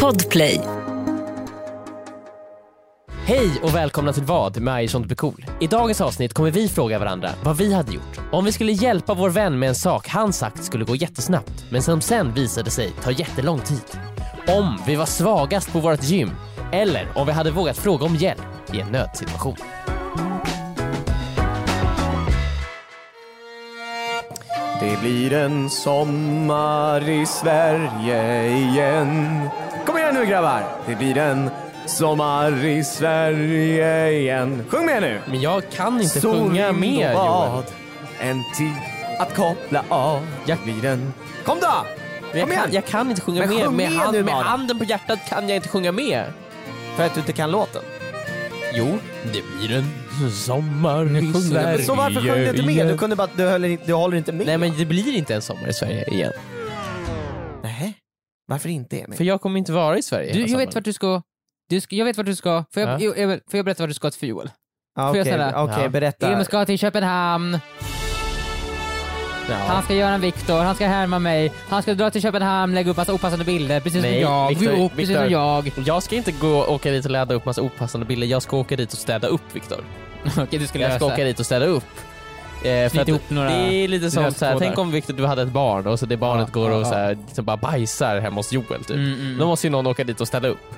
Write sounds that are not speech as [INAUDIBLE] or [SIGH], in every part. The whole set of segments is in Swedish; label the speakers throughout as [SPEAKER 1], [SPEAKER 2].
[SPEAKER 1] Podplay.
[SPEAKER 2] Hej och välkomna till vad med I sånt blir cool. I dagens avsnitt kommer vi fråga varandra vad vi hade gjort. Om vi skulle hjälpa vår vän med en sak han sagt skulle gå jättesnabbt men som sen visade sig ta jättelång tid. Om vi var svagast på vårt gym. Eller om vi hade vågat fråga om hjälp i en nödsituation.
[SPEAKER 3] Det blir en sommar i Sverige igen. Kom igen nu grabbar! Det blir en sommar i Sverige igen. Sjung med nu!
[SPEAKER 2] Men jag kan inte sjunga
[SPEAKER 3] vind
[SPEAKER 2] mer
[SPEAKER 3] och
[SPEAKER 2] Joel.
[SPEAKER 3] bad, en tid att koppla av.
[SPEAKER 2] Jag-
[SPEAKER 3] Det blir en... Kom då!
[SPEAKER 2] Jag
[SPEAKER 3] Kom igen!
[SPEAKER 2] kan, jag kan inte sjunga
[SPEAKER 3] Men
[SPEAKER 2] mer.
[SPEAKER 3] sjung
[SPEAKER 2] Med,
[SPEAKER 3] med
[SPEAKER 2] hand,
[SPEAKER 3] nu
[SPEAKER 2] med
[SPEAKER 3] bara.
[SPEAKER 2] handen på hjärtat kan jag inte sjunga mer.
[SPEAKER 3] För att du inte kan låten.
[SPEAKER 2] Jo, det blir en sommar i Sverige
[SPEAKER 3] Så varför sjöng du inte med? Du, kunde bara, du, höll, inte- du håller inte med.
[SPEAKER 2] Nej men det blir inte en sommar i Sverige igen.
[SPEAKER 3] Nej. Varför inte Emil?
[SPEAKER 2] För jag kommer inte vara i Sverige
[SPEAKER 4] Du,
[SPEAKER 2] hela
[SPEAKER 4] jag vet
[SPEAKER 2] sommaren.
[SPEAKER 4] vart du ska. Du ska jag vet vart du ska. Får jag,
[SPEAKER 2] Ja.
[SPEAKER 4] jo, Emil, får jag berätta vart du ska till Joel?
[SPEAKER 3] ah,
[SPEAKER 4] får jag
[SPEAKER 3] Okej,
[SPEAKER 4] ställa?
[SPEAKER 3] okej,
[SPEAKER 2] Ja.
[SPEAKER 4] Emil
[SPEAKER 3] berätta.
[SPEAKER 4] ska till Köpenhamn,
[SPEAKER 2] Ja.
[SPEAKER 4] han ska göra en Viktor, han ska härma mig, han ska dra till Köpenhamn, lägga upp massa opassande bilder, precis
[SPEAKER 2] Nej,
[SPEAKER 4] som jag.
[SPEAKER 2] Viktor,
[SPEAKER 4] jo, precis
[SPEAKER 2] Viktor. [LAUGHS]
[SPEAKER 4] som jag.
[SPEAKER 2] Jag ska inte gå och åka dit och ladda upp massa opassande bilder, jag ska åka dit och städa upp Viktor.
[SPEAKER 4] Okej, du ska
[SPEAKER 2] Jag
[SPEAKER 4] lösa.
[SPEAKER 2] ska åka dit och städa upp. Eh,
[SPEAKER 4] Knyta
[SPEAKER 2] att
[SPEAKER 4] ihop några
[SPEAKER 2] det är lite som
[SPEAKER 4] lösa
[SPEAKER 2] såhär,
[SPEAKER 4] trådar.
[SPEAKER 2] tänk om Viktor du hade ett barn och så det barnet
[SPEAKER 4] Ja,
[SPEAKER 2] går
[SPEAKER 4] ja,
[SPEAKER 2] och
[SPEAKER 4] ja.
[SPEAKER 2] såhär, liksom bara bajsar hemma hos Joel typ.
[SPEAKER 4] Mm, mm.
[SPEAKER 2] Då måste ju någon åka dit och städa upp.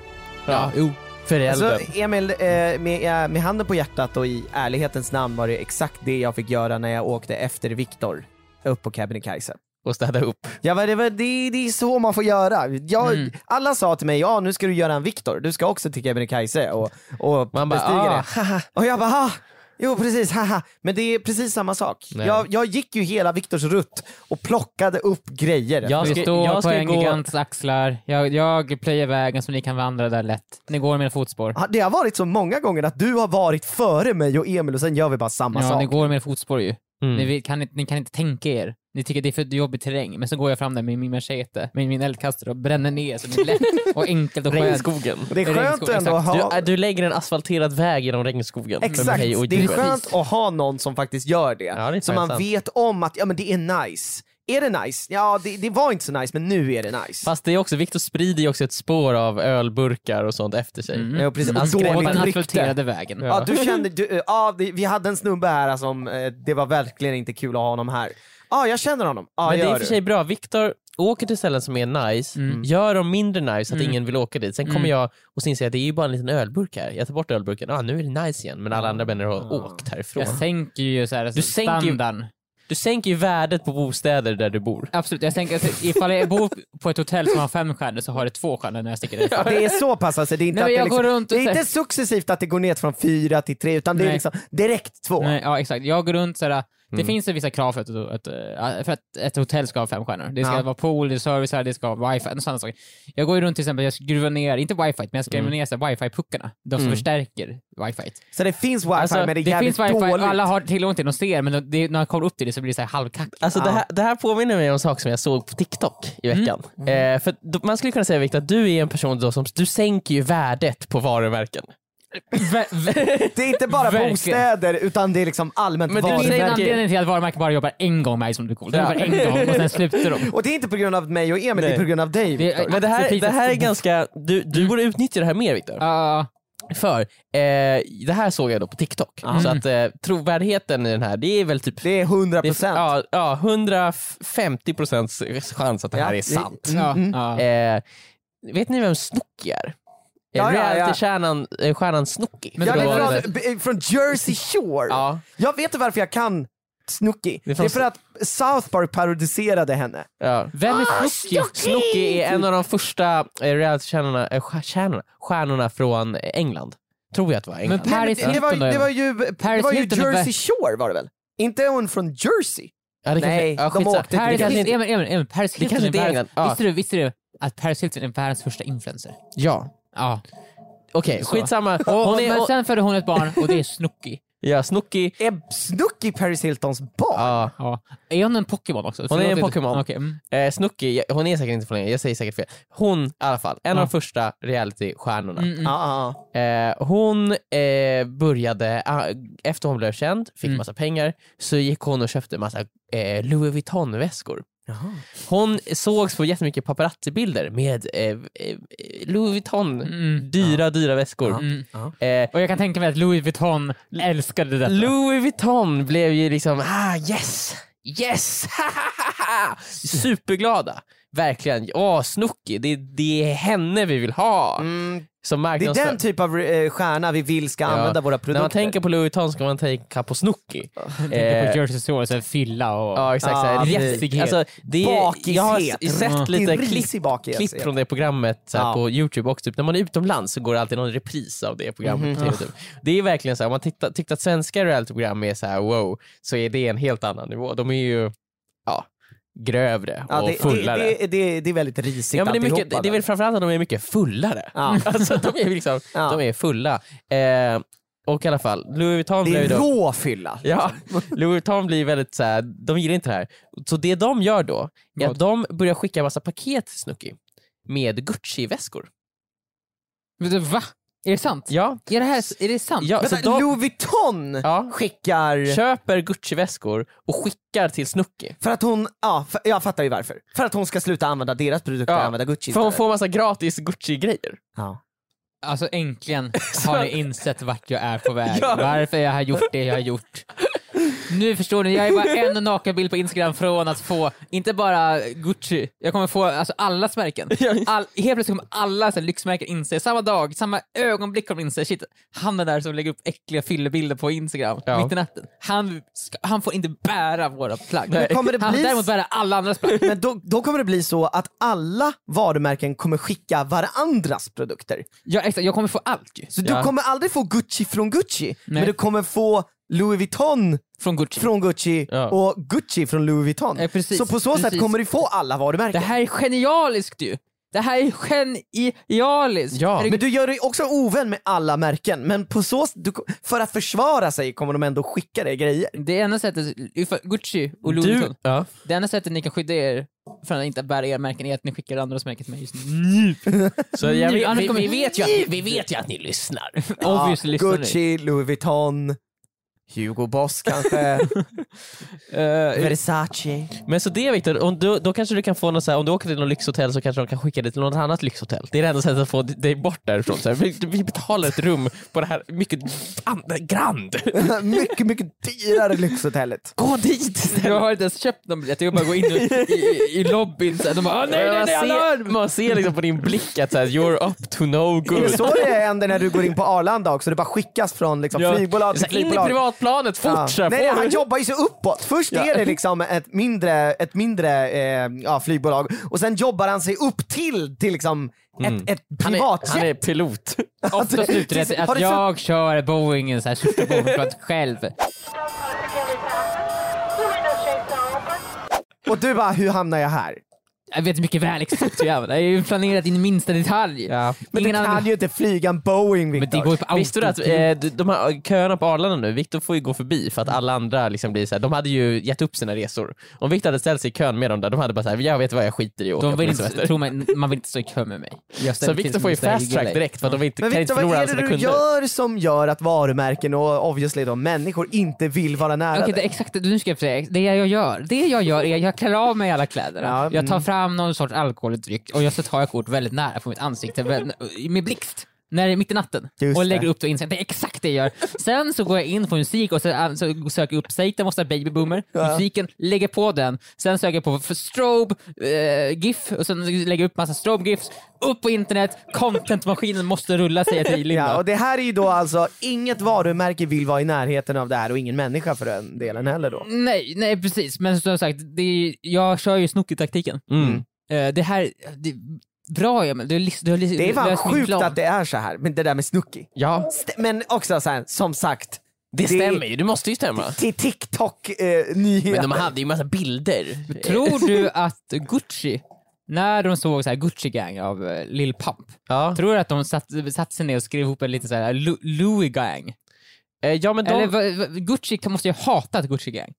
[SPEAKER 4] Ja, jo.
[SPEAKER 2] Föräldern.
[SPEAKER 3] Alltså, Emil, eh, med, eh, med handen på hjärtat och i ärlighetens namn var det exakt det jag fick göra när jag åkte efter Viktor upp på Kebnekaise.
[SPEAKER 2] och städa upp.
[SPEAKER 3] Ja, men det, var, det, det är så man får göra. Jag,
[SPEAKER 4] Mm.
[SPEAKER 3] Alla sa till mig, ja nu ska du göra en Viktor, du ska också till Kebnekaise och, och
[SPEAKER 2] Man bara,
[SPEAKER 3] bestiga
[SPEAKER 2] ah,
[SPEAKER 3] det. Och jag bara, ah, jo precis, haha. Men det är precis samma sak.
[SPEAKER 2] Nej.
[SPEAKER 3] Jag, jag gick ju hela Viktors rutt och plockade upp grejer.
[SPEAKER 2] Jag
[SPEAKER 4] Vi
[SPEAKER 2] ska-
[SPEAKER 4] står
[SPEAKER 2] jag
[SPEAKER 4] på
[SPEAKER 2] ska
[SPEAKER 4] en
[SPEAKER 2] gå-
[SPEAKER 4] gigants axlar, jag, jag plöjer vägen så ni kan vandra där lätt. Ni går i mina fotspår.
[SPEAKER 3] Ja, Ah, Det har varit så många gånger att du har varit före mig och Emil och sen gör vi bara samma
[SPEAKER 4] Ja,
[SPEAKER 3] sak.
[SPEAKER 4] ni går i mina fotspår ju.
[SPEAKER 2] Mm.
[SPEAKER 4] Ni, vill- kan, inte- ni kan inte tänka er. Ni tycker det är för jobbig terräng, men så går jag fram där med min machete, med min eldkastare och bränner ner så det är
[SPEAKER 3] [LAUGHS]
[SPEAKER 4] lätt och enkelt och skönt.
[SPEAKER 2] Regnskogen.
[SPEAKER 3] Det är
[SPEAKER 4] Det är
[SPEAKER 3] skönt
[SPEAKER 4] regnskog,
[SPEAKER 3] ändå att ha...
[SPEAKER 2] Du, äh, du lägger en asfalterad väg genom regnskogen. för
[SPEAKER 3] Exakt,
[SPEAKER 2] mig och
[SPEAKER 3] det är
[SPEAKER 2] Joel.
[SPEAKER 3] skönt att ha någon som faktiskt gör det.
[SPEAKER 2] Ja, det är
[SPEAKER 3] så
[SPEAKER 2] fan
[SPEAKER 3] man
[SPEAKER 2] sant.
[SPEAKER 3] vet om att ja, men det är nice. Är det nice? Ja, det, det var inte så nice, men nu är det nice.
[SPEAKER 2] Fast det är också, Viktor sprider ju också ett spår av ölburkar och sånt efter sig.
[SPEAKER 4] Mm.
[SPEAKER 3] Ja, precis.
[SPEAKER 4] Han
[SPEAKER 3] Och
[SPEAKER 4] skrev på
[SPEAKER 3] dåligt
[SPEAKER 4] den
[SPEAKER 3] rykte.
[SPEAKER 4] asfalterade vägen.
[SPEAKER 3] Ja, du kände, du, eh, ja, det- vi hade en snubbe här alltså, som eh, det var verkligen inte kul att ha honom här. Ja, jag känner honom. Ja,
[SPEAKER 2] Men det är i
[SPEAKER 3] gör
[SPEAKER 2] och för
[SPEAKER 3] du.
[SPEAKER 2] sig bra, Viktor åker till ställen som är nice, gör dem mindre nice så att ingen vill åka dit. Sen kommer
[SPEAKER 4] Mm.
[SPEAKER 2] jag och sen säger jag det är ju bara en liten ölburk här. Jag tar bort ölburken, ah, nu är det nice igen. Men alla andra vänner har åkt härifrån.
[SPEAKER 4] Jag sänker ju så här, alltså,
[SPEAKER 2] Du sänker ju-
[SPEAKER 4] standarden.
[SPEAKER 2] Du sänker ju värdet på bostäder där du bor.
[SPEAKER 4] Absolut, jag sänker, alltså, ifall jag bor på ett hotell som har fem stjärnor så har det två stjärnor när jag sticker därifrån.
[SPEAKER 3] Det är så pass alltså, det är inte,
[SPEAKER 4] Nej, men jag
[SPEAKER 3] att det,
[SPEAKER 4] går
[SPEAKER 3] liksom,
[SPEAKER 4] runt
[SPEAKER 3] det
[SPEAKER 4] och
[SPEAKER 3] är inte
[SPEAKER 4] säger-
[SPEAKER 3] successivt att det går ner från fyra till tre, utan det är
[SPEAKER 4] Nej.
[SPEAKER 3] liksom direkt två.
[SPEAKER 4] Nej, ja, exakt. Jag går runt såhär, det
[SPEAKER 2] Mm.
[SPEAKER 4] finns ju vissa krav för att, att, för att ett hotell ska ha fem stjärnor. Det ska
[SPEAKER 3] Ja.
[SPEAKER 4] vara pool, det är service här, det ska vara wifi, och sådana saker. Jag går ju runt till exempel, jag skruvar ner, inte wifi, men jag
[SPEAKER 2] Mm.
[SPEAKER 4] skruvar ner så här wifi-puckarna. De som förstärker wifi.
[SPEAKER 3] Så det finns wifi
[SPEAKER 2] Alltså,
[SPEAKER 3] men det är
[SPEAKER 4] Det
[SPEAKER 3] jävligt
[SPEAKER 4] finns wifi,
[SPEAKER 3] dåligt.
[SPEAKER 4] alla har tillgång till det, de ser, men de- det, när man kommer upp till det så blir det
[SPEAKER 2] [LAUGHS]
[SPEAKER 4] såhär halvkackigt.
[SPEAKER 2] Alltså det,
[SPEAKER 3] Ja.
[SPEAKER 2] här, det här påminner mig om en sak som jag såg på TikTok i veckan. Eh, för då, man skulle kunna säga Viktor att du är en person då som du sänker ju värdet på varumärken.
[SPEAKER 4] [LAUGHS]
[SPEAKER 3] Det är inte bara
[SPEAKER 4] Verkligen.
[SPEAKER 3] bostäder, utan det är liksom allmänt
[SPEAKER 2] Men det
[SPEAKER 3] varumärke.
[SPEAKER 4] Det är
[SPEAKER 2] säger-
[SPEAKER 4] en anledning till att varumärken bara jobbar en gång med som du cool. De jobbar en gång och sen slutar
[SPEAKER 2] [LAUGHS]
[SPEAKER 4] de.
[SPEAKER 3] Och det är inte på grund av mig och Emil, det
[SPEAKER 2] Nej.
[SPEAKER 3] är på grund av dig.
[SPEAKER 4] Det är-
[SPEAKER 3] Viktor.
[SPEAKER 2] Men det här,
[SPEAKER 4] Eh, Precis.
[SPEAKER 2] det här är ganska, du, du borde utnyttja det här mer Viktor.
[SPEAKER 4] Ja,
[SPEAKER 2] För eh, det här såg jag då på TikTok. Så att eh, trovärdigheten i den här, det är väl typ
[SPEAKER 3] Det är 100
[SPEAKER 2] det är,
[SPEAKER 3] procent.
[SPEAKER 2] ja, ja, 150 procents chans att det här
[SPEAKER 3] Ja,
[SPEAKER 2] är sant.
[SPEAKER 4] ja, ja.
[SPEAKER 2] Eh, vet ni vem Snooki är? Eh,
[SPEAKER 3] Ja, ja, ja.
[SPEAKER 2] Realitystjärnan eh, stjärnan Snooki.
[SPEAKER 4] Men
[SPEAKER 3] Ja,
[SPEAKER 4] det
[SPEAKER 3] men
[SPEAKER 4] var-
[SPEAKER 3] från, b- från Jersey Shore.
[SPEAKER 2] Ja.
[SPEAKER 3] Jag vet inte varför jag kan Snooki.
[SPEAKER 2] Det är
[SPEAKER 3] Det är,
[SPEAKER 2] från-
[SPEAKER 3] för att South Park parodiserade henne.
[SPEAKER 2] Ja.
[SPEAKER 4] Vem är
[SPEAKER 3] Ah,
[SPEAKER 4] Snooki?
[SPEAKER 2] Snooki är en av de första eh, realitystjärnorna eh, stjär- stjärnorna- stjärnorna från eh, England. Tror jag att det var England.
[SPEAKER 4] Men
[SPEAKER 3] Nej, men
[SPEAKER 4] Paris
[SPEAKER 3] det, det, var, ju-
[SPEAKER 4] Hilton då,
[SPEAKER 3] det var ju, det
[SPEAKER 4] Paris
[SPEAKER 3] var ju
[SPEAKER 4] Hilton är
[SPEAKER 3] Jersey
[SPEAKER 4] vä-
[SPEAKER 3] Shore var det väl? Inte hon från Jersey?
[SPEAKER 2] ja, det
[SPEAKER 3] nej,
[SPEAKER 2] kanske, ja,
[SPEAKER 3] de
[SPEAKER 2] skitsamma.
[SPEAKER 3] åkte till-
[SPEAKER 2] Paris
[SPEAKER 4] Paris
[SPEAKER 2] kanske
[SPEAKER 4] Hilton,
[SPEAKER 2] inte,
[SPEAKER 4] Emil, Emil, Emil, Paris Hilton
[SPEAKER 2] kanske
[SPEAKER 4] är
[SPEAKER 2] inte är
[SPEAKER 4] världens,
[SPEAKER 2] England. Ja.
[SPEAKER 4] visste, du, visste du att Paris Hilton är världens första influencer?
[SPEAKER 2] ja.
[SPEAKER 4] Ja.
[SPEAKER 2] Okej,
[SPEAKER 4] Så.
[SPEAKER 2] skitsamma.
[SPEAKER 4] Och,
[SPEAKER 2] Hon är,
[SPEAKER 4] men
[SPEAKER 2] och,
[SPEAKER 4] sen födde hon ett barn och det är Snooki.
[SPEAKER 2] ja, Snooki.
[SPEAKER 3] Är Snooki Paris Hiltons barn?
[SPEAKER 2] Ja.
[SPEAKER 4] Ja. Är hon en Pokémon också?
[SPEAKER 2] Hon är en
[SPEAKER 4] Förlåt,
[SPEAKER 2] Pokémon.
[SPEAKER 4] okej, mm.
[SPEAKER 2] Eh, Snooki, jag- hon är säkert inte från England, jag säger säkert fel. Hon i alla fall, en av de första realitystjärnorna.
[SPEAKER 4] Mm, mm.
[SPEAKER 3] Ja, ja,
[SPEAKER 2] Eh, hon eh, började, ah,
[SPEAKER 4] Mm.
[SPEAKER 2] efter hon blev känd, fick massa pengar, så gick hon och köpte massa eh, Louis eh, Vuitton-väskor. Hon sågs på jättemycket paparazzi-bilder med eh, eh, Louis Vuitton,
[SPEAKER 4] Mm.
[SPEAKER 2] dyra, dyra väskor.
[SPEAKER 4] Mm.
[SPEAKER 2] Eh,
[SPEAKER 4] Och jag kan tänka mig att Louis Vuitton älskade detta.
[SPEAKER 2] Louis Vuitton blev ju liksom, ah yes,
[SPEAKER 3] [LAUGHS]
[SPEAKER 2] yes, superglada. Verkligen, åh Snooki, det, det är henne vi vill ha
[SPEAKER 3] Mm,
[SPEAKER 2] som
[SPEAKER 3] det är
[SPEAKER 2] marknadsför.
[SPEAKER 3] den typ av eh, stjärna vi vill ska
[SPEAKER 2] Ja.
[SPEAKER 3] använda våra
[SPEAKER 2] När
[SPEAKER 3] produkter.
[SPEAKER 2] man tänker på Louis Vuitton ska man tänka på Snooki.
[SPEAKER 4] Tänker på Jersey Shore, så här fylla och...
[SPEAKER 2] Ja exakt,
[SPEAKER 3] Ja,
[SPEAKER 2] såhär,
[SPEAKER 3] Ah, precis.
[SPEAKER 2] rättig- alltså, det är,
[SPEAKER 3] Bakishet.
[SPEAKER 2] jag har s- sett
[SPEAKER 4] Mm.
[SPEAKER 2] lite
[SPEAKER 3] Det är
[SPEAKER 2] klipp,
[SPEAKER 3] risig bakis.
[SPEAKER 2] klipp från det programmet såhär,
[SPEAKER 3] Ja.
[SPEAKER 2] på Youtube också, typ, när man är utomlands så går det alltid någon repris av det programmet. på
[SPEAKER 3] Mhm.
[SPEAKER 2] TV, Typ. Det är verkligen såhär, om man tittar, tyckte att svenska realityprogram är såhär wow, så är det en helt annan nivå. De är ju ja, grövre
[SPEAKER 3] Ja,
[SPEAKER 2] och
[SPEAKER 3] det, det,
[SPEAKER 2] fullare.
[SPEAKER 3] det, det, det är väldigt risigt
[SPEAKER 2] Ja, men det, är
[SPEAKER 3] alltihopa
[SPEAKER 2] mycket, det
[SPEAKER 3] där.
[SPEAKER 2] är väl framförallt att de är mycket fullare.
[SPEAKER 3] Ja.
[SPEAKER 2] [LAUGHS] Alltså, de, är liksom,
[SPEAKER 3] Ja.
[SPEAKER 2] de är fulla. Eh, och i alla fall, Louis Vuitton
[SPEAKER 3] det
[SPEAKER 2] blev ju
[SPEAKER 3] är
[SPEAKER 2] då...
[SPEAKER 3] rå fylla.
[SPEAKER 2] Ja, liksom. Louis Vuitton blir väldigt så här, de gillar inte det här. Så det de gör då, är att
[SPEAKER 4] Vad?
[SPEAKER 2] de börjar skicka massa paket till Snooki med Gucci-väskor.
[SPEAKER 4] Men du, Va? Är det sant?
[SPEAKER 2] Ja,
[SPEAKER 4] Är det, här, är det sant?
[SPEAKER 2] ja, så
[SPEAKER 3] Vänta,
[SPEAKER 2] de
[SPEAKER 3] Louis Vuitton
[SPEAKER 2] Ja.
[SPEAKER 3] skickar...
[SPEAKER 2] köper Gucci-väskor och skickar till Snooki.
[SPEAKER 3] För att hon, ja, för, jag fattar ju varför. För att hon ska sluta använda deras produkter
[SPEAKER 2] Ja.
[SPEAKER 3] och använda Gucci
[SPEAKER 2] För hon
[SPEAKER 3] istället.
[SPEAKER 2] får massa gratis Gucci-grejer.
[SPEAKER 3] ja.
[SPEAKER 4] Alltså
[SPEAKER 2] [LAUGHS]
[SPEAKER 4] äntligen har ni insett vart jag är på väg.
[SPEAKER 2] Ja.
[SPEAKER 4] Varför jag har gjort det jag har gjort. Nu förstår ni, jag är bara en nakenbild på Instagram från att få, inte bara Gucci, jag kommer få alltså,
[SPEAKER 2] [LAUGHS]
[SPEAKER 4] allas märken. All, helt plötsligt kommer alla så här, lyxmärken inse, samma dag, samma ögonblick kommer de inse, shit, han är där som lägger upp äckliga fyllebilder på Instagram
[SPEAKER 2] Ja.
[SPEAKER 4] mitt i natten. Han, ska, han får inte bära våra plagg.
[SPEAKER 2] Men
[SPEAKER 3] kommer det
[SPEAKER 4] han
[SPEAKER 3] bli
[SPEAKER 4] får däremot
[SPEAKER 3] s-
[SPEAKER 4] bära alla andras plagg.
[SPEAKER 3] Men då, då kommer det bli så att alla varumärken kommer skicka varandras produkter.
[SPEAKER 4] Ja, exakt, jag kommer få allt ju.
[SPEAKER 3] Så
[SPEAKER 2] Ja.
[SPEAKER 3] du kommer aldrig få Gucci från Gucci, men
[SPEAKER 4] Nej.
[SPEAKER 3] du kommer få Louis Vuitton
[SPEAKER 4] Från Gucci.
[SPEAKER 3] från Gucci
[SPEAKER 2] Ja.
[SPEAKER 3] och Gucci från Louis Vuitton.
[SPEAKER 4] Eh, precis,
[SPEAKER 3] så på så sätt
[SPEAKER 4] precis.
[SPEAKER 3] kommer du få alla
[SPEAKER 4] Det
[SPEAKER 3] varumärken.
[SPEAKER 4] här är genialiskt ju! Det här är genialiskt!
[SPEAKER 2] Ja,
[SPEAKER 4] Herregud.
[SPEAKER 3] Men du gör dig också ovän med alla märken, men på så s- du, för att försvara sig kommer de ändå skicka dig grejer.
[SPEAKER 4] det enda sättet, ifall- Gucci och Louis
[SPEAKER 2] Du,
[SPEAKER 4] Vuitton,
[SPEAKER 2] ja.
[SPEAKER 4] det enda sättet ni kan skydda er från att inte bära era märken är att ni skickar andras märken till mig just nu.
[SPEAKER 2] Så jag,
[SPEAKER 4] Nu, annars
[SPEAKER 2] vi,
[SPEAKER 4] kommer-
[SPEAKER 2] vi, vet ju att, vi vet ju att ni lyssnar.
[SPEAKER 4] Obviously lyssnar ni.
[SPEAKER 3] Gucci, Louis Vuitton, Hugo
[SPEAKER 2] [LAUGHS]
[SPEAKER 3] Boss kanske, Eh,
[SPEAKER 2] Eh,
[SPEAKER 3] Versace.
[SPEAKER 2] Men så det Viktor, om du, då kanske du kan få något så här, om du åker till något lyxhotell så kanske de kan skicka dig till något annat lyxhotell. Det är det enda sättet att få dig bort därifrån. Så här, vi, vi betalar ett rum på det här mycket fan, grand.
[SPEAKER 3] mycket, mycket dyrare lyxhotellet.
[SPEAKER 2] Gå dit
[SPEAKER 4] Jag
[SPEAKER 2] istället.
[SPEAKER 4] har inte ens köpt någon biljett, jag bara går in i, i, i lobbyn såhär, de bara "Ah, nej nej nej
[SPEAKER 2] man,
[SPEAKER 4] alarm!"
[SPEAKER 2] ser, man ser liksom på din blick att så här, you're up to no
[SPEAKER 3] Är det
[SPEAKER 2] good.
[SPEAKER 3] så det händer när du går in på Arlanda också? Du bara skickas från liksom,
[SPEAKER 2] Ja.
[SPEAKER 3] flygbolag
[SPEAKER 2] Så
[SPEAKER 3] till
[SPEAKER 2] här, in i
[SPEAKER 3] flygbolag.
[SPEAKER 2] privatplanet fort!
[SPEAKER 3] Ja.
[SPEAKER 2] så här,
[SPEAKER 3] Nej,
[SPEAKER 2] får
[SPEAKER 3] han
[SPEAKER 2] du-
[SPEAKER 3] jobbar ju sig uppåt. Först
[SPEAKER 2] Ja.
[SPEAKER 3] är det liksom ett mindre, ett mindre eh, ja, flygbolag och sen jobbar han sig upp till, till liksom ett, ett
[SPEAKER 2] Mm. han,
[SPEAKER 3] privatjet.
[SPEAKER 2] är, han är pilot.
[SPEAKER 3] Alltså,
[SPEAKER 4] Ofta slutar det
[SPEAKER 3] Har
[SPEAKER 4] att- att
[SPEAKER 3] du
[SPEAKER 4] jag kör Boeingen såhär, största Boeingplanet själv.
[SPEAKER 3] Och du bara, hur hamnar jag här?
[SPEAKER 4] Jag vet mycket väl exakt hur jag använder, jag har ju planerat in i minsta detalj.
[SPEAKER 2] Ja.
[SPEAKER 3] Men du
[SPEAKER 4] Ingen
[SPEAKER 3] kan
[SPEAKER 4] annan-
[SPEAKER 3] ju inte flyga en Boeing
[SPEAKER 4] Men det
[SPEAKER 3] Viktor.
[SPEAKER 4] går ju på
[SPEAKER 2] Visste du att
[SPEAKER 4] autopilot.
[SPEAKER 2] eh, d- de här köerna på Arlanda nu, Viktor får ju gå förbi för att alla andra liksom blir så här, de hade ju gett upp sina resor. Om Viktor hade ställt sig i kön med dem där, de hade bara såhär, jag vet vad jag skiter i att åka
[SPEAKER 4] De
[SPEAKER 2] på
[SPEAKER 4] vill
[SPEAKER 2] min
[SPEAKER 4] inte,
[SPEAKER 2] semester.
[SPEAKER 4] tro mig, man vill inte stå i kö med mig. Jag
[SPEAKER 2] Så
[SPEAKER 4] ställer till
[SPEAKER 2] Viktor
[SPEAKER 4] som
[SPEAKER 2] får ju
[SPEAKER 4] en sån här
[SPEAKER 2] fast track
[SPEAKER 4] gigolej.
[SPEAKER 2] direkt för att de inte,
[SPEAKER 3] Men
[SPEAKER 2] kan inte
[SPEAKER 3] Viktor, vad
[SPEAKER 2] förlora
[SPEAKER 3] är
[SPEAKER 2] alla
[SPEAKER 3] det
[SPEAKER 2] sina
[SPEAKER 3] du
[SPEAKER 2] kunder.
[SPEAKER 3] gör som gör att varumärken och obviously då människor inte vill vara nära
[SPEAKER 4] Okej,
[SPEAKER 3] dig?
[SPEAKER 4] det, exakt, nu ska jag säga, det jag gör, det jag gör är att jag klär av mig alla kläderna.
[SPEAKER 3] Ja,
[SPEAKER 4] jag
[SPEAKER 2] mm.
[SPEAKER 4] tar fram någon sorts alkoholdryck och jag så tar jag kort väldigt nära på mitt ansikte väl- med blixt. När det är mitt i natten
[SPEAKER 3] Just
[SPEAKER 4] och
[SPEAKER 3] det.
[SPEAKER 4] lägger upp det och inser att det är exakt det jag gör. Sen så går jag in på musik och så, äh, så söker jag upp Satan måste ha baby boomer, musiken, lägger på den. Sen söker jag på för strobe, eh, GIF och sen lägger jag upp massa strobe GIFs. Upp på internet, contentmaskinen måste rulla säger jag till
[SPEAKER 3] Ja,
[SPEAKER 4] Linda.
[SPEAKER 3] och det här är ju då alltså, inget varumärke vill vara i närheten av det här och ingen människa för den delen heller då.
[SPEAKER 4] Nej, nej precis. Men som sagt, det är, jag kör ju Snooki-taktiken.
[SPEAKER 2] Mm.
[SPEAKER 4] Eh, det här, det, bra Emil, du, har lis- du har lis-
[SPEAKER 3] Det är fan
[SPEAKER 4] löst min
[SPEAKER 3] sjukt
[SPEAKER 4] plan.
[SPEAKER 3] att det är så här, men det där med Snooki.
[SPEAKER 2] Ja,
[SPEAKER 3] St- Men också så här, som sagt,
[SPEAKER 2] det stämmer ju, det måste ju stämma.
[SPEAKER 3] till eh, TikTok-nyheter.
[SPEAKER 2] Men de alltså, hade ju massa bilder.
[SPEAKER 4] Tror du att Gucci, när de såg så här Gucci Gang av eh, Lil Pump,
[SPEAKER 2] Ja,
[SPEAKER 4] tror du att de satt, satt sig ner och skrev ihop en liten så här Lu- Louis Gang?
[SPEAKER 2] Eh, ja men de...
[SPEAKER 4] Eller vad- vad- Gucci kan- måste ju ha hatat Gucci Gang.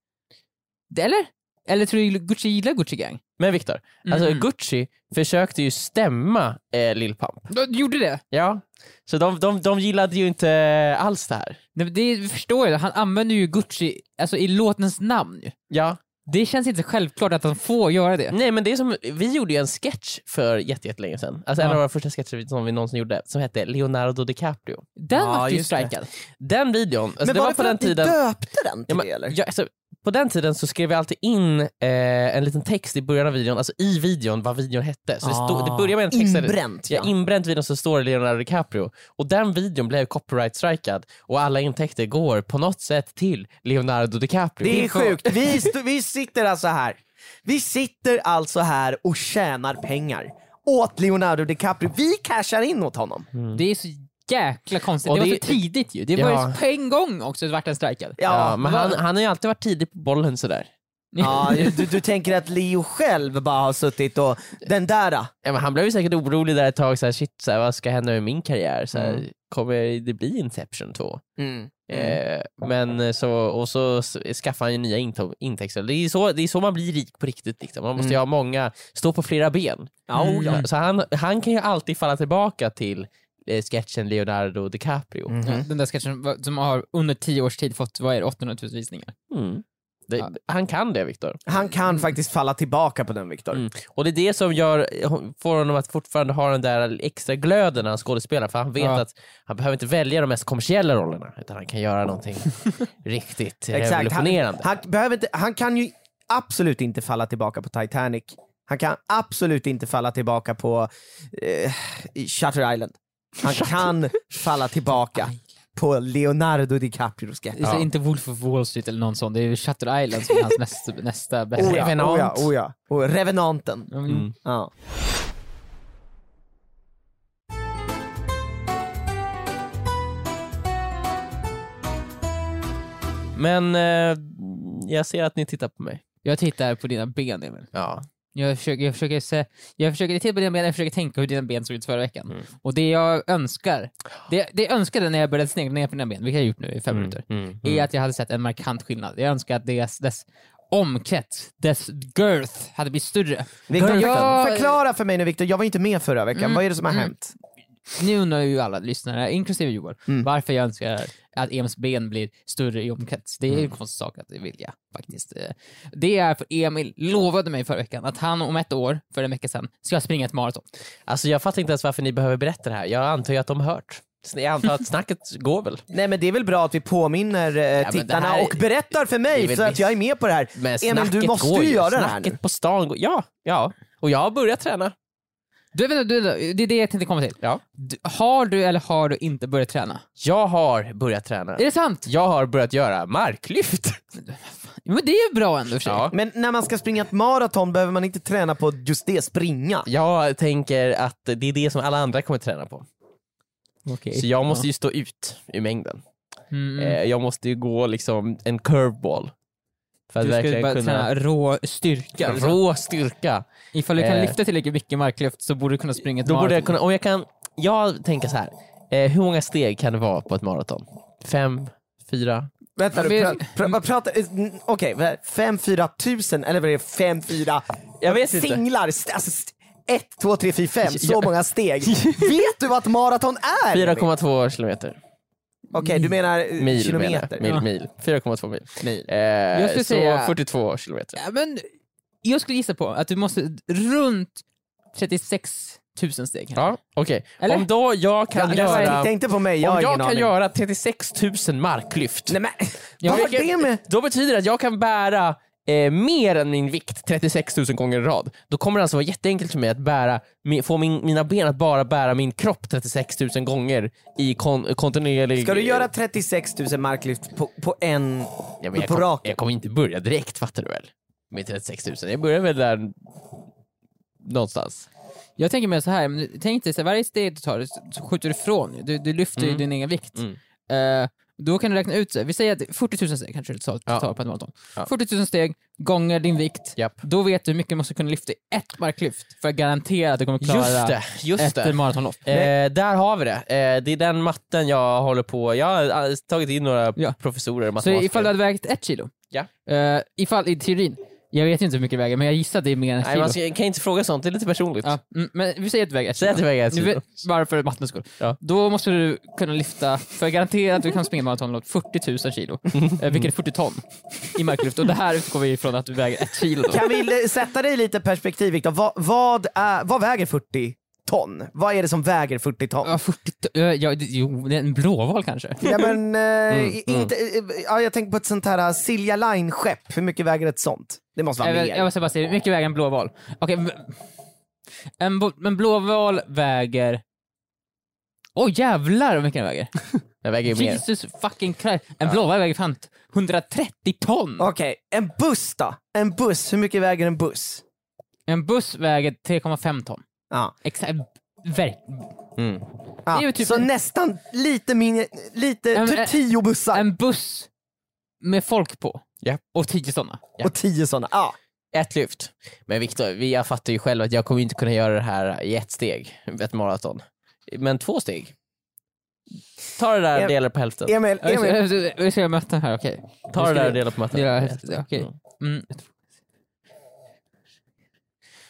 [SPEAKER 4] Det- Eller? Eller tror du Gucci gillar Gucci Gang?
[SPEAKER 2] Men Viktor, alltså
[SPEAKER 4] Mm.
[SPEAKER 2] Gucci försökte ju stämma eh, Lil Pump.
[SPEAKER 4] De gjorde det?
[SPEAKER 2] Ja. Så de, de, de gillade ju inte eh, alls det här.
[SPEAKER 4] Nej, men det förstår jag, han använder ju Gucci alltså, i låtens namn ju.
[SPEAKER 2] Ja.
[SPEAKER 4] Det känns inte självklart att de får göra
[SPEAKER 3] Mm.
[SPEAKER 4] det.
[SPEAKER 2] [LAUGHS] Nej men det är som, vi gjorde ju en sketch för jätte- jättelänge sedan. Alltså en
[SPEAKER 4] Ja.
[SPEAKER 2] av våra första sketcher som vi någonsin gjorde som hette Leonardo DiCaprio.
[SPEAKER 4] Den
[SPEAKER 3] Ja,
[SPEAKER 4] vart ju
[SPEAKER 3] just det.
[SPEAKER 4] strikad.
[SPEAKER 2] Den videon, alltså det var, på
[SPEAKER 3] för
[SPEAKER 2] den
[SPEAKER 3] att ni
[SPEAKER 2] tiden...
[SPEAKER 3] döpte den till
[SPEAKER 2] Ja, men,
[SPEAKER 3] det eller?
[SPEAKER 2] ja, alltså, på den tiden så skrev jag alltid in eh, en liten text i början av videon, alltså i videon vad videon hette. Så det, stod, det börjar med en text där det-
[SPEAKER 3] Ah. Inbränt
[SPEAKER 2] Ja, inbränt videon så står det Leonardo DiCaprio och den videon blev copyright-strikad och alla intäkter går på något sätt till Leonardo DiCaprio.
[SPEAKER 3] Det är
[SPEAKER 4] Vilka-
[SPEAKER 3] sjukt. Vi, st- vi sitter alltså här. Vi sitter alltså här och tjänar pengar åt Leonardo DiCaprio. Vi cashar in åt honom.
[SPEAKER 4] Det är så jäkla konstigt.
[SPEAKER 2] Och
[SPEAKER 4] det, var
[SPEAKER 2] det-
[SPEAKER 4] så tidigt ju. Det
[SPEAKER 2] Ja.
[SPEAKER 4] var ju på en gång också vart den strikad.
[SPEAKER 2] Ja,
[SPEAKER 3] Ja,
[SPEAKER 2] men han, han har ju alltid varit tidig på bollen sådär.
[SPEAKER 3] ja du, du tänker att Leo själv bara har suttit och den där. då.
[SPEAKER 2] Ja, men han blev ju säkert orolig där ett tag, såhär, shit, såhär, vad ska hända med min karriär? Såhär, Kommer det bli Inception 2?
[SPEAKER 3] Mm.
[SPEAKER 2] Eh, men eh, så, och så s- skaffar han ju nya into- intäkter. Det är, så, det är så man blir rik på riktigt. Liksom. Man måste ju ha många, stå på flera ben.
[SPEAKER 3] Ja, oh ja.
[SPEAKER 2] Så han, han kan ju alltid falla tillbaka till eh, sketchen Leonardo DiCaprio. Mm.
[SPEAKER 4] [LAUGHS] Ja, Den där sketchen var- som har under tio års tid fått, vad är det, 800 000 visningar?
[SPEAKER 2] Mm. Det,
[SPEAKER 4] Ja.
[SPEAKER 2] Han kan det Viktor.
[SPEAKER 3] Han kan faktiskt falla tillbaka på den Viktor.
[SPEAKER 2] Mm. Och det är det som gör, får honom att fortfarande ha den där extra glöden när han skådespelar för han vet
[SPEAKER 4] Ja.
[SPEAKER 2] att han behöver inte välja de mest kommersiella rollerna utan han kan göra någonting
[SPEAKER 3] [LAUGHS]
[SPEAKER 2] riktigt
[SPEAKER 3] Han,
[SPEAKER 2] revolutionerande.
[SPEAKER 3] han, behöver inte, han kan ju absolut inte falla tillbaka på Titanic. Han kan absolut inte falla tillbaka på eh, i Shutter Island.
[SPEAKER 2] [LAUGHS]
[SPEAKER 3] Han kan falla tillbaka på Leonardo DiCaprio-sketch.
[SPEAKER 4] Det är så Inte Wolf of Wall Street eller någon sån, det är ju Shutter Island som är hans [LAUGHS] nästa, nästa bästa.
[SPEAKER 3] Oh ja,
[SPEAKER 2] Revenant.
[SPEAKER 3] oh ja, oh ja. Och Revenanten.
[SPEAKER 4] Mm.
[SPEAKER 3] Ja.
[SPEAKER 2] Men eh, jag ser att ni tittar på mig.
[SPEAKER 4] Jag tittar på dina ben Emil.
[SPEAKER 2] Ja.
[SPEAKER 4] Jag försöker, jag försöker, se, jag försöker titta på dina ben, jag försöker tänka hur dina ben såg ut förra veckan.
[SPEAKER 3] Mm.
[SPEAKER 4] Och det jag önskar, det, det jag önskade när jag började snegla ner på dina ben, vilket jag har gjort nu i fem
[SPEAKER 3] Mm.
[SPEAKER 4] minuter,
[SPEAKER 2] Mm.
[SPEAKER 4] är att jag hade sett en markant skillnad. Jag önskar att dess, dess omkrets, dess girth, hade blivit större.
[SPEAKER 3] Victor,
[SPEAKER 4] Girthen.
[SPEAKER 3] jag... Förklara för mig nu Viktor, jag var inte med förra
[SPEAKER 2] Mm,
[SPEAKER 3] veckan, vad är det som har hänt?
[SPEAKER 4] Nu undrar ju alla lyssnare, inklusive Joel,
[SPEAKER 2] Mm.
[SPEAKER 4] varför jag önskar att Ems ben blir större i omkrets. Det är ju
[SPEAKER 2] Mm.
[SPEAKER 4] en konstig sak att vilja faktiskt. Eh, Det är för Emil lovade mig förra veckan att han om ett år, för en vecka sedan, ska springa ett maraton.
[SPEAKER 2] Alltså jag fattar inte ens varför ni behöver berätta det här. Jag antar ju att de hört. Jag antar att snacket [LAUGHS] går väl.
[SPEAKER 3] Nej men det är väl bra att vi påminner eh,
[SPEAKER 2] det
[SPEAKER 3] tittarna
[SPEAKER 2] här-
[SPEAKER 3] och berättar för mig
[SPEAKER 2] det är
[SPEAKER 3] så
[SPEAKER 2] väl
[SPEAKER 3] att jag är med på det här.
[SPEAKER 2] Men
[SPEAKER 3] Emil
[SPEAKER 2] snacket
[SPEAKER 3] du måste
[SPEAKER 2] går
[SPEAKER 3] ju göra det här
[SPEAKER 2] Snacket
[SPEAKER 3] nu.
[SPEAKER 2] på stan går... Ja, ja. Och jag har börjat träna.
[SPEAKER 4] Du, vänta, du, det är det jag tänkte komma till.
[SPEAKER 2] Ja.
[SPEAKER 4] Du, har du eller har du inte börjat träna?
[SPEAKER 2] Jag har börjat träna.
[SPEAKER 4] Är det sant?
[SPEAKER 2] Jag har börjat göra marklyft.
[SPEAKER 4] Jo, Men det är ju bra ändå i och för sig.
[SPEAKER 2] Ja.
[SPEAKER 3] Men när man ska springa ett maraton behöver man inte träna på just det, springa.
[SPEAKER 2] Jag tänker att det är det som alla andra kommer träna på.
[SPEAKER 4] Okej.
[SPEAKER 2] Så jag måste ju stå ut i mängden.
[SPEAKER 4] Mm.
[SPEAKER 2] Eh, Jag måste ju gå liksom en curveball. För att
[SPEAKER 4] Du ska ju
[SPEAKER 2] verkligen
[SPEAKER 4] bara
[SPEAKER 2] kunna...
[SPEAKER 4] träna rå styrka. liksom.
[SPEAKER 2] Rå styrka.
[SPEAKER 4] Ifall du kan
[SPEAKER 2] Eh.
[SPEAKER 4] lyfta tillräckligt mycket marklyft så borde du kunna springa ett
[SPEAKER 2] Då borde
[SPEAKER 4] maraton.
[SPEAKER 2] jag kunna, om jag kan, jag tänker så här. Eh, hur många steg kan det vara på ett maraton? Fem, fyra?
[SPEAKER 3] Vänta
[SPEAKER 4] Ja,
[SPEAKER 3] du,
[SPEAKER 4] men-
[SPEAKER 3] pra, pra, vad pratar, eh, mm, okej, vad är det? fem, fyra tusen eller vad är det, fem, fyra
[SPEAKER 2] Jag vet inte.
[SPEAKER 3] singlar? St- alltså, st- ett, två, tre, fyra, fem, så
[SPEAKER 2] Ja.
[SPEAKER 3] många steg. Vet du vad ett maraton är? Emil?
[SPEAKER 2] 4,2 kilometer.
[SPEAKER 3] Okej, du menar eh,
[SPEAKER 2] Mil
[SPEAKER 3] kilometer?
[SPEAKER 2] menar jag.
[SPEAKER 4] Ja.
[SPEAKER 2] Mil, mil. 4,2 mil.
[SPEAKER 3] Mil.
[SPEAKER 2] Eh,
[SPEAKER 4] Jag skulle
[SPEAKER 2] så
[SPEAKER 4] säga-
[SPEAKER 2] 42 kilometer.
[SPEAKER 4] Ja, men jag skulle gissa på att du måste runt 36 000 steg.
[SPEAKER 2] Ja, okej.
[SPEAKER 4] Eller?
[SPEAKER 2] Om då jag kan
[SPEAKER 3] Jag
[SPEAKER 2] göra...
[SPEAKER 3] tänkte inte på mig, jag
[SPEAKER 2] om
[SPEAKER 3] har
[SPEAKER 2] jag
[SPEAKER 3] ingen
[SPEAKER 2] kan
[SPEAKER 3] aning.
[SPEAKER 2] göra 36 000 marklyft,
[SPEAKER 3] Nej men,
[SPEAKER 4] Jag
[SPEAKER 3] vad har
[SPEAKER 2] tycker-
[SPEAKER 3] det med...
[SPEAKER 2] då betyder det att jag kan bära eh, mer än min vikt 36 000 gånger i rad. Då kommer det alltså vara jätteenkelt för mig att bära, mi- få min, mina ben att bara bära min kropp 36 000 gånger i kon, kontinuerlig...
[SPEAKER 3] Ska du göra 36 000 marklyft på, på en...
[SPEAKER 2] ja, men jag
[SPEAKER 3] på
[SPEAKER 2] kom-
[SPEAKER 3] raken?
[SPEAKER 2] Jag kommer inte börja direkt fattar du väl? Med 36 000. Jag börjar väl där någonstans.
[SPEAKER 4] Jag tänker mer så här, men tänk dig så här, varje steg du tar så så skjuter du ifrån. Du, du lyfter ju din egen vikt. Eh, då kan du räkna ut, så här, vi säger att 40 000 steg kanske du tar,
[SPEAKER 2] Ja.
[SPEAKER 4] tar på ett maraton.
[SPEAKER 2] Ja.
[SPEAKER 4] 40 000 steg gånger din vikt.
[SPEAKER 2] Japp.
[SPEAKER 4] Då vet du hur mycket du måste kunna lyfta i ett marklyft för att garantera att du kommer klara
[SPEAKER 2] Just det, just det.
[SPEAKER 4] ett maratonlopp.
[SPEAKER 2] Eh, där har vi det. Eh, det är den matten jag håller på. Jag har eh, tagit in några
[SPEAKER 4] Ja.
[SPEAKER 2] professorer och
[SPEAKER 4] Så
[SPEAKER 2] matematiker.
[SPEAKER 4] ifall du hade vägt ett kilo,
[SPEAKER 2] Ja.
[SPEAKER 4] eh, ifall i teorin, Jag vet ju inte hur mycket det väger, men jag gissar att det är mer än ett
[SPEAKER 2] Nej,
[SPEAKER 4] kilo.
[SPEAKER 2] man ska, kan inte fråga sånt, det är lite personligt.
[SPEAKER 4] ja, mm, men vi säger att det väger ett
[SPEAKER 2] Säg att det väger ett
[SPEAKER 4] Nu
[SPEAKER 2] kilo.
[SPEAKER 4] vet- Bara för mattens skull.
[SPEAKER 2] Ja.
[SPEAKER 4] Då måste du kunna lyfta, för jag garanterar att du kan springa maratonlopp 40 000 kilo, eh, vilket är 40 ton i marklyft. Och det här utgår vi ifrån att du väger ett kilo. Då.
[SPEAKER 3] Kan vi eh, sätta det i lite perspektiv Viktor? Vad, vad, är, vad väger 40 ton? Vad är det som väger 40 ton?
[SPEAKER 4] Ja, 40 ton. eh, Ja, det- jo, det är en blåval kanske.
[SPEAKER 3] Ja, men, eh,
[SPEAKER 4] Mm,
[SPEAKER 3] inte, eh, ja, jag tänker på ett sånt här eh, Silja Line-skepp, hur mycket väger ett sånt? Det måste vara
[SPEAKER 4] Jag, vill,
[SPEAKER 3] mer.
[SPEAKER 4] jag måste bara säga, hur mycket väger en blåval? Okej, men- en, bo- en blåval väger... Åh jävlar vad mycket den väger!
[SPEAKER 2] Jag väger ju mer.
[SPEAKER 4] Jesus fucking Christ. En blåval väger fan 130 ton!
[SPEAKER 3] Okej, en buss då? En buss, hur mycket väger en buss?
[SPEAKER 4] En buss väger 3,5 ton.
[SPEAKER 3] Ja.
[SPEAKER 4] Exakt. Verk.
[SPEAKER 3] Ja,
[SPEAKER 2] Mm.
[SPEAKER 4] Det är ju typ-
[SPEAKER 3] Så nästan lite mindre, lite,
[SPEAKER 4] En-
[SPEAKER 3] typ
[SPEAKER 4] en-
[SPEAKER 3] tio bussar
[SPEAKER 4] eh, En buss med folk på.
[SPEAKER 2] Ja.
[SPEAKER 4] Och tio sådana.
[SPEAKER 3] och tio sådana. Ja.
[SPEAKER 2] Ett lyft. Men Viktor, vi- jag fattar ju själv att jag kommer inte kunna göra det här i ett steg, ett maraton. Men två steg. Ta det där och
[SPEAKER 3] Em-
[SPEAKER 2] dela på hälften.
[SPEAKER 3] Emil,
[SPEAKER 4] Ja, just det.
[SPEAKER 3] Emil,
[SPEAKER 4] Jag ska- Jag ska möta den här, okej.
[SPEAKER 2] Ta det där och dela på mattan.
[SPEAKER 4] Dela hälften, okej. Mm.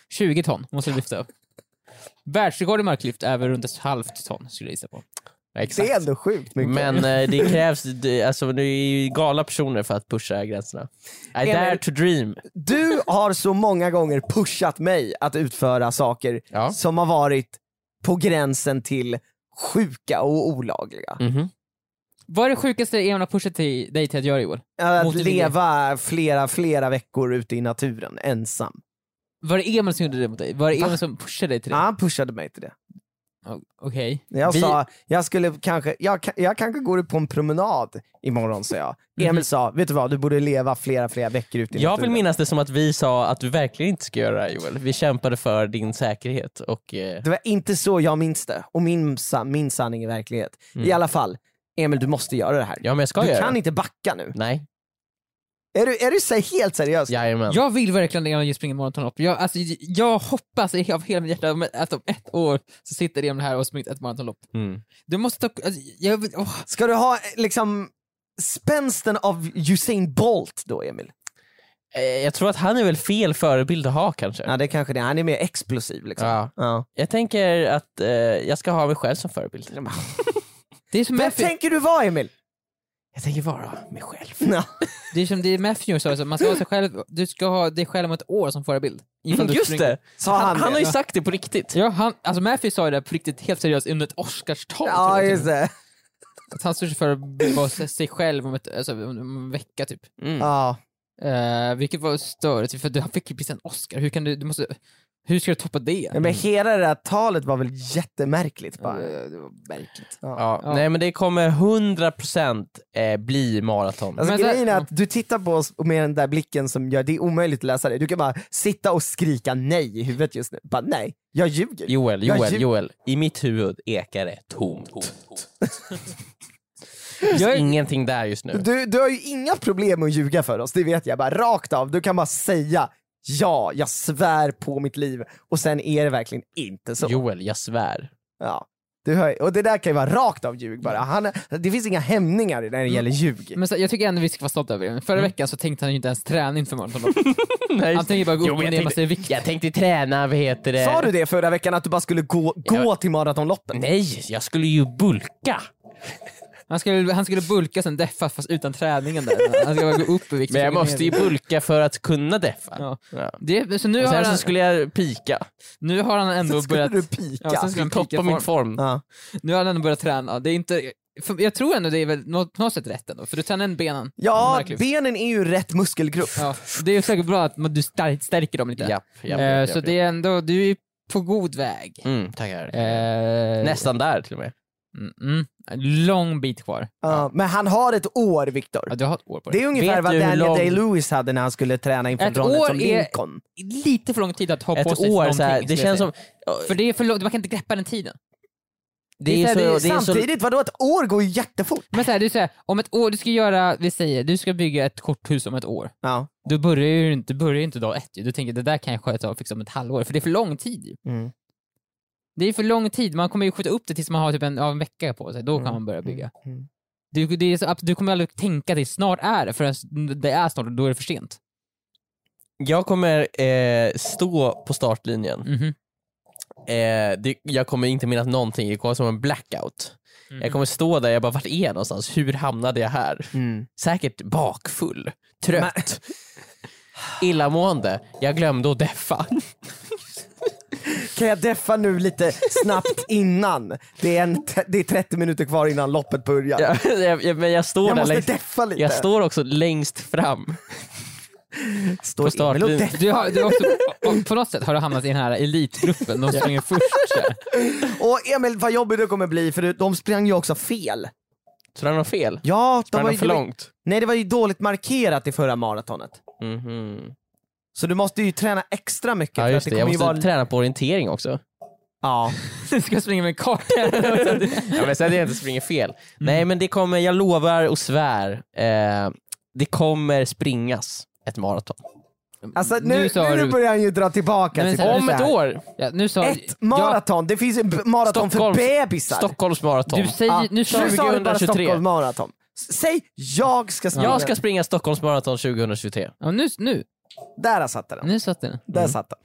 [SPEAKER 4] 20 ton måste du lyfta upp. Världsrekord i marklyft är väl runt ett halvt ton skulle jag gissa på.
[SPEAKER 3] det
[SPEAKER 2] Exakt.
[SPEAKER 3] är ändå sjukt mycket.
[SPEAKER 2] Men eh, det krävs, det, alltså nu är ju galna personer för att pusha gränserna. I dare to dream.
[SPEAKER 3] Du har så många gånger pushat mig att utföra saker
[SPEAKER 2] Ja.
[SPEAKER 3] som har varit på gränsen till sjuka och olagliga.
[SPEAKER 2] Mhm.
[SPEAKER 4] Vad är det sjukaste Emil har pushat till- dig till att göra Joel?
[SPEAKER 3] Att
[SPEAKER 4] Mot din
[SPEAKER 3] leva flera, flera veckor ute i naturen ensam.
[SPEAKER 4] Var det Emil som gjorde det mot dig? Var det Emil som pushade dig till
[SPEAKER 3] Ja,
[SPEAKER 4] det?
[SPEAKER 3] han pushade mig till det.
[SPEAKER 2] Ah.
[SPEAKER 4] O- Okej.
[SPEAKER 3] Jag
[SPEAKER 4] Vi-
[SPEAKER 3] sa, jag skulle kanske, jag, ka- jag kanske går ut på en promenad imorgon sa jag. Emil sa, vet du vad, du borde leva flera, flera veckor ute i
[SPEAKER 2] Mhm. Jag vill
[SPEAKER 3] naturen.
[SPEAKER 2] minnas det som att vi sa att du verkligen inte ska göra det här Joel. Vi kämpade för din säkerhet och eh,
[SPEAKER 3] Det var inte så jag minns det, och min, sa- min sanning är verklighet. I alla fall, Emil du måste göra det här.
[SPEAKER 2] Mm. ja men jag ska
[SPEAKER 3] du
[SPEAKER 2] göra
[SPEAKER 3] kan
[SPEAKER 2] det.
[SPEAKER 3] inte backa nu.
[SPEAKER 2] Nej,
[SPEAKER 3] Är du, är du så helt seriös?
[SPEAKER 2] jajamän.
[SPEAKER 4] Jag vill verkligen Emil springa maratonlopp. Jag, alltså, jag hoppas av hela mitt hjärta om- att om ett år så sitter Emil här och springer ett maratonlopp.
[SPEAKER 2] Mm.
[SPEAKER 4] Du måste ta... Alltså, jag, vill- åh.
[SPEAKER 3] Ska du ha eh, liksom spänsten av Usain Bolt då Emil?
[SPEAKER 2] Eh, Jag tror att han är väl fel förebild att ha kanske.
[SPEAKER 3] Ja det är kanske det, han är mer explosiv liksom.
[SPEAKER 2] Ja.
[SPEAKER 3] Ja.
[SPEAKER 2] Jag tänker att eh, jag ska ha mig själv som förebild.
[SPEAKER 4] Det är som
[SPEAKER 3] Vem
[SPEAKER 4] Matthew-
[SPEAKER 3] tänker du vara Emil?
[SPEAKER 2] Jag tänker vara mig själv.
[SPEAKER 3] Ja.
[SPEAKER 4] Det är som det är Matthew sa, alltså, man ska ha sig själv, du ska ha dig själv om ett år som förebild. Ifall du
[SPEAKER 2] Mm, Just
[SPEAKER 4] springer.
[SPEAKER 2] det!
[SPEAKER 3] Sa han,
[SPEAKER 2] Han, han
[SPEAKER 3] Mm, det?
[SPEAKER 2] har ju sagt det på riktigt.
[SPEAKER 4] Ja, han, alltså Matthew sa ju det på riktigt helt seriöst under ett Oscarstal. tror
[SPEAKER 3] Ja
[SPEAKER 4] jag.
[SPEAKER 3] just det.
[SPEAKER 4] Att han står för att vara se- sig själv om, ett, alltså, om en vecka typ.
[SPEAKER 2] Mm.
[SPEAKER 3] Ja.
[SPEAKER 4] Eh, vilket var störigt, för du- han fick ju precis en Oscar. Hur, kan du, du måste, hur ska du toppa det?
[SPEAKER 3] Ja, men hela det där talet var väl jättemärkligt bara.
[SPEAKER 4] Eh, det var märkligt.
[SPEAKER 2] Ja. Nej men det kommer 100% eh, bli maraton.
[SPEAKER 3] Alltså,
[SPEAKER 4] Men så här-
[SPEAKER 3] grejen är att du tittar på oss med den där blicken som gör det är omöjligt att läsa det. Du kan bara sitta och skrika nej i huvudet just nu. Bara nej, jag ljuger.
[SPEAKER 2] Joel,
[SPEAKER 3] Jag
[SPEAKER 2] Joel,
[SPEAKER 3] lju-
[SPEAKER 2] Joel. I mitt huvud ekar det tomt. [LAUGHS]
[SPEAKER 4] Jag är-
[SPEAKER 2] Ingenting där just nu.
[SPEAKER 3] Du, du har ju inga problem med att ljuga för oss, det vet jag. Bara rakt av, du kan bara säga ja, jag svär på mitt liv och sen är det verkligen inte så.
[SPEAKER 2] Joel, jag svär.
[SPEAKER 3] Ja. Du hör, och det där kan ju vara rakt av ljug bara. Han, det finns inga hämningar när det gäller ljug.
[SPEAKER 4] Mm. men så, jag tycker ändå vi ska vara stolta över det. Förra veckan så tänkte han ju inte ens träna inför maratonlopp. [LAUGHS]
[SPEAKER 2] Nej,
[SPEAKER 4] Han tänker bara gå
[SPEAKER 2] Jo, men
[SPEAKER 4] upp och
[SPEAKER 2] jag
[SPEAKER 4] ner
[SPEAKER 2] tänkte-
[SPEAKER 4] massa i vikt.
[SPEAKER 2] Jag tänkte träna, vad heter
[SPEAKER 4] eh,
[SPEAKER 2] det?
[SPEAKER 3] Sa du det förra veckan att du bara skulle gå, gå till
[SPEAKER 4] Mm,
[SPEAKER 3] maratonloppen?
[SPEAKER 2] Nej, jag skulle ju bulka.
[SPEAKER 4] Han skulle, han skulle bulka sen deffa fast utan träningen där. Han skulle bara gå upp i vikt.
[SPEAKER 2] Men jag måste ju bulka för att kunna deffa.
[SPEAKER 4] Ja.
[SPEAKER 2] Ja.
[SPEAKER 4] Det, så nu
[SPEAKER 2] Och
[SPEAKER 4] har,
[SPEAKER 2] sen
[SPEAKER 4] han,
[SPEAKER 2] så skulle jag pika.
[SPEAKER 4] nu har han ändå
[SPEAKER 3] Sen skulle
[SPEAKER 4] börjat...
[SPEAKER 3] du pika.
[SPEAKER 4] Ja, sen skulle han pika
[SPEAKER 2] Toppa min
[SPEAKER 4] form.
[SPEAKER 2] form.
[SPEAKER 3] Ja.
[SPEAKER 4] Nu har han ändå börjat träna. Det är inte, för jag tror ändå det är väl nå- på något sätt rätt ändå, för du tränar en benen.
[SPEAKER 3] Ja,
[SPEAKER 4] Märkligt.
[SPEAKER 3] benen är ju rätt muskelgrupp.
[SPEAKER 4] Mm, Ja, det är ju säkert bra att man- du stär- stärker dem lite.
[SPEAKER 2] Japp, japp,
[SPEAKER 4] Eh,
[SPEAKER 2] japp,
[SPEAKER 4] så
[SPEAKER 2] japp,
[SPEAKER 4] det är ändå, du är ju på god väg.
[SPEAKER 2] Mm, tackar.
[SPEAKER 4] Eh,
[SPEAKER 2] Nästan där till och med.
[SPEAKER 4] Mm, mm, en lång bit kvar.
[SPEAKER 3] Ja, men han har ett år, Viktor.
[SPEAKER 4] Ja, du har ett år på dig.
[SPEAKER 3] Det är ungefär
[SPEAKER 2] Vet
[SPEAKER 3] vad
[SPEAKER 2] du hur
[SPEAKER 3] Daniel
[SPEAKER 2] lång-
[SPEAKER 3] Day-Lewis hade när han skulle träna inför
[SPEAKER 4] Ett
[SPEAKER 3] Donald
[SPEAKER 4] år
[SPEAKER 3] som
[SPEAKER 4] är-
[SPEAKER 3] Lincoln.
[SPEAKER 4] Lite för lång tid att ha på
[SPEAKER 2] Ett
[SPEAKER 4] sig
[SPEAKER 2] år,
[SPEAKER 4] någonting,
[SPEAKER 2] så här,
[SPEAKER 4] skulle
[SPEAKER 2] det
[SPEAKER 4] jag
[SPEAKER 2] känns
[SPEAKER 4] säga.
[SPEAKER 2] som...
[SPEAKER 4] För det är för långt, man kan inte greppa den tiden.
[SPEAKER 2] Det
[SPEAKER 3] Det
[SPEAKER 2] är
[SPEAKER 3] är
[SPEAKER 2] så... Det är så
[SPEAKER 3] Samtidigt, vadå ett år går ju jättefort.
[SPEAKER 4] Men så här, du säger, om ett år, du ska göra, vi säger, du ska bygga ett korthus om ett år.
[SPEAKER 3] Ja.
[SPEAKER 4] Du börjar ju inte, du börjar ju inte dag ett ju. Du tänker det där kan jag sköta av fixa om ett halvår, för det är för lång tid ju.
[SPEAKER 3] Mm.
[SPEAKER 4] Det är för lång tid, man kommer ju skjuta upp det tills man har typ en, ja, en vecka på sig, då kan man börja bygga.
[SPEAKER 3] mm.
[SPEAKER 4] Du, det är så, abs- du kommer aldrig tänka att det snart är det, förrän det är snart och då är det för sent.
[SPEAKER 2] Jag kommer eh, stå på startlinjen.
[SPEAKER 4] Mhm.
[SPEAKER 2] Eh, det, jag kommer inte minnas någonting, det kommer som en blackout.
[SPEAKER 4] Mm.
[SPEAKER 2] Jag kommer stå där, jag bara vart är jag någonstans? Hur hamnade jag här? Säkert bakfull,
[SPEAKER 4] [LAUGHS]
[SPEAKER 2] trött, illamående. Jag glömde att deffa.
[SPEAKER 3] Kan jag deffa nu lite
[SPEAKER 2] [LAUGHS]
[SPEAKER 3] snabbt innan? Det är, en t- det är 30 minuter kvar innan loppet börjar.
[SPEAKER 2] Jag, jag, jag, men jag står
[SPEAKER 3] Jag
[SPEAKER 2] där
[SPEAKER 3] måste
[SPEAKER 2] längst,
[SPEAKER 3] deffa lite.
[SPEAKER 2] Jag står också längst fram. på
[SPEAKER 3] Står Emil och
[SPEAKER 2] startlinjen.
[SPEAKER 3] deffar.
[SPEAKER 4] Du har, du har också, och på något sätt har du hamnat i den här elitgruppen, de springer först. så här.
[SPEAKER 3] Och Emil, vad jobbigt det kommer bli för de sprang ju också fel.
[SPEAKER 2] Tror han har fel?
[SPEAKER 3] Ja, de
[SPEAKER 2] Tror
[SPEAKER 3] var
[SPEAKER 2] han
[SPEAKER 3] ju,
[SPEAKER 2] för långt?
[SPEAKER 3] nej, det var ju dåligt markerat i förra maratonet.
[SPEAKER 2] Mhm.
[SPEAKER 3] Så du måste ju träna extra mycket.
[SPEAKER 2] Ja
[SPEAKER 3] för
[SPEAKER 2] just
[SPEAKER 3] att
[SPEAKER 2] det,
[SPEAKER 3] det,
[SPEAKER 2] jag
[SPEAKER 3] kommer ju
[SPEAKER 2] måste
[SPEAKER 3] vara...
[SPEAKER 2] träna på orientering
[SPEAKER 3] [LAUGHS]
[SPEAKER 2] också.
[SPEAKER 3] ja.
[SPEAKER 4] Du ska springa med en karta.
[SPEAKER 2] ja, men så att jag inte springer fel. Nej men det kommer, jag lovar och svär, eh, det kommer springas ett maraton.
[SPEAKER 3] Alltså nu,
[SPEAKER 4] Nu
[SPEAKER 3] nu,
[SPEAKER 4] sa du-
[SPEAKER 3] börjar han ju dra tillbaka.
[SPEAKER 4] Nej, men
[SPEAKER 3] till
[SPEAKER 4] så här-
[SPEAKER 2] Om ett år!
[SPEAKER 4] Ja, nu sa,
[SPEAKER 3] Ett maraton, det finns ju b- maraton
[SPEAKER 2] Stockholm-
[SPEAKER 3] för bebisar.
[SPEAKER 2] Stockholms maraton.
[SPEAKER 4] Ja, du säger,
[SPEAKER 3] Ja,
[SPEAKER 4] nu sa
[SPEAKER 3] nu sa du bara
[SPEAKER 2] 2023.
[SPEAKER 3] Stockholm maraton. S- Säg jag ska springa.
[SPEAKER 2] Jag ska springa Stockholms maraton 2023.
[SPEAKER 4] ja, nu, nu,
[SPEAKER 3] Där har satt den.
[SPEAKER 2] Mm.
[SPEAKER 4] nu satt den.
[SPEAKER 3] Där satt den.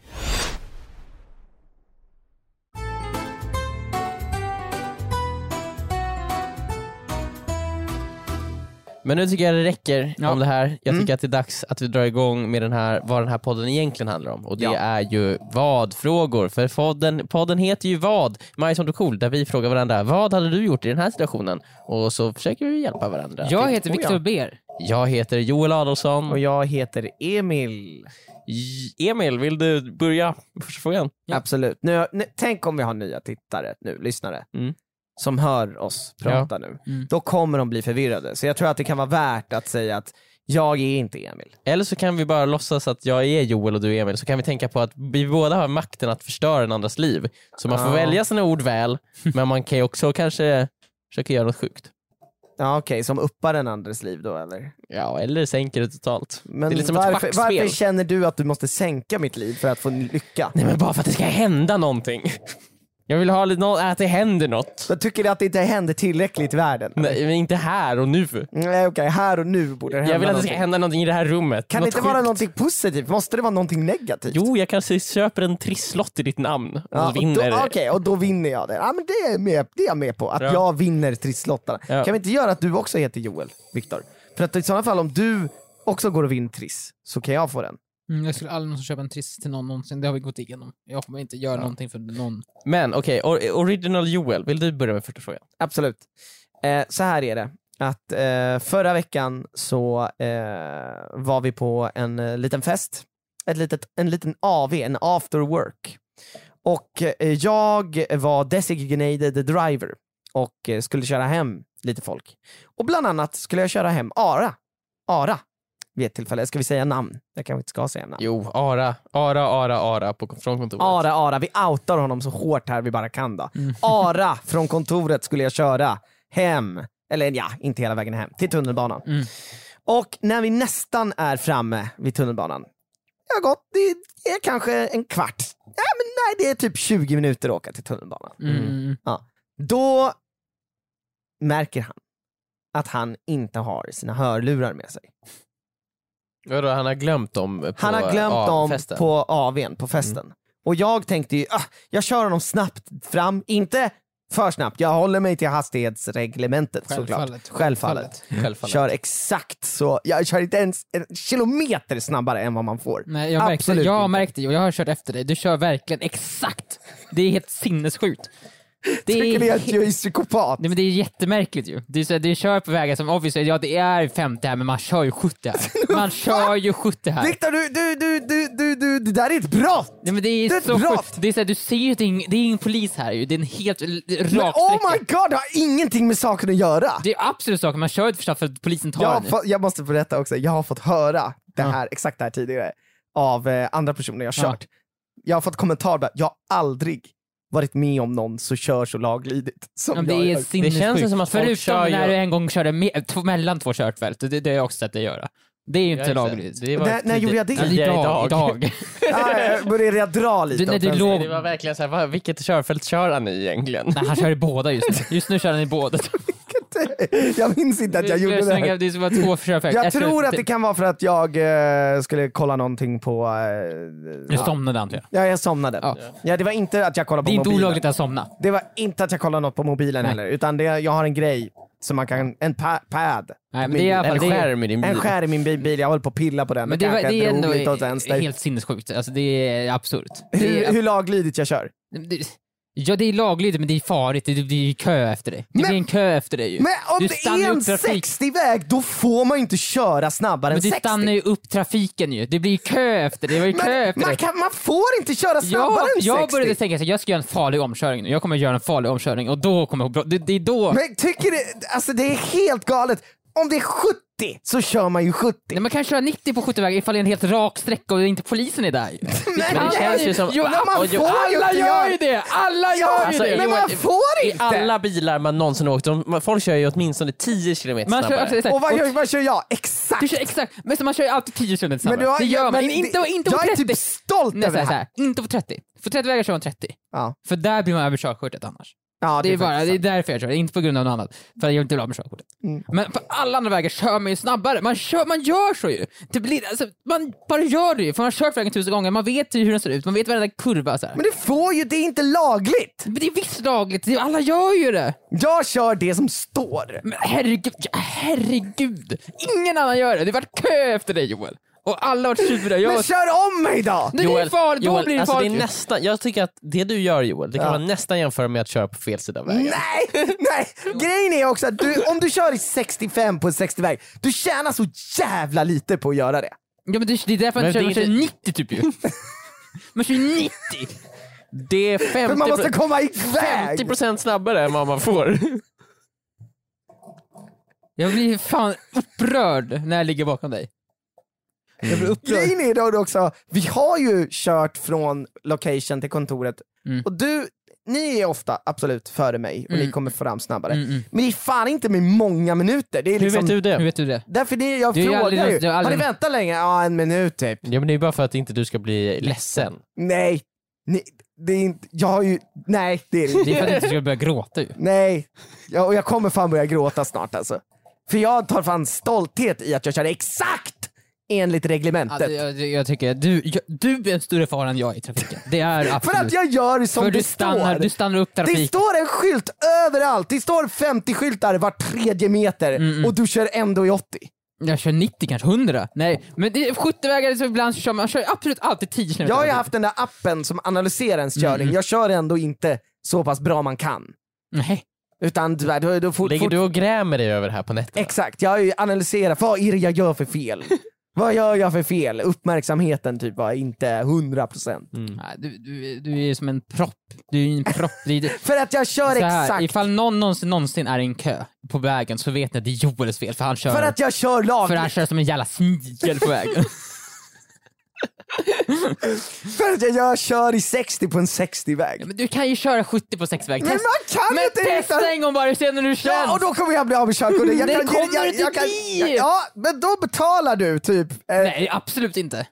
[SPEAKER 2] Men nu tycker jag det räcker
[SPEAKER 4] Ja.
[SPEAKER 2] om det här. Jag tycker
[SPEAKER 3] Mm.
[SPEAKER 2] att det är dags att vi drar igång med den här, vad den här podden egentligen handlar om. Och det
[SPEAKER 3] Ja.
[SPEAKER 2] är ju vad-frågor. För podden, podden heter ju vad? Maj som du cool, där vi frågar varandra vad hade du gjort i den här situationen? Och så försöker vi hjälpa varandra.
[SPEAKER 4] Jag heter
[SPEAKER 3] Oh, ja.
[SPEAKER 4] Viktor Ber.
[SPEAKER 2] Jag heter Joel Adolfsson.
[SPEAKER 3] Och jag heter Emil.
[SPEAKER 2] J- Emil, vill du börja med första frågan?
[SPEAKER 3] Absolut. Nu, nu, tänk om vi har nya tittare nu, lyssnare,
[SPEAKER 2] Mm.
[SPEAKER 3] som hör oss prata nu.
[SPEAKER 4] Mm.
[SPEAKER 3] Då kommer de bli förvirrade. Så jag tror att det kan vara värt att säga att jag är inte Emil.
[SPEAKER 2] Eller så kan vi bara låtsas att jag är Joel och du är Emil, så kan vi tänka på att vi båda har makten att förstöra den andras liv. Så man får
[SPEAKER 3] Ja.
[SPEAKER 2] välja sina ord
[SPEAKER 3] [LAUGHS]
[SPEAKER 2] väl, men man kan ju också kanske försöka göra något sjukt.
[SPEAKER 3] Ja, Okej, som uppar den andres liv då eller?
[SPEAKER 2] Ja, eller sänker det totalt.
[SPEAKER 3] Men
[SPEAKER 2] det är lite som
[SPEAKER 3] varför,
[SPEAKER 2] ett
[SPEAKER 3] varför
[SPEAKER 2] schackspel.
[SPEAKER 3] känner du att du måste sänka mitt liv för att få lycka?
[SPEAKER 2] Nej men bara för att det ska hända någonting. Jag vill ha lite, nå- att det händer något.
[SPEAKER 3] Jag tycker att det inte händer tillräckligt i världen.
[SPEAKER 2] Nej, men inte här och nu.
[SPEAKER 3] Nej okej, här och nu borde det hända
[SPEAKER 2] Jag vill att det ska
[SPEAKER 3] någonting.
[SPEAKER 2] hända någonting i det här rummet.
[SPEAKER 3] Kan det
[SPEAKER 2] Något
[SPEAKER 3] inte vara
[SPEAKER 2] sjukt.
[SPEAKER 3] någonting positivt? Måste det vara någonting negativt?
[SPEAKER 2] Jo, jag kanske köper en trisslott i ditt namn och ah,
[SPEAKER 3] Ja, och
[SPEAKER 2] vinner.
[SPEAKER 3] då- Okej, och då vinner jag det. Ja, men det, är med, det är jag med på, att
[SPEAKER 2] Ja.
[SPEAKER 3] jag vinner trisslottarna.
[SPEAKER 2] Ja.
[SPEAKER 3] Kan vi inte göra att du också heter Joel, Viktor? För att i sådana fall om du också går och vinner triss, så kan jag få den.
[SPEAKER 4] Mm, jag skulle aldrig någonsin köpa en triss till någon någonsin, det har vi gått igenom. Jag kommer inte göra någonting för någon.
[SPEAKER 2] Men okej, or- original Joel, vill du börja med första frågan?
[SPEAKER 3] Absolut. Eh, så här är det. Att eh, förra veckan så eh, var vi på en eh, liten fest, ett litet, en liten AV, en after work. Och eh, jag var designated driver och eh, skulle köra hem lite folk. Och bland annat skulle jag köra hem Ara. Ara vid ett tillfälle. Ska vi säga namn? Jag kanske inte ska säga namn.
[SPEAKER 2] Jo, Ara, Ara, Ara, Ara på, från kontoret.
[SPEAKER 3] Ara, Ara, vi outar honom så hårt här vi bara kan då.
[SPEAKER 4] Mm. [LAUGHS]
[SPEAKER 3] Ara från kontoret skulle jag köra hem, eller ja, inte hela vägen hem, till tunnelbanan.
[SPEAKER 4] Mm.
[SPEAKER 3] Och när vi nästan är framme vid tunnelbanan, det har gått, det är kanske en kvart, ja, men nej det är typ 20 minuter att åka till tunnelbanan.
[SPEAKER 4] Mm.
[SPEAKER 3] Då märker han att han inte har sina hörlurar med sig.
[SPEAKER 2] Vadå, han har glömt dem på
[SPEAKER 3] Han har glömt
[SPEAKER 2] ja,
[SPEAKER 3] dem
[SPEAKER 2] festen. Mm.
[SPEAKER 3] på AWn, på festen. Och jag tänkte ju, ah, jag kör honom snabbt fram, inte för snabbt, jag håller mig till hastighetsreglementet såklart.
[SPEAKER 4] Självfallet.
[SPEAKER 3] Självfallet.
[SPEAKER 4] Mm.
[SPEAKER 2] Självfallet.
[SPEAKER 3] Kör exakt så, jag kör inte ens en kilometer snabbare än vad man får.
[SPEAKER 4] Nej, jag märkte,
[SPEAKER 3] Absolut inte.
[SPEAKER 4] jag märkte ju och jag har kört efter dig. Du kör verkligen exakt. Det är helt sinnessjukt. Det
[SPEAKER 3] Tycker ni
[SPEAKER 4] är,
[SPEAKER 3] att jag är psykopat?
[SPEAKER 4] nej, men det är jättemärkligt ju. Du, så, du kör på vägar som obviously, ja det är 50 här men man kör ju 70 [LAUGHS] här. Man kör ju 70 här.
[SPEAKER 3] Viktor, du, du, du, du, du, du, det där är ett brott!
[SPEAKER 4] Nej, men det är,
[SPEAKER 3] Det är ett
[SPEAKER 4] så
[SPEAKER 3] brott.
[SPEAKER 4] sjukt. Det är så här, du ser ju att det är ing- det är ingen polis här ju. Det är en helt det är en
[SPEAKER 3] Men
[SPEAKER 4] rak
[SPEAKER 3] oh my
[SPEAKER 4] sträcka.
[SPEAKER 3] god, det har ingenting med saken att göra!
[SPEAKER 4] Det är absolut saker, man kör ju för snabbt för att polisen tar
[SPEAKER 3] jag, har
[SPEAKER 4] en ju.
[SPEAKER 3] fått- jag måste berätta också, jag har fått höra det här, exakt det här tidigare av eh, andra personer jag
[SPEAKER 4] Ja.
[SPEAKER 3] kört. Jag har fått kommentarer bara, jag har aldrig varit med om någon som kör så laglydigt som
[SPEAKER 4] Ja, men
[SPEAKER 3] jag
[SPEAKER 4] det
[SPEAKER 3] gör."
[SPEAKER 4] är sinnessjukt.
[SPEAKER 2] känns ju som att folk
[SPEAKER 4] Förutom
[SPEAKER 2] kör ju-
[SPEAKER 4] när du en gång körde me- t- mellan två körfält, det, det har jag också sett dig göra. Det är ju inte lagligt.
[SPEAKER 2] Det var
[SPEAKER 3] När- när
[SPEAKER 2] tidigt-
[SPEAKER 3] gjorde jag det?
[SPEAKER 2] tidigare
[SPEAKER 4] idag. idag. [LAUGHS]
[SPEAKER 3] Ah, jag började jag dra lite
[SPEAKER 4] Du- nej,
[SPEAKER 3] åt
[SPEAKER 4] du
[SPEAKER 3] vänster.
[SPEAKER 4] låg-
[SPEAKER 2] Det var verkligen såhär, vilket körfält kör han i egentligen?
[SPEAKER 4] Nej, han kör i båda just nu. Just nu kör han i båda.
[SPEAKER 3] [LAUGHS] jag minns inte [LAUGHS] att jag
[SPEAKER 4] Vi- vi
[SPEAKER 3] gjorde det.
[SPEAKER 4] slänger-
[SPEAKER 3] Här.
[SPEAKER 4] Det var två försök.
[SPEAKER 3] Jag
[SPEAKER 4] Ett-
[SPEAKER 3] tror att det kan vara för att jag eh, skulle kolla någonting på... Eh,
[SPEAKER 4] Du
[SPEAKER 3] ja.
[SPEAKER 4] somnade antar jag.
[SPEAKER 3] ja, jag somnade. Ja.
[SPEAKER 4] Ja.
[SPEAKER 3] det var inte att jag kollade på
[SPEAKER 4] Det är inte
[SPEAKER 3] mobilen.
[SPEAKER 4] olagligt att somna.
[SPEAKER 3] Det var inte att jag kollade något på mobilen
[SPEAKER 4] Nej.
[SPEAKER 3] heller, utan det, jag har en grej som man kan... En pa- pad.
[SPEAKER 4] Nej, men
[SPEAKER 3] Min-
[SPEAKER 4] det är i alla fall,
[SPEAKER 2] En
[SPEAKER 4] det är,
[SPEAKER 2] skärm i din bil.
[SPEAKER 3] En skär i min bil, jag höll på att pilla på den.
[SPEAKER 4] Mm.
[SPEAKER 3] Men
[SPEAKER 4] men det, var,
[SPEAKER 3] kanske
[SPEAKER 4] det är
[SPEAKER 3] drog
[SPEAKER 4] ändå
[SPEAKER 3] lite åt vänster.
[SPEAKER 4] helt sinnessjukt. Alltså, det är absurt. Det
[SPEAKER 3] Hur,
[SPEAKER 4] är,
[SPEAKER 3] hur laglydigt jag kör.
[SPEAKER 4] det- ja, det är lagligt men det är farligt. Det det blir ju kö efter dig. Det
[SPEAKER 3] Men-
[SPEAKER 4] blir en kö efter dig ju.
[SPEAKER 3] Men om
[SPEAKER 4] Du
[SPEAKER 3] det
[SPEAKER 4] stannar ju
[SPEAKER 3] är en
[SPEAKER 4] upp trafik-
[SPEAKER 3] 60-väg, då får man ju inte köra snabbare
[SPEAKER 4] Men
[SPEAKER 3] än
[SPEAKER 4] du
[SPEAKER 3] 60.
[SPEAKER 4] stannar ju upp trafiken ju. Det blir ju kö efter dig. Det var ju kö
[SPEAKER 3] Men
[SPEAKER 4] efter
[SPEAKER 3] man,
[SPEAKER 4] dig.
[SPEAKER 3] kan, man får inte köra snabbare
[SPEAKER 4] Jag,
[SPEAKER 3] än 60.
[SPEAKER 4] jag började tänka att jag ska göra en farlig omkörning nu. Jag kommer göra en farlig omkörning och då kommer jag... Det, det är då...
[SPEAKER 3] Men tycker det, alltså det är helt galet. Om det är 70 så kör man ju 70.
[SPEAKER 4] Nej, man kan köra 90 på 70-vägen ifall det är en helt rak sträcka och inte polisen är där
[SPEAKER 3] [LAUGHS]
[SPEAKER 4] ju.
[SPEAKER 3] Nej,
[SPEAKER 2] Men det
[SPEAKER 3] nej,
[SPEAKER 2] känns ju som-
[SPEAKER 3] Jo,
[SPEAKER 2] Ja,
[SPEAKER 3] man
[SPEAKER 2] och jo,
[SPEAKER 3] får
[SPEAKER 4] Alla
[SPEAKER 3] inte
[SPEAKER 4] gör
[SPEAKER 3] göra-
[SPEAKER 4] ju det! Alla
[SPEAKER 3] Ja,
[SPEAKER 4] gör ju
[SPEAKER 3] alltså,
[SPEAKER 4] det!
[SPEAKER 3] men man
[SPEAKER 2] Johan,
[SPEAKER 3] får
[SPEAKER 2] I
[SPEAKER 3] inte!
[SPEAKER 2] alla bilar man någonsin åkt, de, folk kör ju åtminstone 10 kilometer
[SPEAKER 4] Man kör,
[SPEAKER 2] snabbare.
[SPEAKER 4] alltså, också, så här,
[SPEAKER 3] Och vad
[SPEAKER 4] och-
[SPEAKER 3] gör, vad kör jag? Exakt!
[SPEAKER 4] du kör exakt, men så man kör ju alltid 10 km
[SPEAKER 3] Men du
[SPEAKER 4] snabbare.
[SPEAKER 3] har-
[SPEAKER 4] Det gör man,
[SPEAKER 3] men
[SPEAKER 4] inte,
[SPEAKER 3] det-
[SPEAKER 4] inte på
[SPEAKER 3] jag är
[SPEAKER 4] 30.
[SPEAKER 3] typ stolt
[SPEAKER 4] Nej,
[SPEAKER 3] över
[SPEAKER 4] så här,
[SPEAKER 3] det
[SPEAKER 4] så
[SPEAKER 3] här.
[SPEAKER 4] här, inte på 30. På 30-vägar kör man 30.
[SPEAKER 3] Ja.
[SPEAKER 4] För där blir man över körkortet annars.
[SPEAKER 3] Ja,
[SPEAKER 4] det, är
[SPEAKER 3] faktiskt
[SPEAKER 4] bara, det är
[SPEAKER 3] sant.
[SPEAKER 4] därför jag kör, inte på grund av något annat. För jag är inte bra med körkortet.
[SPEAKER 3] Mm.
[SPEAKER 4] Men på alla andra vägar kör man ju snabbare. Man, kör, man gör så ju. Det blir, alltså, man bara gör det ju, för man har kört vägen tusen gånger. Man vet ju hur den ser ut, man vet varenda kurva. Så här.
[SPEAKER 3] Men du får ju, det är inte lagligt!
[SPEAKER 4] Men det är visst lagligt, det- alla gör ju det.
[SPEAKER 3] Jag kör det som står.
[SPEAKER 4] Men herregud, ja, herregud. Ingen annan gör det. Det vart kö efter dig Joel. Och alla vart sura. Jag
[SPEAKER 3] Men
[SPEAKER 4] var
[SPEAKER 3] kör om mig då!
[SPEAKER 4] Nej, det är farligt,
[SPEAKER 2] Joel,
[SPEAKER 4] då blir det
[SPEAKER 2] alltså
[SPEAKER 4] farligt.
[SPEAKER 2] Det är nästan, jag tycker att det du gör Joel, det kan
[SPEAKER 3] Ja.
[SPEAKER 2] man nästan jämföra med att köra på fel sida av vägen.
[SPEAKER 3] Nej, nej! Grejen är också att du, om du kör i 65 på en 60-väg, du tjänar så jävla lite på att göra det.
[SPEAKER 4] Ja men det, det är därför man
[SPEAKER 2] Men
[SPEAKER 4] kör,
[SPEAKER 2] det är
[SPEAKER 4] man kör
[SPEAKER 2] inte-
[SPEAKER 4] 90 typ ju. man kör 90!
[SPEAKER 2] [LAUGHS] Det är 50%,
[SPEAKER 3] Men man måste komma iväg!
[SPEAKER 2] 50 snabbare än vad man får.
[SPEAKER 4] Jag blir fan upprörd när jag ligger bakom dig. Jag blir upprörd.
[SPEAKER 3] Grejen är då också, vi har ju kört från location till kontoret
[SPEAKER 4] Mm.
[SPEAKER 3] och du, ni är ofta absolut före mig och ni kommer fram snabbare.
[SPEAKER 4] Mm, mm.
[SPEAKER 3] Men det är fan inte med många minuter. Det är
[SPEAKER 2] Hur
[SPEAKER 3] liksom,
[SPEAKER 2] vet du
[SPEAKER 4] Hur
[SPEAKER 2] det?
[SPEAKER 4] vet du det?
[SPEAKER 3] Därför det jag
[SPEAKER 4] Du är ju
[SPEAKER 3] frågar
[SPEAKER 4] aldrig-
[SPEAKER 3] ju.
[SPEAKER 4] du är
[SPEAKER 3] Har ni
[SPEAKER 4] aldrig-
[SPEAKER 3] väntat länge? Ja, en minut typ.
[SPEAKER 2] Ja, men det är bara för att inte du ska bli ledsen.
[SPEAKER 3] Nej, ni, det är inte, jag har ju, nej det är det inte.
[SPEAKER 4] Det är för att du inte ska börja gråta ju.
[SPEAKER 3] Nej, jag, och jag kommer fan börja gråta snart alltså. För jag tar fan stolthet i att jag kör exakt enligt reglementet.
[SPEAKER 4] Alltså, jag, jag tycker, du, jag, du är en större fara än jag i trafiken. Det är absolut.
[SPEAKER 3] För att jag gör som
[SPEAKER 4] För
[SPEAKER 3] det
[SPEAKER 4] du, stannar,
[SPEAKER 3] står.
[SPEAKER 4] du stannar upp
[SPEAKER 3] Det
[SPEAKER 4] trafik.
[SPEAKER 3] står en skylt överallt, det står 50 skyltar var tredje meter och du kör ändå i 80.
[SPEAKER 4] Mm, Jag kör 90 kanske, 100. Nej, men det är 70-vägar så ibland så kör man, man kör absolut alltid 10 km.
[SPEAKER 3] Jag har ju haft den där appen som analyserar ens
[SPEAKER 4] Mm,
[SPEAKER 3] körning, jag kör ändå inte så pass bra man kan.
[SPEAKER 4] Nej.
[SPEAKER 3] Utan du- du, du, fort,
[SPEAKER 2] Ligger
[SPEAKER 3] fort,
[SPEAKER 2] du och grämer dig över det här på nätterna?
[SPEAKER 3] Exakt, jag har ju analyserat, vad är det jag gör för
[SPEAKER 4] [LAUGHS]
[SPEAKER 3] fel? vad gör jag för fel? Uppmärksamheten typ var inte 100%.
[SPEAKER 4] Nej, du, du, du är som en propp. Du är ju en propp. Det
[SPEAKER 3] [LAUGHS]
[SPEAKER 4] är, det-
[SPEAKER 3] För att jag kör
[SPEAKER 4] så här,
[SPEAKER 3] exakt,
[SPEAKER 4] ifall någon någonsin, någonsin är i en kö på vägen så vet ni att det är Joels fel för han kör,
[SPEAKER 3] för att jag kör
[SPEAKER 4] för han
[SPEAKER 3] lagligt,
[SPEAKER 4] kör som en jävla snigel på vägen.
[SPEAKER 3] för att jag, jag kör i 60 på en 60-väg.
[SPEAKER 4] men du kan ju köra 70 på sexväg.
[SPEAKER 3] Men man
[SPEAKER 4] Test-
[SPEAKER 3] kan
[SPEAKER 4] men
[SPEAKER 3] inte
[SPEAKER 4] testa en gång bara, se när du känner.
[SPEAKER 3] Ja, och då kommer jag bli av med körkortet. Jag
[SPEAKER 4] [LAUGHS] Det
[SPEAKER 3] kan-
[SPEAKER 4] kommer
[SPEAKER 3] jag,
[SPEAKER 4] inte
[SPEAKER 3] jag kan-
[SPEAKER 4] bli.
[SPEAKER 3] jag- Ja, men då betalar du typ. Eh, nej.
[SPEAKER 4] Nej, absolut inte.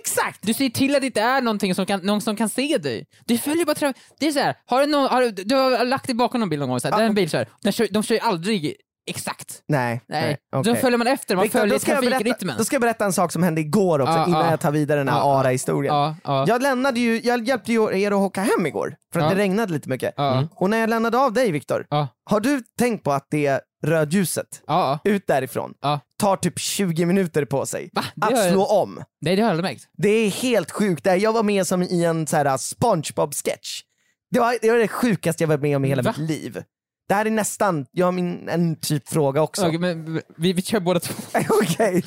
[SPEAKER 3] exakt!
[SPEAKER 4] Du ser till att det inte är någonting som kan, någon som kan se dig. Du följer bara trafik. Det är så här, har du, någon, har du, du har lagt dig bakom någon bil någon gång, så här,
[SPEAKER 3] Ja.
[SPEAKER 4] den bil kör. Den kör. De kör ju aldrig exakt.
[SPEAKER 3] Nej,
[SPEAKER 4] Nej,
[SPEAKER 3] okej.
[SPEAKER 4] då följer man efter, man
[SPEAKER 3] Viktor,
[SPEAKER 4] följer
[SPEAKER 3] då, ska jag berätta,
[SPEAKER 4] trafikrytmen.
[SPEAKER 3] då ska jag berätta en sak som hände igår också,
[SPEAKER 4] Ja,
[SPEAKER 3] innan
[SPEAKER 4] ja.
[SPEAKER 3] jag tar vidare den här
[SPEAKER 4] Ja, ja.
[SPEAKER 3] ARA-historien.
[SPEAKER 4] Ja, ja.
[SPEAKER 3] Jag, lämnade ju, jag hjälpte ju er att åka hem igår, för att
[SPEAKER 4] Ja.
[SPEAKER 3] det regnade lite mycket.
[SPEAKER 4] Ja.
[SPEAKER 3] Mm. Och när jag lämnade av dig Viktor,
[SPEAKER 4] Ja.
[SPEAKER 3] har du tänkt på att det rödljuset
[SPEAKER 4] Ja, ja.
[SPEAKER 3] ut därifrån
[SPEAKER 4] Ja.
[SPEAKER 3] tar typ 20 minuter på sig
[SPEAKER 4] Va? Det har
[SPEAKER 3] att
[SPEAKER 4] jag-
[SPEAKER 3] slå om?
[SPEAKER 4] Nej, det har jag aldrig märkt.
[SPEAKER 3] Det är helt sjukt. Det här- Jag var med som i en så här äh, Spongebob-sketch. Det var, det var det sjukaste jag varit med om i hela
[SPEAKER 4] Va?
[SPEAKER 3] mitt liv. Det här är nästan, jag har min, en typ fråga också.
[SPEAKER 4] Okej, men vi, vi kör båda två.
[SPEAKER 3] [LAUGHS] Okej,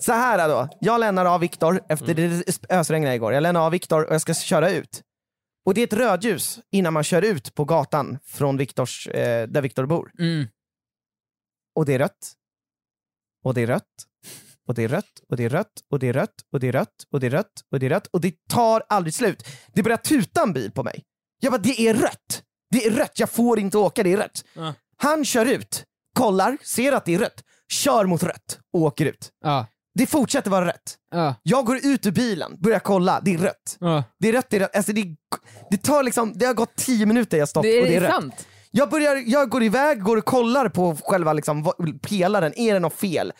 [SPEAKER 3] så här då. Jag lämnar av Viktor, efter det ösregnade igår. Jag lämnar av Viktor och jag ska köra ut. Och det är ett rödljus innan man kör ut på gatan från Viktors, eh, där Viktor bor.
[SPEAKER 4] Mm.
[SPEAKER 3] Och det är rött. Och det är rött. Och det är rött. Och det är rött. Och det är rött. Och det är rött. Och det är rött. Och det är rött. Och det tar aldrig slut. Det börjar tuta en bil på mig. Jag bara, det är rött. Det är rött. Jag får inte åka. Det är rött.
[SPEAKER 4] Ja.
[SPEAKER 3] Han kör ut, kollar, ser att det är rött, kör mot rött och åker ut.
[SPEAKER 4] Ja,
[SPEAKER 3] Det fortsätter vara rött.
[SPEAKER 4] ja,
[SPEAKER 3] Jag går ut ur bilen, börjar kolla, det är rött.
[SPEAKER 4] ja.
[SPEAKER 3] Det är rött, det är rött. Alltså det, är- det tar liksom, det har gått 10 minuter jag stått
[SPEAKER 4] Det, är
[SPEAKER 3] och det är rött.
[SPEAKER 4] sant.
[SPEAKER 3] Jag, börjar, jag går iväg, går och kollar på själva liksom, vad- pelaren, är det något fel?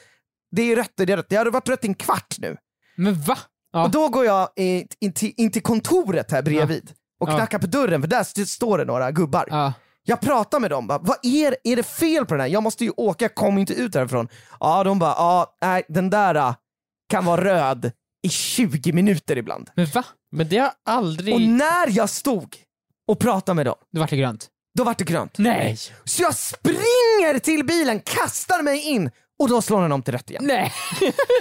[SPEAKER 3] Det är rött, det är rött. Det har varit rött i en kvart nu.
[SPEAKER 4] Men va? Ja.
[SPEAKER 3] Och då går jag eh, in till, in till kontoret här bredvid och
[SPEAKER 4] Ja.
[SPEAKER 3] knackar på dörren för där st- står det några gubbar.
[SPEAKER 4] Ja.
[SPEAKER 3] Jag pratar med dem, bara, vad är, är det fel på den här? Jag måste ju åka, jag kommer inte ut härifrån. Ja, de bara, ja, nej, den där ah, kan vara röd i 20 minuter ibland.
[SPEAKER 4] Men va?
[SPEAKER 2] Men det har aldrig...
[SPEAKER 3] Och när jag stod och pratade med dem,
[SPEAKER 4] Då vart det grönt.
[SPEAKER 3] då vart det grönt.
[SPEAKER 4] Nej!
[SPEAKER 3] Så jag springer till bilen, kastar mig in och då slår den om till
[SPEAKER 4] [LAUGHS]
[SPEAKER 3] rött igen.
[SPEAKER 4] Nej!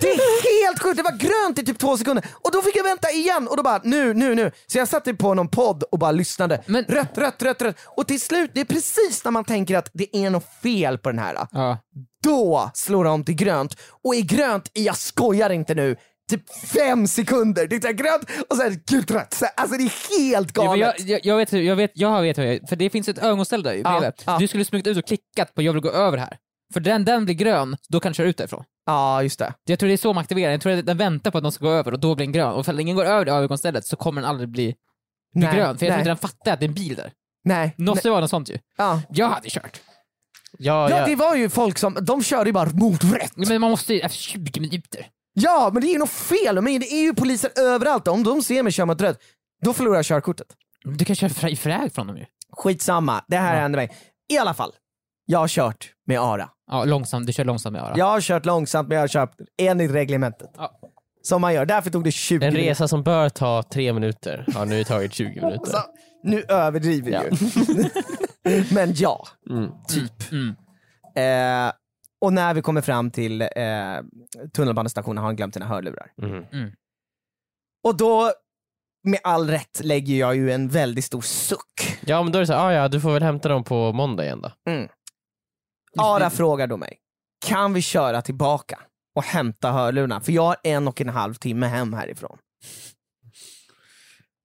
[SPEAKER 3] Det är helt sjukt, det var grönt i typ två sekunder och då fick jag vänta igen och då bara nu, nu, nu. Så jag satt på någon podd och bara lyssnade.
[SPEAKER 4] Men-
[SPEAKER 3] Rött, rött, rött, rött. Och till slut, det är precis när man tänker att det är något fel på den här. äh,
[SPEAKER 4] Ja.
[SPEAKER 3] Då slår det om till grönt och i grönt, jag skojar inte nu, typ fem sekunder. Det är så här grönt och sen gult, rött. Så här, Alltså det är helt
[SPEAKER 4] Ja, men
[SPEAKER 3] galet.
[SPEAKER 4] jag, jag, jag vet, hur- jag vet, jag vet hur jag, för det finns ett ögonställ där
[SPEAKER 3] Ja,
[SPEAKER 4] bredvid.
[SPEAKER 3] ja.
[SPEAKER 4] Du skulle smugit ut och klickat på jag vill gå över här. För den, den blir grön, då kan du köra ut därifrån.
[SPEAKER 3] Ja, just det.
[SPEAKER 4] Jag tror det är så man aktiverar Jag tror att den väntar på att någon ska gå över och då blir den grön. Och ifall ingen går över det ögonstället så kommer den aldrig bli
[SPEAKER 3] Nej,
[SPEAKER 4] grön. För jag tror
[SPEAKER 3] nej,
[SPEAKER 4] inte den fattar att det är en bil där.
[SPEAKER 3] nej, nej.
[SPEAKER 4] Måste vara något sånt ju.
[SPEAKER 3] Ja.
[SPEAKER 4] Jag hade kört.
[SPEAKER 2] Ja,
[SPEAKER 3] Ja,
[SPEAKER 2] ja.
[SPEAKER 3] det var ju folk som, de körde ju bara mot rött.
[SPEAKER 4] Ja, Men man måste ju, efter 20 minuter.
[SPEAKER 3] Ja, men det är ju något fel. Men det är ju poliser överallt. Om de ser mig köra mot rött, då förlorar jag körkortet.
[SPEAKER 4] Du kan köra fra- i fräg från dem ju.
[SPEAKER 3] Skitsamma, det här
[SPEAKER 4] Ja.
[SPEAKER 3] hände mig. I alla fall, jag har kört med ARA.
[SPEAKER 4] Ja, långsamt, du kör långsamt med örat.
[SPEAKER 3] Jag har kört långsamt men jag har kört enligt reglementet.
[SPEAKER 4] Ja.
[SPEAKER 3] Som man gör, därför tog det 20
[SPEAKER 2] En
[SPEAKER 3] minuter.
[SPEAKER 2] resa som bör ta tre minuter har nu tagit 20 minuter.
[SPEAKER 3] Så, nu överdriver jag ju. [LAUGHS] men ja,
[SPEAKER 2] Mm.
[SPEAKER 3] typ.
[SPEAKER 4] Mm.
[SPEAKER 3] Eh, och när vi kommer fram till eh, tunnelbanestationen har han glömt sina hörlurar.
[SPEAKER 2] Mm.
[SPEAKER 3] Och då, med all rätt, lägger jag ju en väldigt stor suck.
[SPEAKER 2] Ja, men då är det så här, ah, ja, du får väl hämta dem på måndag igen då.
[SPEAKER 4] Mm.
[SPEAKER 3] Ara frågar då mig, kan vi köra tillbaka och hämta hörlurarna? För jag har en och en halv timme hem härifrån.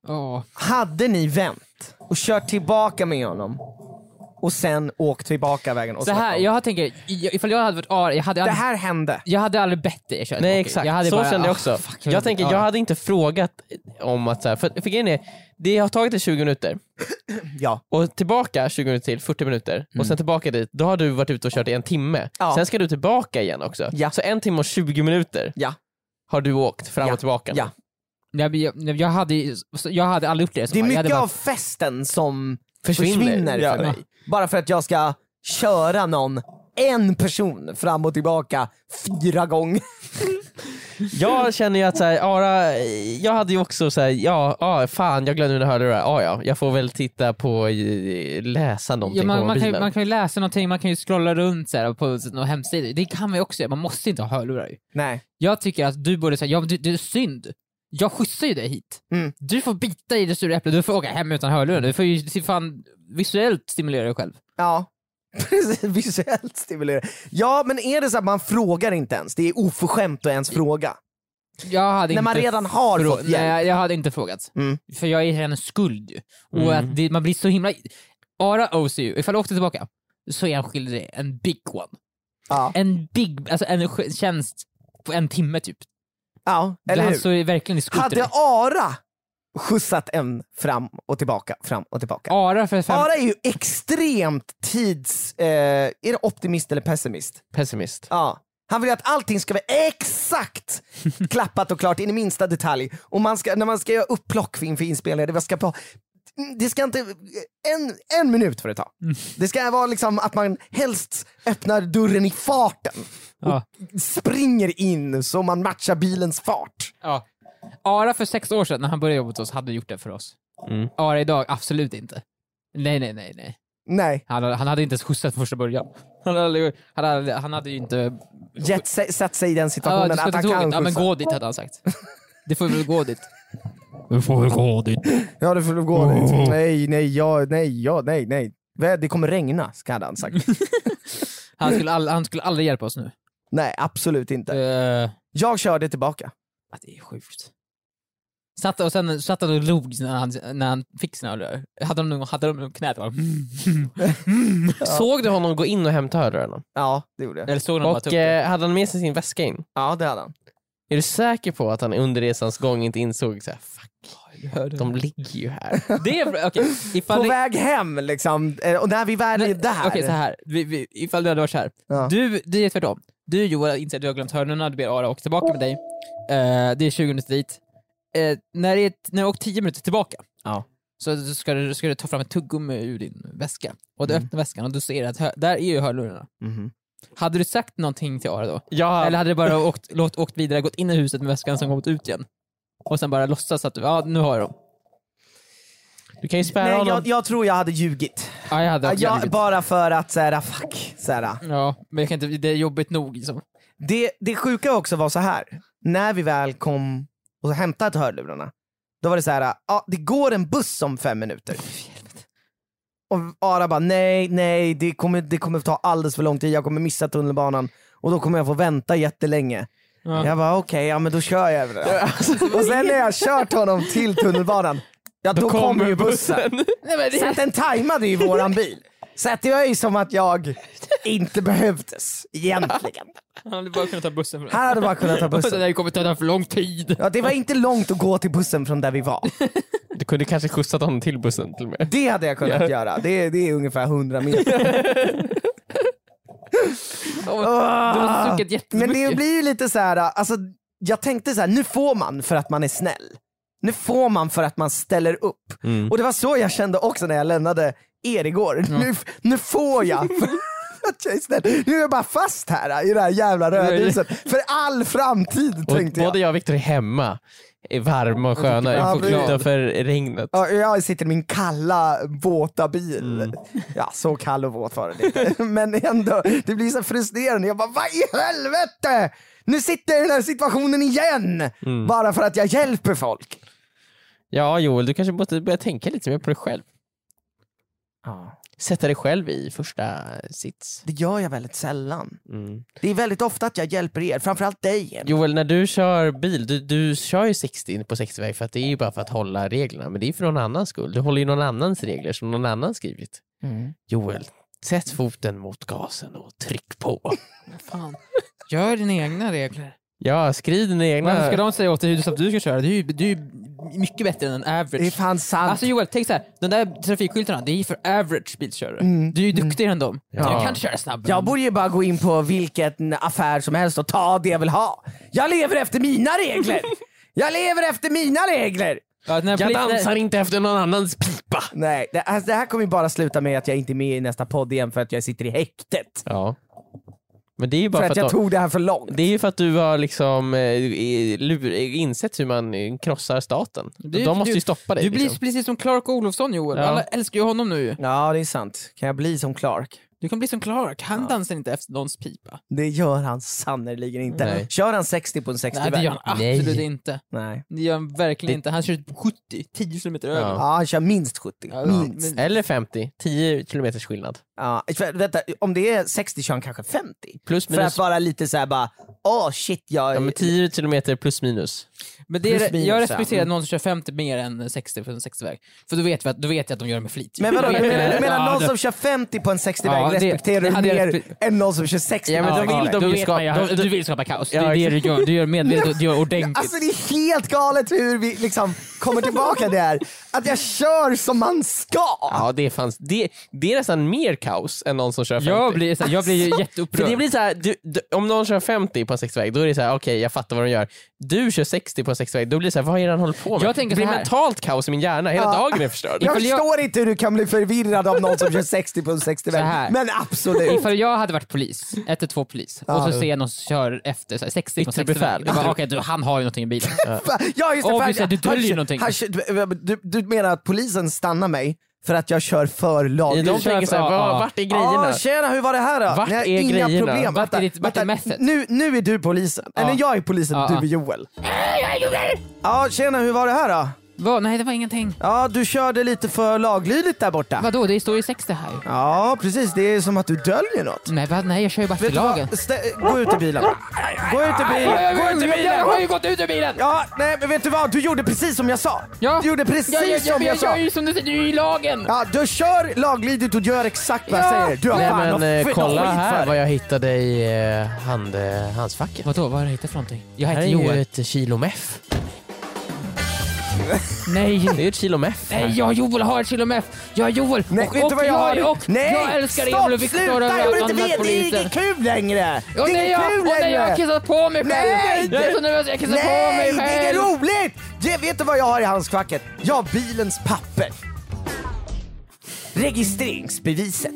[SPEAKER 4] Åh.
[SPEAKER 3] Hade ni vänt och kört tillbaka med honom och sen åkt tillbaka vägen? Och
[SPEAKER 4] Så här,
[SPEAKER 3] snackat om-
[SPEAKER 4] jag tänker, i- ifall jag hade varit AR, jag hade
[SPEAKER 3] Det
[SPEAKER 4] aldrig,
[SPEAKER 3] här hände.
[SPEAKER 4] jag hade aldrig bett dig att köra
[SPEAKER 2] Nej
[SPEAKER 4] tillbaka.
[SPEAKER 2] exakt,
[SPEAKER 4] Jag hade
[SPEAKER 2] så
[SPEAKER 4] bara,
[SPEAKER 2] kände jag
[SPEAKER 4] ah,
[SPEAKER 2] också.
[SPEAKER 4] fuck,
[SPEAKER 2] jag tänker,
[SPEAKER 4] vill-
[SPEAKER 2] jag
[SPEAKER 4] ja.
[SPEAKER 2] hade inte frågat om att så här, för, för grejen är, det har tagit dig 20 minuter
[SPEAKER 3] Ja.
[SPEAKER 2] och tillbaka 20 minuter till, 40 minuter
[SPEAKER 4] Mm.
[SPEAKER 2] och sen tillbaka dit, då har du varit ute och kört i en timme.
[SPEAKER 3] Ja.
[SPEAKER 2] Sen ska du tillbaka igen också.
[SPEAKER 3] Ja.
[SPEAKER 2] Så en timme och 20 minuter
[SPEAKER 3] Ja.
[SPEAKER 2] har du åkt fram
[SPEAKER 3] Ja.
[SPEAKER 2] och tillbaka.
[SPEAKER 3] Ja.
[SPEAKER 4] Nej, men jag, nej, jag, hade, ju- jag hade aldrig gjort det. i så
[SPEAKER 3] Det är
[SPEAKER 4] fall. jag
[SPEAKER 3] mycket
[SPEAKER 4] hade bara,
[SPEAKER 3] av festen som
[SPEAKER 2] Försvinner.
[SPEAKER 3] försvinner,
[SPEAKER 2] Ja.
[SPEAKER 3] för mig. Bara för att jag ska köra någon, en person, fram och tillbaka fyra gånger.
[SPEAKER 2] Jag känner ju att så här, Ara, jag hade ju också så här, ja, ah, fan jag glömde mina hörlurar, ah, ja, jag får väl titta på, eh, läsa någonting
[SPEAKER 4] ja, man,
[SPEAKER 2] på
[SPEAKER 4] man, kan
[SPEAKER 2] mobilen.
[SPEAKER 4] ju, man kan ju läsa någonting, man kan ju scrolla runt så här, på någon hemsida. Det kan man ju också göra, man måste inte ha hörlurar ju.
[SPEAKER 3] Nej.
[SPEAKER 4] Jag tycker att du borde säga, ja, men du, du är synd. Jag skjutsar ju dig hit.
[SPEAKER 3] Mm.
[SPEAKER 4] Du får bita i det sura äpplet, du får åka hem utan hörlurar. Du får ju se fan visuellt stimulera dig själv.
[SPEAKER 3] Ja. [LAUGHS] Precis, Visuellt stimulerande. Ja, men är det så att man frågar inte ens? Det är oförskämt att ens fråga.
[SPEAKER 4] Jag hade
[SPEAKER 3] När man
[SPEAKER 4] inte
[SPEAKER 3] redan har
[SPEAKER 4] frå-
[SPEAKER 3] fått hjälp.
[SPEAKER 4] Nej, jag hade inte frågat.
[SPEAKER 3] Mm.
[SPEAKER 4] För jag är redan skuld ju. Och
[SPEAKER 2] Mm.
[SPEAKER 4] att det, man blir så himla... Ara owes you. Ifall du åkte tillbaka så är han skyldig dig en big one.
[SPEAKER 3] Ja.
[SPEAKER 4] En big, alltså en sk- tjänst på en timme typ.
[SPEAKER 3] ja, eller
[SPEAKER 4] han
[SPEAKER 3] hur?
[SPEAKER 4] står ju verkligen i skuld till
[SPEAKER 3] Hade
[SPEAKER 4] dig.
[SPEAKER 3] Ara skjutsat en fram och tillbaka, fram och tillbaka.
[SPEAKER 4] Ara för fem...
[SPEAKER 3] Ara är ju extremt tids... Eh, är det optimist eller pessimist?
[SPEAKER 2] Pessimist.
[SPEAKER 3] Ja. Han vill ju att allting ska vara
[SPEAKER 4] [LAUGHS]
[SPEAKER 3] exakt klappat och klart in i minsta detalj. Och man ska, när man ska göra upplock för- inför inspelningar, det ska, på, det ska inte... En, en minut får det ta.
[SPEAKER 4] Mm.
[SPEAKER 3] Det ska vara liksom att man helst öppnar dörren i farten.
[SPEAKER 4] Ja.
[SPEAKER 3] Springer in så man matchar bilens fart.
[SPEAKER 4] Ja. Ara för sex år sedan när han började jobba hos oss hade gjort det för oss.
[SPEAKER 2] Mm.
[SPEAKER 4] Ara idag, absolut inte. Nej, nej, nej, nej.
[SPEAKER 3] Nej,
[SPEAKER 4] Han, hade- han hade inte ens skjutsat från första början. Han hade, han hade, han hade ju inte...
[SPEAKER 3] Jet sig, satt sig i den
[SPEAKER 4] Ja,
[SPEAKER 3] situationen
[SPEAKER 4] du ska
[SPEAKER 3] att
[SPEAKER 4] till
[SPEAKER 3] han kan
[SPEAKER 4] tåget.
[SPEAKER 3] skjutsa.
[SPEAKER 4] Ja, men gå dit hade han sagt. Det får vi väl gå dit.
[SPEAKER 3] Ja det får du gå dit. Nej, nej, ja, nej, ja, nej, nej. Vä- Det kommer regna, ska han
[SPEAKER 4] [LAUGHS]
[SPEAKER 3] sagt.
[SPEAKER 4] Han skulle, all, han skulle aldrig hjälpa oss nu.
[SPEAKER 3] nej, absolut inte.
[SPEAKER 4] Uh,
[SPEAKER 3] Jag körde tillbaka.
[SPEAKER 4] det är sjukt. Satt, och sen satt han och log när han, när han fick sina hörlurar. Hade de nog hade de nog knät? va?
[SPEAKER 2] Såg du honom gå in och hämta hörlurarna?
[SPEAKER 3] Ja, det gjorde jag.
[SPEAKER 4] Eller såg de bara
[SPEAKER 2] Och
[SPEAKER 4] tuppen?
[SPEAKER 2] eh, hade han med sig sin väska in?
[SPEAKER 3] Ja, det hade han.
[SPEAKER 2] Är du säker på att han under resans gång inte insåg så här, fuck, de ligger ju
[SPEAKER 3] [LAUGHS]
[SPEAKER 2] här.
[SPEAKER 4] Det är bra, okej. Ifall
[SPEAKER 3] På
[SPEAKER 4] det-
[SPEAKER 3] väg hem liksom, eh, och när vi väl är
[SPEAKER 4] Nej,
[SPEAKER 3] där.
[SPEAKER 4] Okej, så här. Vi, vi, ifall du hade varit så här.
[SPEAKER 3] Ja.
[SPEAKER 4] Du, det är tvärtom. Du Joel inser att du har glömt hörnorna, du ber Ara åka tillbaka med dig. Eh, det är 20 minuter dit. Eh, när, det är, när du åker 10 minuter tillbaka
[SPEAKER 2] Ja.
[SPEAKER 4] så så ska du, ska du ta fram ett tuggummi ur din väska. Och du öppnar väskan och du ser att hö- där är ju hörlurarna.
[SPEAKER 3] Mhm.
[SPEAKER 4] Hade du sagt någonting till Ara då?
[SPEAKER 2] Ja,
[SPEAKER 4] Eller hade du bara åkt, [LAUGHS] låt, åkt vidare, gått in i huset med väskan som gått ut igen? Och sen bara låtsas att du, ja nu har jag dem.
[SPEAKER 2] du kan ju spärra
[SPEAKER 3] Nej,
[SPEAKER 2] honom.
[SPEAKER 3] jag, jag tror jag hade ljugit.
[SPEAKER 4] Ja, jag hade också
[SPEAKER 3] jag,
[SPEAKER 4] ljugit.
[SPEAKER 3] Bara för att såhär, fuck. Såhär.
[SPEAKER 4] ja, men jag kan inte, det är jobbigt nog liksom.
[SPEAKER 3] Det, det sjuka också var så här. när vi väl kom och hämtade hörlurarna, då var det så här, ja det går en buss om fem minuter. Och Ara bara, nej, nej, det kommer, det kommer ta alldeles för lång tid, jag kommer missa tunnelbanan och då kommer jag få vänta jättelänge.
[SPEAKER 4] Ja.
[SPEAKER 3] Jag bara, okej, ja men då kör jag över det då." [LAUGHS] Och sen när jag kört honom till tunnelbanan, ja då, kommer ju bussen.
[SPEAKER 4] Nej, men
[SPEAKER 3] Så att den tajmade ju våran bil. Så att det var ju som att jag inte behövdes, egentligen.
[SPEAKER 4] Han hade bara kunnat ta bussen från
[SPEAKER 3] Här hade man kunnat
[SPEAKER 4] [LAUGHS]
[SPEAKER 3] ta
[SPEAKER 4] Det
[SPEAKER 3] bussen.
[SPEAKER 4] där kommer ta för lång tid.
[SPEAKER 3] Ja, det var inte långt att gå till bussen från där vi var.
[SPEAKER 2] Du kunde kanske skjutsat honom till bussen till och med.
[SPEAKER 3] Det hade jag kunnat göra. Det är, det är ungefär 100
[SPEAKER 4] [LAUGHS]
[SPEAKER 3] meter.
[SPEAKER 4] Du har
[SPEAKER 3] Ah.
[SPEAKER 4] suckat
[SPEAKER 3] Men
[SPEAKER 4] jättemycket.
[SPEAKER 3] det blir ju lite så här, alltså, jag tänkte så här, nu får man för att man är snäll. Nu får man för att man ställer upp.
[SPEAKER 4] Mm.
[SPEAKER 3] Och det var så jag kände också när jag lämnade er igår. Nu, nu får
[SPEAKER 4] [LAUGHS]
[SPEAKER 3] jag för att jag är snäll. Nu är jag bara fast här i det här jävla rödhuset. För all framtid
[SPEAKER 2] Och
[SPEAKER 3] tänkte jag.
[SPEAKER 2] både jag och Viktor är hemma, är varma och sköna
[SPEAKER 3] Ja, precis.
[SPEAKER 2] utanför regnet.
[SPEAKER 3] Ja, Jag sitter i min kalla, våta bil. Ja, så kall och våt var det inte. [LAUGHS] Men ändå, det blir så frustrerande. Jag bara, vad i helvete! Nu sitter jag i den här situationen igen! Bara för att jag hjälper folk.
[SPEAKER 2] Ja Joel, du kanske måste börja tänka lite mer på dig själv. Sätta dig själv i första sits. Mm.
[SPEAKER 3] Det gör jag väldigt sällan. Det är väldigt ofta att jag hjälper er, framförallt dig. Emil.
[SPEAKER 2] Joel, när du kör bil, du, du kör ju 60 på 60-väg för att det är ju bara för att hålla reglerna, men det är för någon annans skull. Du håller ju någon annans regler som någon annan skrivit. Joel, sätt foten mot gasen och tryck på.
[SPEAKER 4] Fan. Gör dina egna regler.
[SPEAKER 2] [LAUGHS] ja, skriv dina
[SPEAKER 4] Varför
[SPEAKER 2] egna...
[SPEAKER 4] ska de säga åt dig hur du- att du ska köra? Du är ju du är ju mycket bättre än en
[SPEAKER 3] Det är
[SPEAKER 4] average.
[SPEAKER 3] fan sant.
[SPEAKER 4] Alltså Joel, tänk så här. de där trafikskyltarna, det är ju för average bilkörare. Du är ju duktigare än dem.
[SPEAKER 2] Ja.
[SPEAKER 4] Du kan köra snabbare.
[SPEAKER 3] jag borde ju bara gå in på vilken affär som helst och ta det jag vill ha. Jag lever efter mina [LAUGHS] regler! Jag lever efter mina regler!
[SPEAKER 4] Ja, när
[SPEAKER 2] Jag
[SPEAKER 4] poli-
[SPEAKER 2] dansar inte efter någon annans pipa!
[SPEAKER 3] Nej, det, alltså, det här kommer ju bara sluta med att jag inte är med i nästa podd igen för att jag sitter i häktet.
[SPEAKER 2] Ja. Men det är ju bara
[SPEAKER 3] För
[SPEAKER 2] för,
[SPEAKER 3] att jag
[SPEAKER 2] att,
[SPEAKER 3] tog det här för långt.
[SPEAKER 2] det är ju för att du har liksom eh, i- lur- insett hur man eh, krossar staten.
[SPEAKER 4] Du-
[SPEAKER 2] de måste
[SPEAKER 4] du-
[SPEAKER 2] ju stoppa
[SPEAKER 4] när-
[SPEAKER 2] dig.
[SPEAKER 4] Du blir
[SPEAKER 2] liksom.
[SPEAKER 4] precis som Clark Olofsson Joel.
[SPEAKER 2] Ja.
[SPEAKER 4] Alla älskar ju honom nu.
[SPEAKER 3] Ja, det är sant. Kan jag bli som Clark?
[SPEAKER 4] Du kan bli som Clark. Han dansar inte efter någons pipa.
[SPEAKER 3] Det gör han sannerligen inte.
[SPEAKER 2] Nej.
[SPEAKER 3] Kör han 60 på en 60
[SPEAKER 4] Nej, det gör han
[SPEAKER 2] Nej.
[SPEAKER 4] absolut inte.
[SPEAKER 3] Nej.
[SPEAKER 4] Det gör han verkligen inte. Han kör typ 70, 10 km över.
[SPEAKER 3] Ja, han kör minst 70.
[SPEAKER 4] Ja,
[SPEAKER 3] minst.
[SPEAKER 4] men-
[SPEAKER 2] Eller 50, 10 kilometers skillnad.
[SPEAKER 3] Ja, för, vänta, om det är 60 kör han kanske 50.
[SPEAKER 2] Plus
[SPEAKER 3] För att
[SPEAKER 2] minus.
[SPEAKER 3] vara lite såhär bara, åh shit jag...
[SPEAKER 2] Ja, men typ. 10 kilometer plus minus.
[SPEAKER 4] Men det
[SPEAKER 3] Plus
[SPEAKER 4] är,
[SPEAKER 3] minus,
[SPEAKER 4] jag
[SPEAKER 3] ja.
[SPEAKER 4] respekterar någon som kör 50 mer än 60 på en 60-väg. För då vet, vi att, då vet jag att de gör det med flit.
[SPEAKER 3] men vadå,
[SPEAKER 4] Då
[SPEAKER 3] du
[SPEAKER 4] vet jag-
[SPEAKER 3] menar, du
[SPEAKER 4] [LAUGHS] Ja,
[SPEAKER 3] menar någon
[SPEAKER 4] då-
[SPEAKER 3] som kör 50 på en 60-väg
[SPEAKER 4] Ja, det-
[SPEAKER 3] respekterar
[SPEAKER 4] det
[SPEAKER 3] du
[SPEAKER 4] hade jag
[SPEAKER 3] mer
[SPEAKER 4] respe-
[SPEAKER 3] än någon som kör 60
[SPEAKER 2] Ja, men
[SPEAKER 3] på
[SPEAKER 2] då
[SPEAKER 3] en
[SPEAKER 2] vill
[SPEAKER 3] väg?
[SPEAKER 2] de
[SPEAKER 4] då
[SPEAKER 2] ju
[SPEAKER 4] vet
[SPEAKER 2] skapa-
[SPEAKER 4] man ju-
[SPEAKER 2] de-
[SPEAKER 4] du vill skapa kaos. Det
[SPEAKER 2] Ja,
[SPEAKER 4] är det du gör. Du gör medvetet, du gör
[SPEAKER 3] [LAUGHS]
[SPEAKER 4] ordentligt.
[SPEAKER 3] Alltså det är helt galet hur vi liksom kommer tillbaka där. Att jag kör som man ska.
[SPEAKER 2] Ja, det, fanns, det, det är nästan mer kaos än någon som kör 50.
[SPEAKER 4] jag blir, så här, jag blir
[SPEAKER 3] Alltså,
[SPEAKER 4] ju
[SPEAKER 2] För
[SPEAKER 4] jätteupprörd.
[SPEAKER 2] det blir så här, du, du, om någon kör 50 på en 60-väg, då är det så här, okej jag fattar vad de gör. Du kör 60 på en 60-väg, då blir det så här, vad är det han håller på med?
[SPEAKER 4] Jag tänker
[SPEAKER 2] det blir
[SPEAKER 4] så här.
[SPEAKER 2] mentalt kaos i min hjärna, hela
[SPEAKER 3] Ja.
[SPEAKER 2] dagen är förstörd.
[SPEAKER 3] [LAUGHS] Jag
[SPEAKER 4] Ifall jag-
[SPEAKER 3] förstår inte hur du kan bli förvirrad av någon som kör 60 på en
[SPEAKER 4] Så här.
[SPEAKER 3] 60-väg. Men absolut.
[SPEAKER 4] Ifall jag hade varit polis, 112 polis, och så ser jag någon som kör efter så här, 60 på en
[SPEAKER 2] Yttre
[SPEAKER 4] 60
[SPEAKER 2] befäl.
[SPEAKER 4] väg. Jag bara, okej, du, han har ju någonting i bilen.
[SPEAKER 3] Fan, Ja, just det,
[SPEAKER 4] Åh,
[SPEAKER 3] fan,
[SPEAKER 4] visst,
[SPEAKER 3] jag-
[SPEAKER 4] du döljer
[SPEAKER 3] han kö-
[SPEAKER 4] någonting.
[SPEAKER 3] han kö- du, du menar att polisen stannar mig för att jag kör för lagligt?
[SPEAKER 2] De tänker så här,
[SPEAKER 4] Ja,
[SPEAKER 2] vad-
[SPEAKER 4] ja.
[SPEAKER 2] vart är grejerna?
[SPEAKER 3] Ah, tjena, hur var det här då?
[SPEAKER 2] Vart är
[SPEAKER 3] inga
[SPEAKER 2] grejerna?
[SPEAKER 3] problem.
[SPEAKER 4] Vart
[SPEAKER 3] Vänta,
[SPEAKER 4] är ditt- vart är
[SPEAKER 3] vänta.
[SPEAKER 4] mässet?
[SPEAKER 3] Nu, nu är du polisen. Eller jag är polisen,
[SPEAKER 4] Ja,
[SPEAKER 3] du
[SPEAKER 4] ja.
[SPEAKER 3] är Joel. Ja, tjena, hur var det här då?
[SPEAKER 4] Vad? Nej, det var ingenting.
[SPEAKER 3] Ja, du körde lite för laglydigt där borta.
[SPEAKER 4] Vadå, det står ju 60 här.
[SPEAKER 3] Ja, precis. Det är som att du döljer något.
[SPEAKER 4] Nej, vad? Nej, jag kör ju bara
[SPEAKER 3] Vet
[SPEAKER 4] till
[SPEAKER 3] du vad?
[SPEAKER 4] Mm. lagen.
[SPEAKER 3] Stä- gå ut ur bilen. Gå ut ur bilen. Gå ut ur bilen.
[SPEAKER 4] har ju gått ut ur bilen!
[SPEAKER 3] Ja, nej men vet du vad? Du gjorde precis som jag sa.
[SPEAKER 4] Ja.
[SPEAKER 3] Du gjorde precis som jag, sa.
[SPEAKER 4] gör ju som du säger, du är ju i lagen!
[SPEAKER 3] Ja, du kör laglydigt och du gör exakt vad jag
[SPEAKER 4] Ja.
[SPEAKER 3] säger. Du har
[SPEAKER 2] Nej
[SPEAKER 3] fan
[SPEAKER 2] men
[SPEAKER 3] något
[SPEAKER 2] eh,
[SPEAKER 3] skit-
[SPEAKER 2] kolla
[SPEAKER 3] något skit
[SPEAKER 2] här
[SPEAKER 3] för
[SPEAKER 2] vad
[SPEAKER 3] dig.
[SPEAKER 2] jag hittade i eh, hand, eh, handsfacket.
[SPEAKER 4] Vadå, vad har du hittat för någonting? Jag
[SPEAKER 2] Här
[SPEAKER 4] heter
[SPEAKER 2] är ju
[SPEAKER 4] Joel.
[SPEAKER 2] ett kilo meff. Det är
[SPEAKER 4] Nej!
[SPEAKER 2] ju ett kilo meff.
[SPEAKER 4] Nej, jag och Joel har ett kilo meth! Jag och Joel!
[SPEAKER 3] Nej,
[SPEAKER 4] och,
[SPEAKER 3] vet
[SPEAKER 4] och
[SPEAKER 3] du vad jag har?
[SPEAKER 4] Och,
[SPEAKER 3] nej,
[SPEAKER 4] jag älskar
[SPEAKER 3] stopp,
[SPEAKER 4] Emil och Viktor och
[SPEAKER 3] sluta! Jag vill
[SPEAKER 4] alla
[SPEAKER 3] inte
[SPEAKER 4] andra
[SPEAKER 3] veta, det är
[SPEAKER 4] poliser.
[SPEAKER 3] inget kul längre!
[SPEAKER 4] Och
[SPEAKER 3] det är
[SPEAKER 4] när
[SPEAKER 3] inget
[SPEAKER 4] jag,
[SPEAKER 3] kul
[SPEAKER 4] och när jag har
[SPEAKER 3] längre!
[SPEAKER 4] kissat på mig själv!
[SPEAKER 3] Nej!
[SPEAKER 4] Jag är så nervös, jag kissar på
[SPEAKER 3] Nej,
[SPEAKER 4] mig
[SPEAKER 3] det
[SPEAKER 4] själv!
[SPEAKER 3] är inget roligt! Det, vet du vad jag har i handskfacket? Jag har bilens papper. Registreringsbeviset.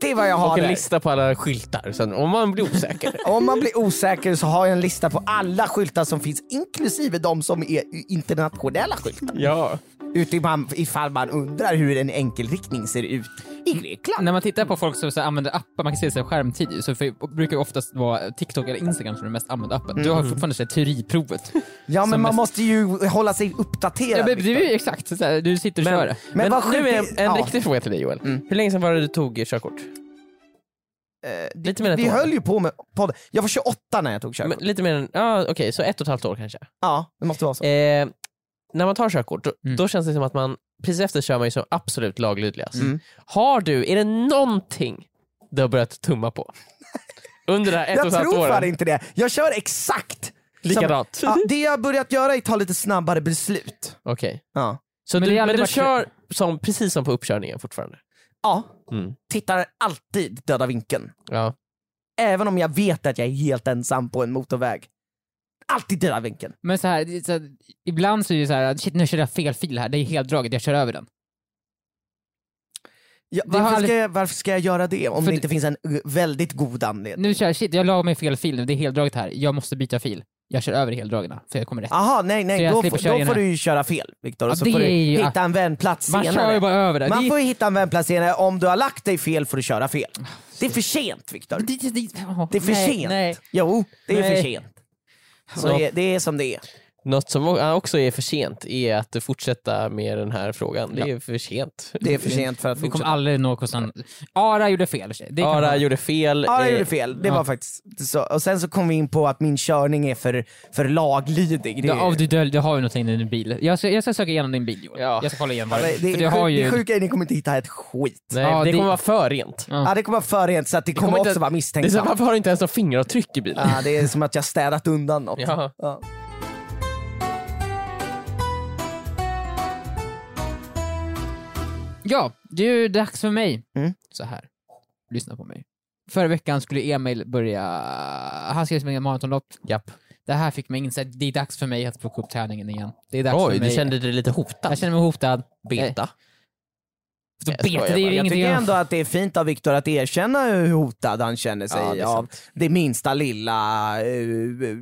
[SPEAKER 3] Det är vad jag har
[SPEAKER 2] Och en
[SPEAKER 3] där.
[SPEAKER 2] lista på alla skyltar. Sen, om man blir osäker.
[SPEAKER 3] Om man blir osäker så har jag en lista på alla skyltar som finns, inklusive de som är internationella skyltar.
[SPEAKER 2] ja.
[SPEAKER 3] Utifall, ifall man undrar hur en enkelriktning ser ut i Grekland.
[SPEAKER 4] När man tittar på folk som så här använder appar, man kan se så här skärmtid ju, så för, brukar ju oftast vara TikTok eller Instagram som är den mest använda appen. Du har
[SPEAKER 3] Mm.
[SPEAKER 4] ju fortfarande så här teoriprovet.
[SPEAKER 3] Ja, men
[SPEAKER 4] som
[SPEAKER 3] man
[SPEAKER 4] mest-
[SPEAKER 3] måste ju hålla sig
[SPEAKER 4] ja,
[SPEAKER 3] uppdaterad.
[SPEAKER 4] men, det är ju exakt, så här, du sitter och kör det.
[SPEAKER 3] Men
[SPEAKER 2] Men,
[SPEAKER 3] vad
[SPEAKER 2] nu är en,
[SPEAKER 3] sjukt-
[SPEAKER 2] en
[SPEAKER 3] ja. Mm.
[SPEAKER 2] riktig fråga till dig Joel. Hur länge sedan var det du tog eh, körkort?
[SPEAKER 3] Eh,
[SPEAKER 2] Lite mer än ett
[SPEAKER 3] vi
[SPEAKER 2] år.
[SPEAKER 3] höll ju på med podden. Jag var 28 när jag tog körkort.
[SPEAKER 2] Men, lite mer än, ja okej, så ett och ett halvt år kanske.
[SPEAKER 3] Ja, det måste vara så.
[SPEAKER 2] Eh, när man tar körkort, då,
[SPEAKER 4] Mm.
[SPEAKER 2] då känns det som att man precis efter kör man ju som absolut laglydigast.
[SPEAKER 3] Mm.
[SPEAKER 2] Har du, är det någonting du har börjat tumma
[SPEAKER 3] [LAUGHS]
[SPEAKER 2] på? Under det här ett och
[SPEAKER 3] Jag
[SPEAKER 2] ett halvt
[SPEAKER 3] tror fan
[SPEAKER 2] året?
[SPEAKER 3] inte det. Jag kör
[SPEAKER 4] Typ.
[SPEAKER 3] exakt
[SPEAKER 2] Likadant.
[SPEAKER 3] Som, ja, det jag har börjat göra är att ta lite snabbare beslut.
[SPEAKER 2] Okej.
[SPEAKER 3] Ja.
[SPEAKER 2] Så
[SPEAKER 4] Men
[SPEAKER 2] du,
[SPEAKER 4] det har
[SPEAKER 2] men
[SPEAKER 4] aldrig
[SPEAKER 2] du
[SPEAKER 4] varit-
[SPEAKER 2] kör som, precis som på uppkörningen fortfarande?
[SPEAKER 3] ja.
[SPEAKER 2] Mm.
[SPEAKER 3] Tittar alltid döda vinkeln.
[SPEAKER 2] Ja.
[SPEAKER 3] Även om jag vet att jag är helt ensam på en motorväg. Alltid döda vinkeln.
[SPEAKER 4] Men så här, det är så här, ibland så är det ju så här, shit nu körde jag fel fil här, det är heldraget, jag kör över den.
[SPEAKER 3] Ja,
[SPEAKER 4] Det har
[SPEAKER 3] varför, ska
[SPEAKER 4] aldrig-
[SPEAKER 3] jag, varför ska jag göra det om
[SPEAKER 4] För
[SPEAKER 3] det
[SPEAKER 4] det-
[SPEAKER 3] inte finns en eh, väldigt god anledning?
[SPEAKER 4] Nu kör jag, shit jag la mig fel fil nu, det är heldraget här, jag måste byta fil. Jag kör över heldragena, för jag kommer rätt.
[SPEAKER 3] Aha, nej,
[SPEAKER 4] Så
[SPEAKER 3] nej,
[SPEAKER 4] jag
[SPEAKER 3] då,
[SPEAKER 4] slipper
[SPEAKER 3] får-
[SPEAKER 4] köra
[SPEAKER 3] då
[SPEAKER 4] in
[SPEAKER 3] får
[SPEAKER 4] här.
[SPEAKER 3] du ju köra fel Viktor
[SPEAKER 4] Ja,
[SPEAKER 3] och så
[SPEAKER 4] det
[SPEAKER 3] får du
[SPEAKER 4] är ju-
[SPEAKER 3] hitta en vändplats
[SPEAKER 4] Man
[SPEAKER 3] senare.
[SPEAKER 4] kör ju bara över det. Ah,
[SPEAKER 3] Man
[SPEAKER 4] det,
[SPEAKER 3] får ju hitta en vändplats senare. Om du har lagt dig fel får du köra fel. Det är för sent Viktor.
[SPEAKER 4] det, det, det, åh,
[SPEAKER 3] Det är för
[SPEAKER 4] nej,
[SPEAKER 3] sent.
[SPEAKER 4] Nej.
[SPEAKER 3] Jo, det är för
[SPEAKER 4] Nej.
[SPEAKER 3] sent. Så det, det är som det är.
[SPEAKER 2] Något som o- också är för sent är att fortsätta med den här frågan. Det är för sent.
[SPEAKER 3] Det är för sent för att
[SPEAKER 4] Vi kommer
[SPEAKER 3] fortsätta.
[SPEAKER 4] aldrig nå kossan. Ara gjorde fel. Det kan
[SPEAKER 2] Ara
[SPEAKER 4] man-
[SPEAKER 2] gjorde fel.
[SPEAKER 3] Ja,
[SPEAKER 2] eh,
[SPEAKER 3] jag gjorde fel. Det
[SPEAKER 4] Ja.
[SPEAKER 3] var faktiskt så. Och sen så kom vi in på att min körning är för, för laglydig. Det,
[SPEAKER 4] Ja, och du, döl, du har ju någonting i din bil. Jag ska, jag ska söka igenom din bil Joel.
[SPEAKER 2] Ja.
[SPEAKER 4] Jag ska kolla igenom
[SPEAKER 3] Ja,
[SPEAKER 4] vad
[SPEAKER 3] men
[SPEAKER 4] det,
[SPEAKER 3] det,
[SPEAKER 4] för
[SPEAKER 3] är
[SPEAKER 4] du har
[SPEAKER 3] sjuk- det
[SPEAKER 4] ju...
[SPEAKER 3] sjuka är att ni kommer inte hitta ett skit.
[SPEAKER 2] Nej,
[SPEAKER 4] Ja,
[SPEAKER 2] det,
[SPEAKER 4] det-
[SPEAKER 2] kommer vara för rent.
[SPEAKER 4] Ja.
[SPEAKER 3] Ja, det kommer vara för rent så att det kommer,
[SPEAKER 2] kommer
[SPEAKER 3] också
[SPEAKER 2] inte-
[SPEAKER 3] vara
[SPEAKER 2] Det är så,
[SPEAKER 3] misstänksamt.
[SPEAKER 2] varför har du inte ens några fingeravtryck i bilen?
[SPEAKER 3] Ja, det är som att jag städat undan något.
[SPEAKER 2] Ja.
[SPEAKER 3] Ja.
[SPEAKER 4] Ja, det är ju dags för mig.
[SPEAKER 3] Mm.
[SPEAKER 4] Så här. Lyssna på mig. Förra veckan skulle Emil börja... Han skrev sina maratonlopp.
[SPEAKER 2] Japp.
[SPEAKER 4] Det här fick mig inse att det är dags för mig att plocka upp träningen igen. Det är dags
[SPEAKER 2] Oj,
[SPEAKER 4] för mig.
[SPEAKER 2] du kände dig lite
[SPEAKER 4] Jag
[SPEAKER 2] hotad.
[SPEAKER 4] känner mig hotad. Nej,
[SPEAKER 2] Beta.
[SPEAKER 4] då
[SPEAKER 2] Jag
[SPEAKER 4] beta,
[SPEAKER 2] skojar
[SPEAKER 4] det är
[SPEAKER 2] bara. Jag
[SPEAKER 4] ju
[SPEAKER 3] Jag
[SPEAKER 4] ingenting
[SPEAKER 3] tycker
[SPEAKER 4] jag...
[SPEAKER 3] ändå att det är fint av Viktor att erkänna hur hotad han känner sig
[SPEAKER 2] Ja, det är
[SPEAKER 3] av det minsta lilla eh,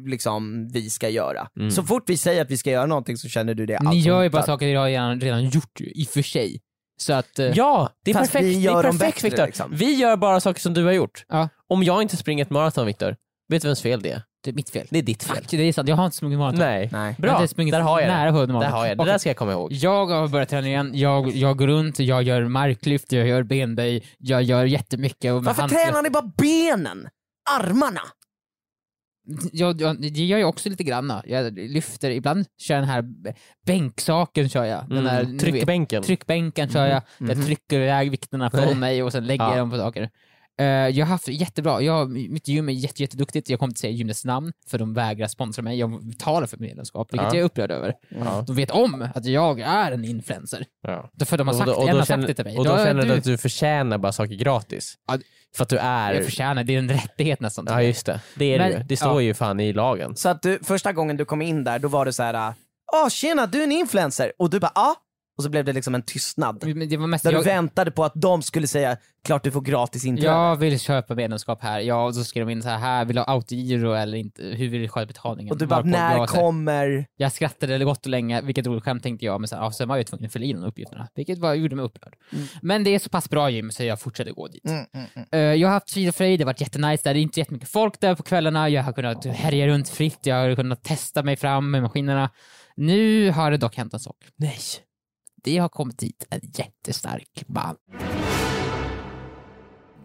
[SPEAKER 3] liksom, vi ska göra. Så fort vi säger att vi ska göra någonting så känner du det
[SPEAKER 4] Ni
[SPEAKER 3] allt
[SPEAKER 4] gör ju
[SPEAKER 3] hotad.
[SPEAKER 4] bara saker jag redan, redan gjort ju, i och för sig. Så att... eh,
[SPEAKER 2] Ja, det är
[SPEAKER 3] Fast
[SPEAKER 2] perfekt.
[SPEAKER 3] vi gör
[SPEAKER 2] det är
[SPEAKER 3] dem
[SPEAKER 2] perfekt
[SPEAKER 3] bättre,
[SPEAKER 2] Viktor.
[SPEAKER 3] liksom.
[SPEAKER 2] Vi gör bara saker som du har gjort.
[SPEAKER 4] Ja.
[SPEAKER 2] Om jag inte springer ett maraton Viktor, vet du vems fel det är?
[SPEAKER 4] Det är mitt fel.
[SPEAKER 2] Det är ditt fel.
[SPEAKER 4] Fuck, det är sant. Jag har inte sprungit maraton.
[SPEAKER 2] Nej.
[SPEAKER 3] Nej.
[SPEAKER 4] Jag
[SPEAKER 2] Bra,
[SPEAKER 4] har inte sprungit
[SPEAKER 2] där har jag
[SPEAKER 4] nära
[SPEAKER 2] det.
[SPEAKER 4] hundra
[SPEAKER 2] Där
[SPEAKER 4] maraton.
[SPEAKER 2] har jag det.
[SPEAKER 4] Okej.
[SPEAKER 2] det. där ska jag komma ihåg.
[SPEAKER 4] Jag har börjat träna igen, jag, jag går runt, jag gör marklyft, jag gör benböj, jag gör jättemycket. Och med
[SPEAKER 3] Varför
[SPEAKER 4] hand-
[SPEAKER 3] tränar ni bara benen? Armarna?
[SPEAKER 4] Jag, jag, det gör jag också lite granna. Jag lyfter, ibland kör jag den här b- bänksaken. Kör jag. Den där,
[SPEAKER 2] Mm.
[SPEAKER 4] ni
[SPEAKER 2] Tryckbänken.
[SPEAKER 4] vet, tryckbänken kör jag. Jag trycker iväg vikterna
[SPEAKER 2] Mhm. Nej.
[SPEAKER 4] från mig och sen lägger jag
[SPEAKER 2] Ja.
[SPEAKER 4] dem på saker. Eh, jag har haft det jättebra, jag, mitt gym är jätte, jätteduktigt, jag kommer inte säga gymnets namn för de vägrar sponsra mig, jag betalar för medlemskap, vilket
[SPEAKER 2] Ja.
[SPEAKER 4] jag är upprörd över.
[SPEAKER 2] Ja.
[SPEAKER 4] De vet om att jag är en influencer,
[SPEAKER 2] Ja.
[SPEAKER 4] för de har
[SPEAKER 2] Och
[SPEAKER 4] sagt,
[SPEAKER 2] då, och
[SPEAKER 4] en
[SPEAKER 2] då
[SPEAKER 4] har sagt
[SPEAKER 2] känner,
[SPEAKER 4] det till mig.
[SPEAKER 2] och då
[SPEAKER 4] Ja,
[SPEAKER 2] känner du att du förtjänar bara saker gratis.
[SPEAKER 4] Ja,
[SPEAKER 2] För att du
[SPEAKER 4] Jag
[SPEAKER 2] är...
[SPEAKER 4] förtjänar, det är en rättighet nästan.
[SPEAKER 2] Ja just det, det är
[SPEAKER 4] Men-
[SPEAKER 2] det ju. Det står
[SPEAKER 4] ja.
[SPEAKER 2] ju fan i lagen.
[SPEAKER 3] äh, Så att du, första gången du kom in där, då var det så här. ah tjena, du är en influencer. Och du bara, ja, och så blev det liksom en tystnad.
[SPEAKER 4] Men Det var mest,
[SPEAKER 3] Där
[SPEAKER 4] Mm. jag,
[SPEAKER 3] du väntade på att de skulle säga klart du får gratis inträde.
[SPEAKER 4] jag vill köpa medlemskap här, ja och så skrev de in så här, här vill du ha autogiro eller inte, hur vill du sköta betalningen?
[SPEAKER 3] och du bara,
[SPEAKER 4] Varpå
[SPEAKER 3] när
[SPEAKER 4] jag så här-
[SPEAKER 3] kommer...
[SPEAKER 4] Jag skrattade gott och länge, vilket roligt skämt tänkte jag, men sen, ja, sen var jag ju tvungen att fylla i de uppgifterna, vilket var, gjorde mig upprörd.
[SPEAKER 2] Mm.
[SPEAKER 4] Men det är så pass bra gym så jag fortsätter gå dit. Eh, jag har haft frid och fröjd, det har varit jättenice där, det är inte jättemycket folk där på kvällarna, jag har kunnat härja runt fritt, jag har kunnat testa mig fram med maskinerna. Nu har det dock hänt en sak.
[SPEAKER 2] Nej.
[SPEAKER 4] Det har kommit dit en jättestark man.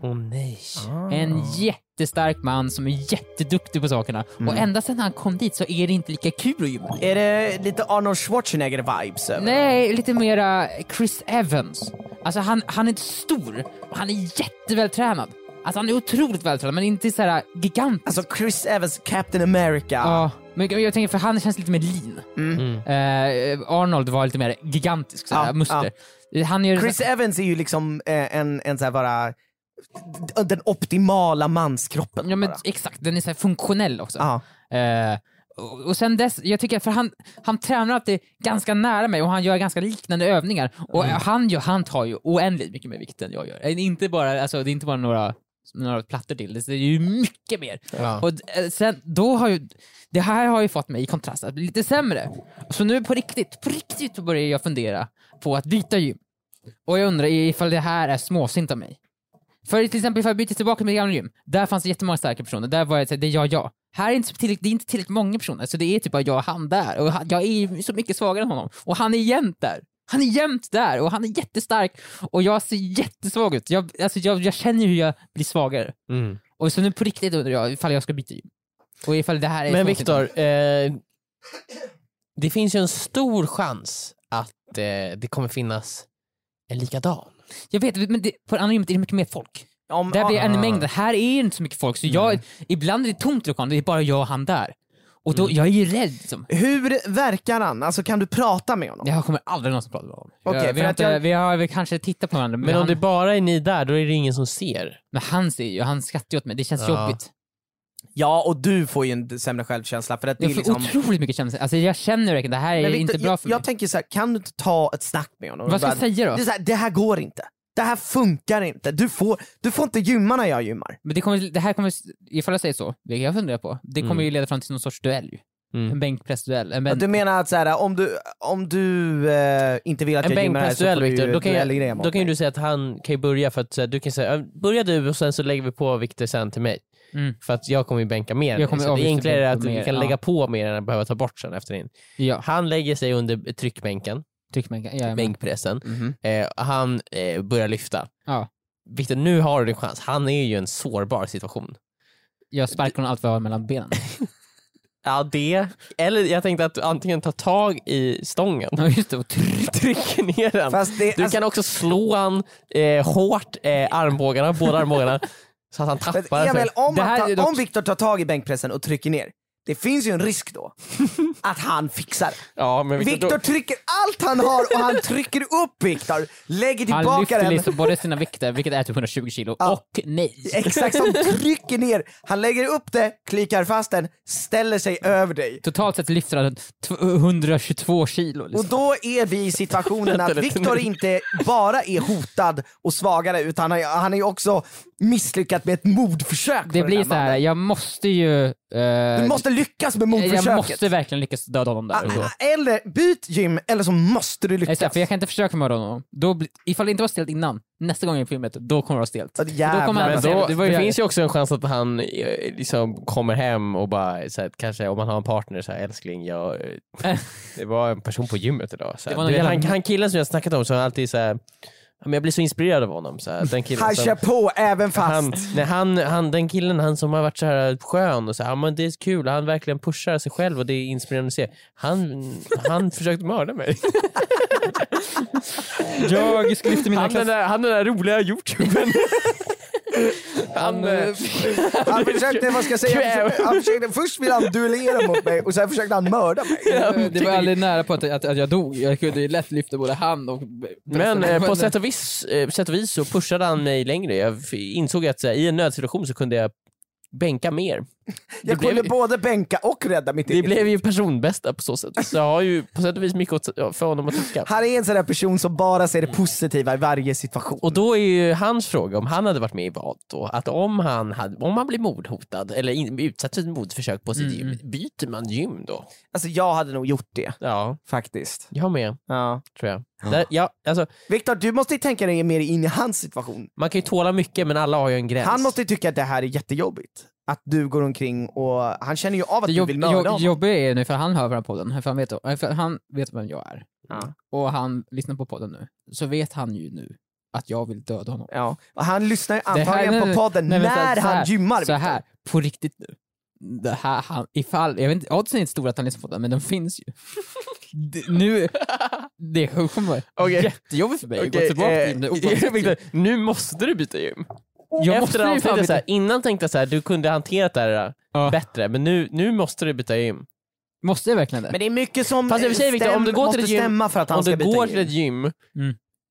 [SPEAKER 2] Åh nej.
[SPEAKER 4] Ah. En jättestark man som är jätteduktig på sakerna.
[SPEAKER 2] Mm.
[SPEAKER 4] Och ända sedan han kom dit så är det inte lika kul att gymma.
[SPEAKER 3] Är det lite Arnold Schwarzenegger-vibes?
[SPEAKER 4] Mm.
[SPEAKER 3] över?
[SPEAKER 4] Nej, lite mera Chris Evans. Alltså han, han är inte stor, och han är jättevältränad. Alltså han är otroligt vältränad, men inte så här gigant.
[SPEAKER 3] Alltså Chris Evans, Captain America.
[SPEAKER 4] Ja, men jag tänker för han känns lite mer lean.
[SPEAKER 3] Mm.
[SPEAKER 4] Eh, Arnold var lite mer gigantisk, så här,
[SPEAKER 3] Ja,
[SPEAKER 4] muskler. Han är
[SPEAKER 3] Ah, Chris Evans är ju liksom eh, en, en så här bara... d- Den optimala manskroppen.
[SPEAKER 4] ja, men,
[SPEAKER 3] bara.
[SPEAKER 4] exakt, den är så här funktionell också.
[SPEAKER 3] Ja.
[SPEAKER 4] Eh, och- och sen dess, jag tycker, för han, han tränar alltid ganska nära mig och han gör ganska liknande övningar. Och han, gör, han tar ju oändligt mycket mer vikt än jag gör. Det är inte bara, alltså, det är inte bara några, några plattor till, det är ju mycket mer. Och d- eh, sen, då har ju, det här har ju fått mig i kontrast att bli lite sämre. Så nu på riktigt, på riktigt börjar jag fundera på att byta gym. Och jag undrar ifall det här är småsint av mig. För till exempel ifall jag byter tillbaka till mitt gamla gym, där fanns det jättemånga starka personer, där var jag såhär, det är jag, jag. Här är inte tillräckligt, det är inte tillräckligt många personer, så det är typ bara jag och han där. Och han, jag är ju så mycket svagare än honom. Och han är jämt där. Han är jämt där och han är jättestark och jag ser jättesvag ut. Jag, alltså jag, jag känner ju hur jag blir svagare.
[SPEAKER 2] Mm.
[SPEAKER 4] Och så nu på riktigt undrar jag ifall jag ska byta gym. Och ifall det här är
[SPEAKER 2] Men
[SPEAKER 4] småsint.
[SPEAKER 2] Viktor, eh, det finns ju en stor chans att eh, det kommer finnas en likadan.
[SPEAKER 4] Jag vet, men det, på det andra gymmet är det mycket mer folk.
[SPEAKER 3] Om,
[SPEAKER 4] Där blir
[SPEAKER 3] ah,
[SPEAKER 4] en mängd. Här är inte så mycket folk, så jag, ibland är det tomt i lokalen, det är bara jag och han där. Och då,
[SPEAKER 2] Mm.
[SPEAKER 4] jag är ju rädd liksom.
[SPEAKER 3] Hur verkar han? Alltså kan du prata med honom?
[SPEAKER 4] Jag kommer aldrig någonsin prata med honom.
[SPEAKER 3] Okej,
[SPEAKER 4] Jag-
[SPEAKER 3] för
[SPEAKER 4] vi, har
[SPEAKER 3] att
[SPEAKER 4] inte,
[SPEAKER 3] jag-
[SPEAKER 4] vi har väl kanske tittat på varandra, men,
[SPEAKER 2] Men om
[SPEAKER 4] han,
[SPEAKER 2] det bara är ni där, då är det ingen som ser.
[SPEAKER 4] men han ser ju, han skrattar ju åt mig, det känns
[SPEAKER 2] Ja.
[SPEAKER 4] jobbigt.
[SPEAKER 3] Ja, och du får ju en sämre självkänsla för att det
[SPEAKER 4] Jag
[SPEAKER 3] är
[SPEAKER 4] får
[SPEAKER 3] liksom...
[SPEAKER 4] otroligt mycket känslor, alltså jag känner verkligen det här är
[SPEAKER 3] Men
[SPEAKER 4] inte
[SPEAKER 3] Victor,
[SPEAKER 4] bra
[SPEAKER 3] jag,
[SPEAKER 4] för mig.
[SPEAKER 3] jag tänker så här, kan du inte ta ett snack med honom?
[SPEAKER 4] Vad ska
[SPEAKER 3] Bara,
[SPEAKER 4] jag säga
[SPEAKER 3] Det,
[SPEAKER 4] då?
[SPEAKER 3] är så här, det här går inte. Det här funkar inte. Du får, du får inte gymma när jag gymmar.
[SPEAKER 4] Men det, kommer, det här kommer, ifall jag säger så, vilket jag funderar på, det kommer ju leda fram till någon sorts duell ju.
[SPEAKER 2] Mm.
[SPEAKER 4] En bänkpressduell. En bänk,
[SPEAKER 3] Mm. Du menar att så här, om du, om du eh, inte vill att
[SPEAKER 2] En
[SPEAKER 3] jag gymmar här så får
[SPEAKER 2] bänkpressduell
[SPEAKER 3] du
[SPEAKER 2] Viktor,
[SPEAKER 3] ju
[SPEAKER 2] då kan,
[SPEAKER 3] duellgreja
[SPEAKER 2] jag,
[SPEAKER 3] mot
[SPEAKER 2] då kan ju
[SPEAKER 3] mig.
[SPEAKER 2] du säga att han kan ju börja för att så här, du kan säga "Ja, börja du och sen så lägger vi på Viktor sen till mig.
[SPEAKER 4] Mm.
[SPEAKER 2] För att jag kommer ju bänka mer. än
[SPEAKER 4] Jag
[SPEAKER 2] dig.
[SPEAKER 4] kommer
[SPEAKER 2] så det är
[SPEAKER 4] avgifter
[SPEAKER 2] enklare
[SPEAKER 4] bänka
[SPEAKER 2] att du
[SPEAKER 4] mer,
[SPEAKER 2] kan
[SPEAKER 4] ja.
[SPEAKER 2] lägga på mer än att behöva ta bort sen efter din.
[SPEAKER 4] ja,
[SPEAKER 2] Han lägger sig under tryckbänken,
[SPEAKER 4] tryckmänka. Ja, men,
[SPEAKER 2] bänkpressen.
[SPEAKER 4] Mm.
[SPEAKER 3] Mhm.
[SPEAKER 2] Eh, han eh, börjar lyfta.
[SPEAKER 4] ja.
[SPEAKER 2] Viktor, nu har du din chans. Han är ju i en sårbar situation.
[SPEAKER 4] Jag sparkar honom allt vad jag har mellan benen. [LAUGHS]
[SPEAKER 2] Ja, det. Eller jag tänkte att du antingen tar tag i stången,
[SPEAKER 4] Ja just det,
[SPEAKER 2] [LAUGHS]
[SPEAKER 4] och tryck.
[SPEAKER 2] trycker ner den.
[SPEAKER 3] Fast det,
[SPEAKER 2] Du
[SPEAKER 3] alltså,
[SPEAKER 2] kan också slå han eh, hårt, eh, armbågarna, båda armbågarna, så att han
[SPEAKER 3] men
[SPEAKER 2] tappar. den.
[SPEAKER 3] Emil, om,
[SPEAKER 4] Det
[SPEAKER 3] han
[SPEAKER 4] här
[SPEAKER 3] tar-
[SPEAKER 4] är dock-
[SPEAKER 3] om Viktor tar tag i bänkpressen och trycker ner, det finns ju en risk
[SPEAKER 4] [LAUGHS]
[SPEAKER 3] då att han fixar det.
[SPEAKER 2] ja, men Viktor,
[SPEAKER 3] Viktor trycker allt han har och han trycker upp Viktor, lägger
[SPEAKER 4] Han
[SPEAKER 3] tillbaka
[SPEAKER 4] lyfter
[SPEAKER 3] den.
[SPEAKER 4] liksom både sina vikter, vilket är typ 120 kilo,
[SPEAKER 3] Ja.
[SPEAKER 4] och mig.
[SPEAKER 3] Exakt som trycker ner. Han lägger upp det, klickar fast den, ställer sig över dig.
[SPEAKER 4] Totalt sett lyfter han 122 kilo.
[SPEAKER 3] Och
[SPEAKER 4] Liksom.
[SPEAKER 3] då är vi i situationen att Viktor inte bara är hotad och svagare utan han är- han är också misslyckad med ett mordförsök. på
[SPEAKER 4] Det
[SPEAKER 3] den
[SPEAKER 4] blir
[SPEAKER 3] här
[SPEAKER 4] så här,
[SPEAKER 3] mannen.
[SPEAKER 4] jag måste ju... eh,
[SPEAKER 3] Du måste lyckas med
[SPEAKER 4] jag
[SPEAKER 3] mordförsöket.
[SPEAKER 4] måste verkligen lyckas döda honom där. och då.
[SPEAKER 3] Ah, ah, Eller byt gym eller så måste du
[SPEAKER 4] Jag är
[SPEAKER 3] lyckas.
[SPEAKER 4] så här, för jag kan inte försöka mörda honom. Då, bli- ifall det inte var stelt innan, nästa gång i filmet, då kommer det vara stelt.
[SPEAKER 3] Så att jävlar. alltså.
[SPEAKER 4] Då kommer han
[SPEAKER 2] Men
[SPEAKER 4] säga,
[SPEAKER 2] då,
[SPEAKER 4] det var ju
[SPEAKER 2] det finns ju också en chans att han eh, liksom kommer hem och bara, så här, kanske om man har en partner, så här, älskling, jag, eh, det var en person på gymmet idag. Så
[SPEAKER 4] Det
[SPEAKER 2] här.
[SPEAKER 4] var
[SPEAKER 2] Du vet,
[SPEAKER 4] någon
[SPEAKER 2] han,
[SPEAKER 4] jävla-
[SPEAKER 2] han killen som jag snackat om, så har alltid så här, "Ja, men jag blir så inspirerad av honom. Så här, den killen,
[SPEAKER 3] Han
[SPEAKER 2] som-
[SPEAKER 3] kör på även fast.
[SPEAKER 2] han, nej, han, han, den killen han som har varit så här skön och så här, "Ja, men det är kul, han verkligen pushar sig själv och det är inspirerande att se. Han, han försökte mörda [LAUGHS] mig.
[SPEAKER 4] jag skulle lyfta [LAUGHS] mina
[SPEAKER 2] Han den, där, han den där roliga youtubern. [LAUGHS] han, eh,
[SPEAKER 3] Äh, [LAUGHS] Han försökte, vad ska jag säga, han försökte, han försökte, först ville han duellera mot mig och sen försökte han mörda mig.
[SPEAKER 4] Det var aldrig nära på att, att, att jag dog. Jag kunde ju lätt lyfta både hand och...
[SPEAKER 2] men eh, på sätt och, vis, eh, på sätt och vis så pushade han mig längre. Jag f- insåg att så här, i en nödsituation så kunde jag bänka mer. Det
[SPEAKER 3] Jag
[SPEAKER 2] blev-
[SPEAKER 3] kunde både bänka och rädda mitt
[SPEAKER 2] Det
[SPEAKER 3] eget.
[SPEAKER 2] blev ju personbästa på så sätt. Så jag har ju på sätt och vis mycket åt, för honom att tacka.
[SPEAKER 3] Han är en sån där person som bara ser det positiva i varje situation.
[SPEAKER 2] Och då är ju hans fråga, om han hade varit med i vad då, att om han, hade, om han blir mordhotad eller in, utsatt för ett mordförsök på sitt
[SPEAKER 4] Mm.
[SPEAKER 2] gym, byter man gym då?
[SPEAKER 3] Alltså jag hade nog gjort det,
[SPEAKER 2] Ja,
[SPEAKER 3] faktiskt.
[SPEAKER 2] jag med,
[SPEAKER 3] Ja.
[SPEAKER 2] tror jag. Där, ja, alltså,
[SPEAKER 3] Viktor, du måste ju tänka dig mer in i hans situation.
[SPEAKER 2] man kan ju tåla mycket men alla har ju en gräns.
[SPEAKER 3] Han måste ju tycka att det här är jättejobbigt. Att du går omkring och han känner ju av att
[SPEAKER 4] Det
[SPEAKER 3] du
[SPEAKER 4] jobb,
[SPEAKER 3] vill mörda
[SPEAKER 4] jobb,
[SPEAKER 3] honom.
[SPEAKER 4] jobbiga är nu, för han hör den här podden, för han vet, för han vet vem jag är.
[SPEAKER 3] Ja.
[SPEAKER 4] Och han lyssnar på podden nu. Så vet han ju nu att jag vill döda honom.
[SPEAKER 3] Ja. Och han lyssnar ju
[SPEAKER 4] Det här-
[SPEAKER 3] antagligen
[SPEAKER 4] nej,
[SPEAKER 3] på
[SPEAKER 4] nej,
[SPEAKER 3] podden
[SPEAKER 4] nej, men så här-
[SPEAKER 3] när
[SPEAKER 4] så
[SPEAKER 3] han
[SPEAKER 4] här-
[SPEAKER 3] gymmar.
[SPEAKER 4] Så
[SPEAKER 3] Viktor.
[SPEAKER 4] här, på riktigt nu. Det här, han, ifall, jag vet inte, oddsen är inte stora att han lyssnar på den, men de finns ju. det, nu, det kommer
[SPEAKER 2] Okej.
[SPEAKER 4] jättejobbigt för mig att gå
[SPEAKER 2] Okej,
[SPEAKER 4] tillbaka
[SPEAKER 2] eh, [LAUGHS]
[SPEAKER 4] till det oavsett
[SPEAKER 2] Viktor,
[SPEAKER 4] ju.
[SPEAKER 2] nu måste du byta gym.
[SPEAKER 4] Jag måste
[SPEAKER 2] Efter
[SPEAKER 4] ju
[SPEAKER 2] han
[SPEAKER 4] fan
[SPEAKER 2] tänkte så
[SPEAKER 4] byta.
[SPEAKER 2] här, innan tänkte jag så här, du kunde hanterat det här äh,
[SPEAKER 4] Ja.
[SPEAKER 2] bättre, men nu, nu måste du byta gym.
[SPEAKER 4] Måste jag verkligen det?
[SPEAKER 3] Men det är mycket som
[SPEAKER 2] Fast i och för sig, Viktor, om du går till
[SPEAKER 3] måste
[SPEAKER 2] ett gym-
[SPEAKER 3] stämma för att han
[SPEAKER 2] Om
[SPEAKER 3] ska
[SPEAKER 2] du
[SPEAKER 3] byta
[SPEAKER 2] går
[SPEAKER 3] gym.
[SPEAKER 2] till ett gym
[SPEAKER 4] Mm.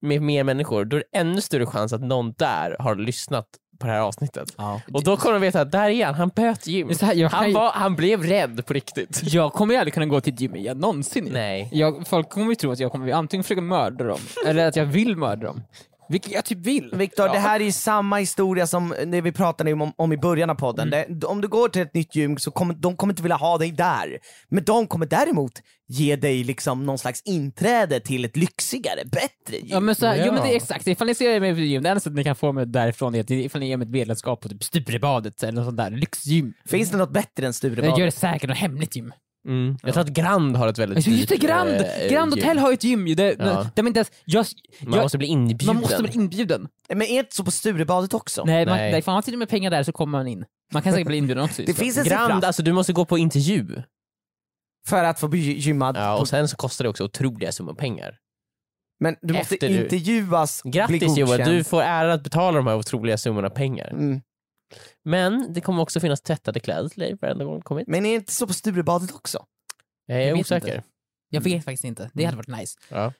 [SPEAKER 2] med mer människor, då är det ännu större chans att någon där har lyssnat på det här avsnittet.
[SPEAKER 4] Ja.
[SPEAKER 2] Och då kommer de veta att där är han, han böt gym.
[SPEAKER 4] Det är så här, jag,
[SPEAKER 2] Han,
[SPEAKER 4] kan-
[SPEAKER 2] var, han blev rädd på riktigt.
[SPEAKER 4] jag kommer ju aldrig kunna gå till ett gym igen någonsin.
[SPEAKER 2] [LAUGHS]
[SPEAKER 4] ju.
[SPEAKER 2] Nej.
[SPEAKER 4] Jag, folk kommer ju tro att jag kommer antingen försöka mörda dem, eller att jag vill mörda dem. Vilket jag typ vill.
[SPEAKER 3] Viktor, det här är ju samma historia som det vi pratade om, om i början av podden.
[SPEAKER 2] Mm.
[SPEAKER 3] Det, om du går till ett nytt gym så kommer de kommer inte vilja ha dig där. Men de kommer däremot ge dig liksom någon slags inträde till ett lyxigare, bättre gym.
[SPEAKER 4] Ja men, så här, Jo, men det
[SPEAKER 2] Ja.
[SPEAKER 4] är exakt, ifall ni ser mig på gym, det enda sättet ni kan få mig därifrån är att ifall ni ger mig ett medlemskap på typ Sturebadet eller något sånt där lyxgym.
[SPEAKER 3] Finns det något bättre än
[SPEAKER 4] Jag
[SPEAKER 3] Sturebaden?
[SPEAKER 4] gör det säkert, något hemligt gym.
[SPEAKER 2] Jag tror att Grand har ett väldigt
[SPEAKER 4] Alltså, just det,
[SPEAKER 2] dyrt,
[SPEAKER 4] Grand!
[SPEAKER 2] eh,
[SPEAKER 4] Grand
[SPEAKER 2] gym.
[SPEAKER 4] Hotel har ju ett gym ju. Det,
[SPEAKER 2] Ja.
[SPEAKER 4] de är inte ens, jag, jag,
[SPEAKER 2] Man måste bli inbjuden.
[SPEAKER 4] man måste bli inbjuden.
[SPEAKER 3] Men är det inte så på Sturebadet också?
[SPEAKER 4] Nej, man,
[SPEAKER 2] Nej.
[SPEAKER 4] nej. ifall man har till och med pengar där så kommer man in. Man kan säkert bli
[SPEAKER 2] [LAUGHS]
[SPEAKER 4] inbjuden också.
[SPEAKER 3] Det finns en
[SPEAKER 2] Grand,
[SPEAKER 3] siffra
[SPEAKER 2] alltså du måste gå på intervju.
[SPEAKER 3] för att få bli gymmad.
[SPEAKER 2] Ja, och sen så kostar det också otroliga summor pengar.
[SPEAKER 3] Men du måste
[SPEAKER 2] efter du-
[SPEAKER 3] intervjuas, bli
[SPEAKER 2] Grattis Johan,
[SPEAKER 3] godkänd.
[SPEAKER 2] du får äran att betala de här otroliga summorna pengar.
[SPEAKER 3] Mm.
[SPEAKER 2] Men det kommer också finnas tvättade kläder till dig varenda gång du kommer hit.
[SPEAKER 3] Men är det inte så på Sturebadet också?
[SPEAKER 2] Jag är
[SPEAKER 4] Jag vet
[SPEAKER 2] osäker.
[SPEAKER 4] Jag vet faktiskt inte. Det hade varit nice.
[SPEAKER 2] Ja.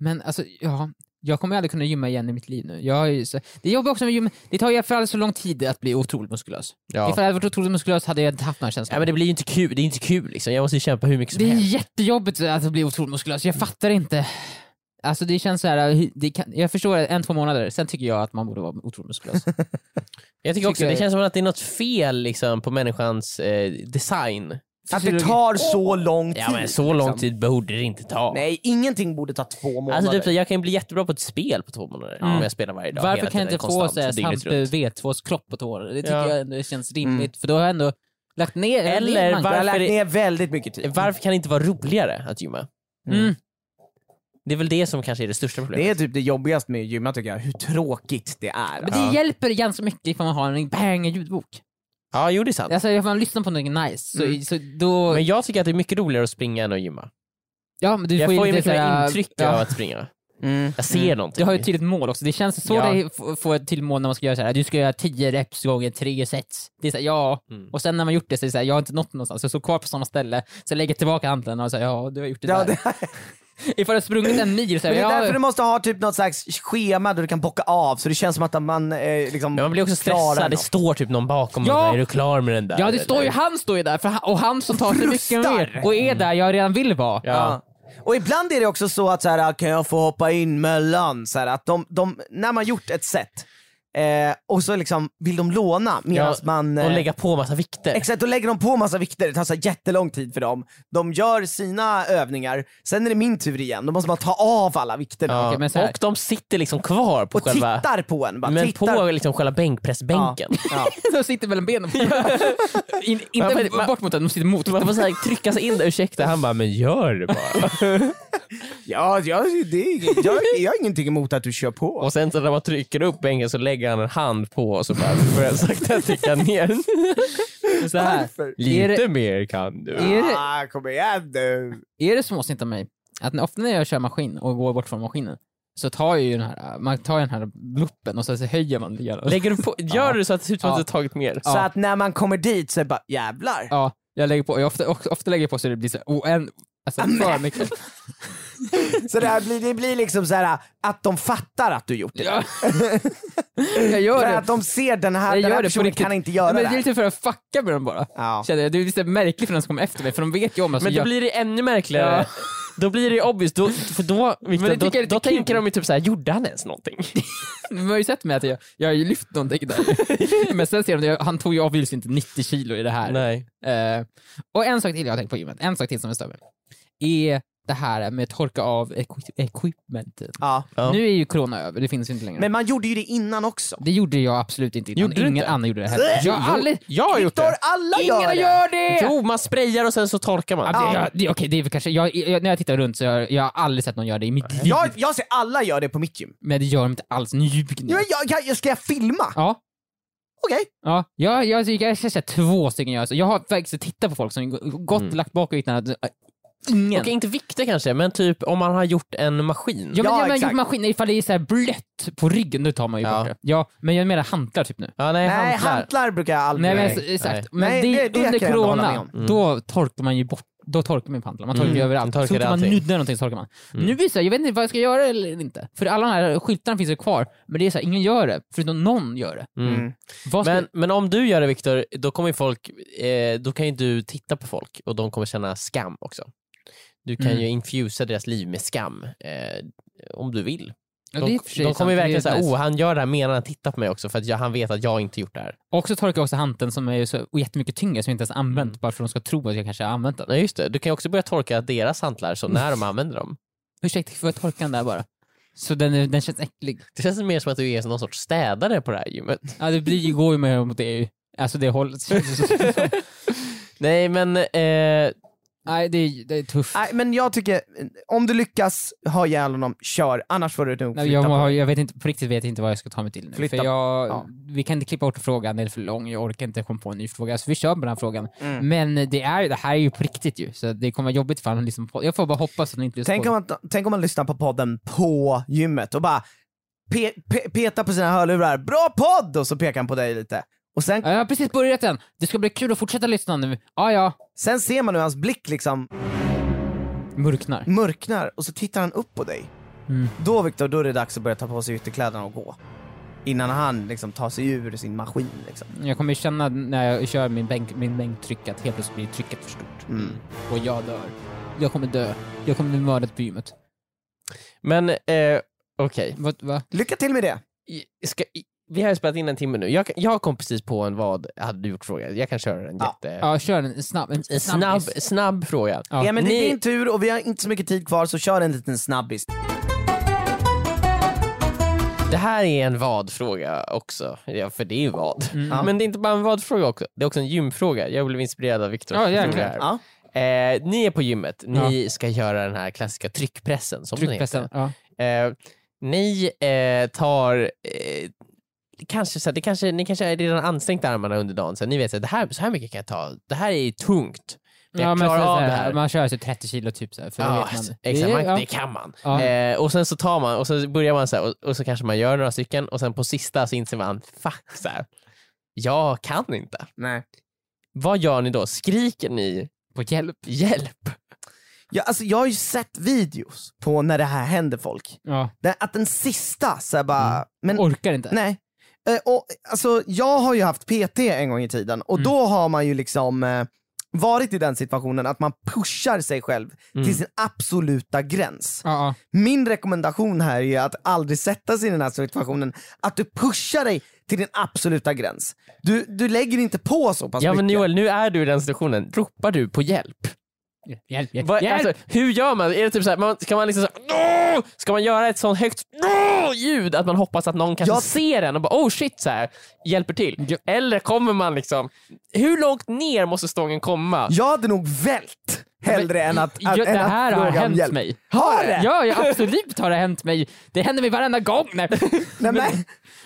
[SPEAKER 4] Men alltså, ja. Jag kommer ju aldrig kunna gymma igen i mitt liv nu. Jag är ju så, det jobbar också med gym. Det tar ju för alldeles så lång tid att bli otroligt muskulös.
[SPEAKER 2] Ja.
[SPEAKER 4] Ifall jag hade varit otroligt muskulös hade jag inte haft den här känslan.
[SPEAKER 2] Ja, men det blir ju inte kul, det är inte kul liksom. Jag måste ju kämpa hur mycket som
[SPEAKER 4] Det är
[SPEAKER 2] helst.
[SPEAKER 4] jättejobbigt att bli otroligt muskulös, jag fattar inte. Alltså det känns så här, det kan, jag förstår en, två månader, sen tycker jag att man borde vara
[SPEAKER 2] [LAUGHS]
[SPEAKER 4] otroligt muskulös.
[SPEAKER 2] Jag tycker också,
[SPEAKER 4] Tycker jag-
[SPEAKER 2] det känns som att det är något fel liksom, på människans eh, design.
[SPEAKER 3] Att det tar så lång tid.
[SPEAKER 2] Ja men så lång
[SPEAKER 3] liksom.
[SPEAKER 2] tid borde det inte ta.
[SPEAKER 3] Nej, ingenting borde ta två månader.
[SPEAKER 2] Alltså typ så, jag kan bli jättebra på ett spel på två månader om jag spelar varje dag.
[SPEAKER 4] Varför
[SPEAKER 2] hela
[SPEAKER 4] kan jag
[SPEAKER 2] tiden,
[SPEAKER 4] inte få
[SPEAKER 2] konstant,
[SPEAKER 4] så här
[SPEAKER 2] dygnet
[SPEAKER 4] snabbt
[SPEAKER 2] runt.
[SPEAKER 4] V2-klopp på tår? Det tycker
[SPEAKER 2] Ja. Mm.
[SPEAKER 4] jag ändå känns rimligt, för då har jag ändå lagt ner
[SPEAKER 2] Eller
[SPEAKER 4] lagt ner
[SPEAKER 3] Jag har
[SPEAKER 4] manken.
[SPEAKER 3] lagt
[SPEAKER 2] Varför är-
[SPEAKER 3] ner väldigt mycket tid.
[SPEAKER 2] Varför kan det inte vara roligare att gymma?
[SPEAKER 4] Mm.
[SPEAKER 2] Det är väl det som kanske är det största problemet.
[SPEAKER 3] Det är typ det jobbigaste med att gymma tycker jag, hur tråkigt det är.
[SPEAKER 4] Men det hjälper ganska mycket ifall man har en banger ljudbok.
[SPEAKER 2] Ja, jo det är sant.
[SPEAKER 4] Alltså ifall man lyssnar på någonting nice, så,
[SPEAKER 3] Mm.
[SPEAKER 4] så då...
[SPEAKER 2] Men jag tycker att det är mycket roligare att springa än att gymma.
[SPEAKER 4] ja, men du
[SPEAKER 2] jag får ju
[SPEAKER 4] lite
[SPEAKER 2] mycket
[SPEAKER 4] så här-
[SPEAKER 2] mer intryck
[SPEAKER 4] ja.
[SPEAKER 2] av att springa.
[SPEAKER 3] Mm.
[SPEAKER 2] Jag ser någonting.
[SPEAKER 4] Du har ju typ ett tydligt mål också, det känns så
[SPEAKER 2] Ja.
[SPEAKER 4] det f- får ett till mål när man ska göra så här. du ska göra 10 reps gånger 3 sets. Det är så här, ja,
[SPEAKER 2] Mm.
[SPEAKER 4] och sen när man gjort det så är det så här, jag har inte nått någonstans, jag står kvar på samma ställe, så jag lägger tillbaka handen och säger ja, du har gjort det
[SPEAKER 3] Ja,
[SPEAKER 4] där.
[SPEAKER 3] det,
[SPEAKER 4] Ifall jag sprungit en mil så
[SPEAKER 3] men
[SPEAKER 4] här,
[SPEAKER 3] det är
[SPEAKER 4] ja,
[SPEAKER 3] därför du måste ha typ något slags schema där du kan bocka av så det känns som att man eh, liksom
[SPEAKER 2] Men man blir också
[SPEAKER 3] klarar
[SPEAKER 2] stressad, det
[SPEAKER 3] något.
[SPEAKER 2] står typ någon bakom
[SPEAKER 4] Ja!
[SPEAKER 2] och bara, är du klar med den där?
[SPEAKER 4] ja, det står ju,
[SPEAKER 2] Eller-
[SPEAKER 4] han står ju där, för han, och han som tar sig mycket
[SPEAKER 3] frustar.
[SPEAKER 4] mer, och är där jag redan vill vara.
[SPEAKER 2] Ja.
[SPEAKER 3] Mm. Ja. Och ibland är det också så att så här, "Ah, kan jag få hoppa in mellan? Så här, att de, de, när man gjort ett set eh, och så liksom vill de låna medan
[SPEAKER 2] Ja,
[SPEAKER 3] man... eh,
[SPEAKER 2] Och lägga på massa vikter.
[SPEAKER 3] Exakt, då lägger de på massa vikter, det tar så här jättelång tid för dem. De gör sina övningar, sen är det min tur igen, då måste man ta av alla vikterna.
[SPEAKER 2] Ja.
[SPEAKER 4] Okej, men så här-
[SPEAKER 2] och de sitter liksom kvar på
[SPEAKER 3] Och
[SPEAKER 2] själva...
[SPEAKER 3] tittar på en bara.
[SPEAKER 2] Men
[SPEAKER 3] tittar.
[SPEAKER 2] på liksom själva bänkpressbänken.
[SPEAKER 3] Ja.
[SPEAKER 4] [LAUGHS] De sitter mellan benen.
[SPEAKER 3] [LAUGHS]
[SPEAKER 4] In, inte
[SPEAKER 2] men- man-
[SPEAKER 4] bort mot den, de sitter mot.
[SPEAKER 2] Man får så här trycka sig in där, ursäkta. Han bara, men gör det bara.
[SPEAKER 3] Ja, jag, det är, inget- jag, jag har ingenting emot att du kör på.
[SPEAKER 2] [LAUGHS] och sen så när man trycker upp bänken så lägger han en hand på och så bara börjar han sakta trycka [LAUGHS] ner.
[SPEAKER 4] Så här.
[SPEAKER 3] Varför?
[SPEAKER 4] Är det-
[SPEAKER 2] Lite mer kan du.
[SPEAKER 4] Är det,
[SPEAKER 3] Ah, kom igen nu.
[SPEAKER 4] är det småsint av mig att när- ofta när jag kör maskin och går bort från maskinen så tar jag ju den här, äh, man tar ju den här luppen och så så höjer man lite grann.
[SPEAKER 2] Lägger [LAUGHS] du på, gör du så att det ser ut som att
[SPEAKER 4] Ja.
[SPEAKER 2] du tagit mer?
[SPEAKER 3] Så
[SPEAKER 4] Ja.
[SPEAKER 3] att när man kommer dit så är det bara jävlar.
[SPEAKER 4] Ja, jag lägger på, jag ofta, ofta lägger jag på så det blir så här, oänd, Alltså för mycket.
[SPEAKER 3] Så det, här blir, det blir liksom så här att de fattar att du gjort det.
[SPEAKER 4] Ja. [LAUGHS] Jag gör
[SPEAKER 3] För
[SPEAKER 4] det.
[SPEAKER 3] att de ser den här,
[SPEAKER 4] Jag
[SPEAKER 3] den
[SPEAKER 4] gör
[SPEAKER 3] här
[SPEAKER 4] det på
[SPEAKER 3] personen
[SPEAKER 4] riktigt.
[SPEAKER 3] kan inte göra
[SPEAKER 4] Ja,
[SPEAKER 3] det
[SPEAKER 4] men det är
[SPEAKER 3] här.
[SPEAKER 4] lite för att fucka med dem bara.
[SPEAKER 3] Ja.
[SPEAKER 4] Känner jag. Det är lite märkligt för den som kommer efter mig, för de vet ju om att
[SPEAKER 2] Men då
[SPEAKER 4] jag...
[SPEAKER 2] blir det ännu märkligare.
[SPEAKER 4] Ja.
[SPEAKER 2] Då blir det obvious, då, för då, [LAUGHS] Victor,
[SPEAKER 4] det
[SPEAKER 2] då,
[SPEAKER 4] tycker jag är
[SPEAKER 2] då
[SPEAKER 4] lite
[SPEAKER 2] tänker
[SPEAKER 4] kul.
[SPEAKER 2] de ju typ såhär, gjorde han ens någonting?
[SPEAKER 4] De har ju sett mig att jag, jag har ju lyft
[SPEAKER 3] [LAUGHS]
[SPEAKER 4] någonting där. men sen ser de, att han tog ju avgjort inte 90 kilo i det
[SPEAKER 2] [LAUGHS]
[SPEAKER 4] här.
[SPEAKER 2] Nej.
[SPEAKER 4] Eh, och en sak till jag har tänkt på gymmet, en sak till som jag stör mig på, är det här med att torka av equi- equipmentet.
[SPEAKER 3] Ja.
[SPEAKER 2] Ja.
[SPEAKER 4] Nu är ju corona över, det finns ju inte längre.
[SPEAKER 3] Men man gjorde ju det innan också.
[SPEAKER 4] det gjorde jag absolut inte innan.
[SPEAKER 2] Gjorde du
[SPEAKER 4] Ingen
[SPEAKER 2] inte?
[SPEAKER 4] annan gjorde det heller. Jag har aldrig...
[SPEAKER 2] Jag har gjort
[SPEAKER 3] Viktor,
[SPEAKER 2] det.
[SPEAKER 3] alla
[SPEAKER 4] Ingen
[SPEAKER 3] gör det!
[SPEAKER 4] gör det!
[SPEAKER 2] Jo, oh, man sprayar och sen så torkar man.
[SPEAKER 4] Ja, det,
[SPEAKER 3] Ja.
[SPEAKER 4] ja, det, okej, det är väl kanske, jag, jag, när jag tittar runt så jag, jag har aldrig sett någon göra det i mitt liv.
[SPEAKER 3] Jag, jag ser alla gör det på mitt gym.
[SPEAKER 4] Men det gör de inte alls. Nu ljuger ni.
[SPEAKER 3] Ja, men jag, jag, ska jag filma?
[SPEAKER 4] Ja,
[SPEAKER 3] Okej.
[SPEAKER 4] ja. Jag, jag, jag, jag ska säga två stycken gör så. Jag har faktiskt tittat på folk som gått
[SPEAKER 2] Mm.
[SPEAKER 4] och lagt bak och utan att... äh, Ingen.
[SPEAKER 2] Okej, inte vikter kanske, men typ om man har gjort en maskin.
[SPEAKER 4] Ja men,
[SPEAKER 3] Ja,
[SPEAKER 4] ja, men
[SPEAKER 3] exakt.
[SPEAKER 4] gjort maskiner, ifall det är så här blött på ryggen, då tar man ju
[SPEAKER 2] Ja.
[SPEAKER 4] bort det. Ja, men jag menar hantlar typ nu.
[SPEAKER 2] Ja, nej,
[SPEAKER 3] Nej,
[SPEAKER 2] hantlar.
[SPEAKER 3] hantlar brukar jag aldrig
[SPEAKER 4] Nej, men
[SPEAKER 3] göra.
[SPEAKER 4] s- exakt. Men
[SPEAKER 3] Nej,
[SPEAKER 4] det,
[SPEAKER 3] det- det
[SPEAKER 4] under
[SPEAKER 3] kan jag ändå hålla
[SPEAKER 4] corona,
[SPEAKER 3] med om.
[SPEAKER 2] Mm.
[SPEAKER 4] då torkar man ju bort då torkar man på hantlar, man torkar ju
[SPEAKER 2] Mm.
[SPEAKER 4] överallt.
[SPEAKER 2] Man torkar
[SPEAKER 4] så fort man
[SPEAKER 2] allting.
[SPEAKER 4] nuddar någonting så torkar man. Nu är det så här, jag vet inte vad jag ska göra eller inte. För alla de här skyltarna finns ju kvar, men det är så här, ingen gör det, förutom någon gör det.
[SPEAKER 2] Mm.
[SPEAKER 3] Mm.
[SPEAKER 4] Vad ska
[SPEAKER 2] Men, men om du gör det Viktor, då kommer ju folk, eh, då kan ju du titta på folk och de kommer känna skam också. Du kan
[SPEAKER 4] Mm.
[SPEAKER 2] ju infusa deras liv med skam, eh, om du vill.
[SPEAKER 4] Ja, det är
[SPEAKER 2] de
[SPEAKER 4] i och för sig
[SPEAKER 2] de kommer ju
[SPEAKER 4] sant.
[SPEAKER 2] verkligen
[SPEAKER 4] Det är
[SPEAKER 2] säga,
[SPEAKER 4] nice.
[SPEAKER 2] oh han gör det här menar han tittar på mig också för att jag, han vet att jag inte gjort det här.
[SPEAKER 4] Och så torkar jag också hanteln som är ju så och jättemycket tyngre som jag inte ens använt, bara för att de ska tro att jag kanske har använt den.
[SPEAKER 2] Nej just det, du kan ju också börja torka deras hantlar så när
[SPEAKER 4] [LAUGHS]
[SPEAKER 2] de använder dem.
[SPEAKER 4] Ursäkta, får jag torka den där bara? Så den, är- den känns äcklig.
[SPEAKER 2] Det känns mer som att du är någon sorts städare på det här gymmet.
[SPEAKER 4] Ja, det blir ju, går ju med mot det ju. Alltså det hållet.
[SPEAKER 3] [LAUGHS]
[SPEAKER 2] Nej men, eh,
[SPEAKER 4] Nej, det är, det är tufft.
[SPEAKER 3] Nej, men jag tycker, om du lyckas ha ihjäl honom, kör. Annars får du nog
[SPEAKER 4] Nej,
[SPEAKER 3] flytta
[SPEAKER 4] jag,
[SPEAKER 3] på
[SPEAKER 4] har,
[SPEAKER 3] dig.
[SPEAKER 4] jag vet inte, på riktigt vet jag inte vad jag ska ta mig till nu.
[SPEAKER 3] Flytta-
[SPEAKER 4] För jag,
[SPEAKER 3] ja.
[SPEAKER 4] Vi kan inte klippa bort frågan, den är för lång, jag orkar inte komma på en ny fråga. Så vi kör på den här frågan.
[SPEAKER 3] Mm.
[SPEAKER 4] Men det, är, det här är ju på riktigt ju, så det kommer vara jobbigt för honom. Liksom, jag får bara hoppas att han inte lyssnar
[SPEAKER 3] Tänk
[SPEAKER 4] på
[SPEAKER 3] om, man, tänk om man lyssnar på podden på gymmet och bara pe, pe, petar på sina hörlurar. Bra podd! Och så pekar han på dig lite. Och sen,
[SPEAKER 4] den. Jag har precis börjat den! Det ska bli kul att fortsätta lyssna nu. Ja, ja.
[SPEAKER 3] sen ser man hur hans blick liksom
[SPEAKER 4] Mörknar.
[SPEAKER 3] mörknar och så tittar han upp på dig.
[SPEAKER 4] Mm.
[SPEAKER 3] Då Viktor, då är det dags att börja ta på sig ytterkläderna och gå. Innan han liksom tar sig ur sin maskin. Liksom.
[SPEAKER 4] Jag kommer ju känna när jag kör min, bänk, min bänktryck att helt plötsligt blir trycket för stort.
[SPEAKER 3] Mm.
[SPEAKER 4] Och jag dör. Jag kommer dö. Jag kommer bli mördad på gymmet.
[SPEAKER 2] men eh, okej.
[SPEAKER 4] Vad, va?
[SPEAKER 3] Lycka till med det!
[SPEAKER 2] I- ska, i- vi har ju spelat in en timme nu. Jag, kan- jag kom precis på en vad hade du gjort fråga. Jag kan köra en
[SPEAKER 3] Ja.
[SPEAKER 2] jätte...
[SPEAKER 4] Ja, kör en snabb. En
[SPEAKER 2] En snabb, snabb fråga.
[SPEAKER 4] Ja.
[SPEAKER 3] Emil, det
[SPEAKER 2] Ni-
[SPEAKER 3] är din tur och vi har inte så mycket tid kvar så kör en liten snabbis.
[SPEAKER 2] Det här är en vad-fråga också. Ja, för det är ju vad.
[SPEAKER 4] Mm.
[SPEAKER 3] Ja.
[SPEAKER 2] Men det är inte bara en vad-fråga också. Det är också en gymfråga. Jag blev inspirerad av Viktor.
[SPEAKER 4] Ja, jäklar.
[SPEAKER 3] Ja.
[SPEAKER 2] eh, ni är på gymmet. Ni ska göra den här klassiska tryckpressen. Som den
[SPEAKER 4] Tryckpressen.
[SPEAKER 2] heter.
[SPEAKER 4] Ja.
[SPEAKER 2] Eh, ni eh, tar... Eh, Kanske, så här, det kanske, ni kanske är redan ansträngt armarna under dagen, så ni vet att det här, så här mycket kan jag ta, det här är tungt. Men jag klarar
[SPEAKER 4] så- så
[SPEAKER 2] av
[SPEAKER 4] här,
[SPEAKER 2] det här.
[SPEAKER 4] Man kör så 30 kilo typ så här, för då
[SPEAKER 2] Ja,
[SPEAKER 4] vet man.
[SPEAKER 2] exakt. Man,
[SPEAKER 4] ja.
[SPEAKER 2] Det kan man.
[SPEAKER 4] Ja.
[SPEAKER 2] Eh, och sen så tar man och så börjar man så här, och, och så kanske man gör några stycken och sen på sista så inser man, fuck så här, jag kan inte.
[SPEAKER 3] Nej.
[SPEAKER 2] Vad gör ni då? Skriker ni
[SPEAKER 4] På hjälp.
[SPEAKER 2] hjälp?
[SPEAKER 3] Ja, alltså, jag har ju sett videos på när det här händer folk.
[SPEAKER 4] Ja.
[SPEAKER 3] Det- Att den sista så här bara, men
[SPEAKER 4] Orkar inte.
[SPEAKER 3] nej. Eh, och, alltså, jag har ju haft PT en gång i tiden och då har man ju liksom eh, varit i den situationen att man pushar sig själv till sin absoluta gräns.
[SPEAKER 4] Ja, ja.
[SPEAKER 3] Min rekommendation här är ju att aldrig sätta sig i den här situationen, att du pushar dig till din absoluta gräns. Du, du lägger inte på så pass
[SPEAKER 2] Ja men
[SPEAKER 3] mycket.
[SPEAKER 2] Joel, nu är du i den situationen. Ropar du på hjälp?
[SPEAKER 4] Hjälp, hjälp.
[SPEAKER 2] Vad,
[SPEAKER 4] hjälp.
[SPEAKER 2] alltså, hur gör man? Är det typ så här, man ska man liksom så här, "Åh!" ska man göra ett sånt högt "Åh!" ljud att man hoppas att någon kanske
[SPEAKER 3] Jag-
[SPEAKER 2] ser en och bara oh shit så här, hjälper till?
[SPEAKER 4] Ja.
[SPEAKER 2] Eller kommer man liksom, hur långt ner måste stången komma?
[SPEAKER 3] Jag hade nog vält hellre än att,
[SPEAKER 4] Ja,
[SPEAKER 3] att, än
[SPEAKER 4] det
[SPEAKER 3] att
[SPEAKER 4] här har
[SPEAKER 3] fråga om
[SPEAKER 4] hänt
[SPEAKER 3] hjälp.
[SPEAKER 4] mig.
[SPEAKER 3] Har det?
[SPEAKER 4] Ja, ja, absolut har det hänt mig. Det händer mig
[SPEAKER 2] [LAUGHS]
[SPEAKER 4] varenda gång. Nej.
[SPEAKER 3] Nej, men,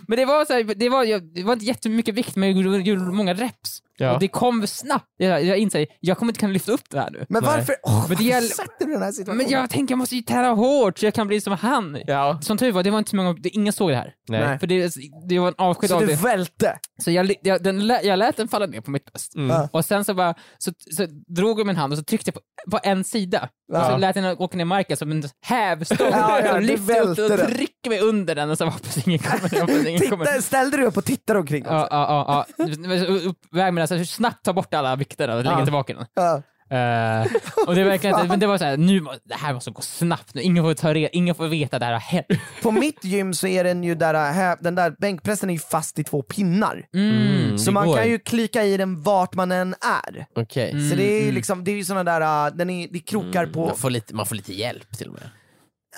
[SPEAKER 4] Men det var, så här, det, var, jag- det var inte jättemycket vikt, men jag gjorde- gjorde många reps.
[SPEAKER 2] Ja.
[SPEAKER 4] Och det kom snabbt. Jag, jag inser, jag kommer inte kunna lyfta upp det här nu.
[SPEAKER 3] Men
[SPEAKER 2] Nej.
[SPEAKER 3] varför, oh,
[SPEAKER 4] Men det
[SPEAKER 3] varför
[SPEAKER 4] gäller-
[SPEAKER 3] sätter du den här situationen?
[SPEAKER 4] Men jag tänker jag måste ju tära hårt så jag kan bli som han.
[SPEAKER 2] Ja.
[SPEAKER 4] Som tur var, det var inte så många, det, ingen såg det här.
[SPEAKER 2] Nej.
[SPEAKER 3] Nej.
[SPEAKER 4] För det, det var en avsked
[SPEAKER 3] Så
[SPEAKER 4] av
[SPEAKER 3] du
[SPEAKER 4] det.
[SPEAKER 3] välte?
[SPEAKER 4] Så jag, li- jag, den, lä- jag lät den falla ner på mitt bröst.
[SPEAKER 2] Mm.
[SPEAKER 3] Ja.
[SPEAKER 4] Och sen så bara, så, så drog jag min hand och så tryckte jag på, på en sida. Och
[SPEAKER 3] Ja.
[SPEAKER 4] så lät jag den åka ner i marken som en hävstång.
[SPEAKER 3] [LAUGHS] Ja, ja,
[SPEAKER 4] så
[SPEAKER 3] du
[SPEAKER 4] lyfte jag upp den
[SPEAKER 3] välte
[SPEAKER 4] och
[SPEAKER 3] den.
[SPEAKER 4] tryckte mig under den och så hoppas ingen kommer. Hoppas ingen kommer.
[SPEAKER 3] Titta, ställde du upp och tittade omkring? dig?
[SPEAKER 4] Ja, ja, ja. ja. Men så upp- Väg med den, så snabbt ta bort alla vikterna och lägga
[SPEAKER 3] Ja.
[SPEAKER 4] tillbaka den.
[SPEAKER 3] Ja.
[SPEAKER 4] Eh, och det är verkligen inte, men det var så här, nu, må- det här måste gå snabbt nu. Ingen får, ta re, ingen får veta att det här har hänt.
[SPEAKER 3] På mitt gym så är den ju där, här, den där bänkpressen är ju fast i två pinnar.
[SPEAKER 2] Mm,
[SPEAKER 3] Så
[SPEAKER 2] det
[SPEAKER 3] man
[SPEAKER 2] går.
[SPEAKER 3] kan ju klicka i den vart man än är.
[SPEAKER 2] Okej.
[SPEAKER 3] Så det är ju liksom, det är ju såna där, uh, den är, det är krokar på...
[SPEAKER 2] Man, Mm, får lite, man får lite hjälp till och med.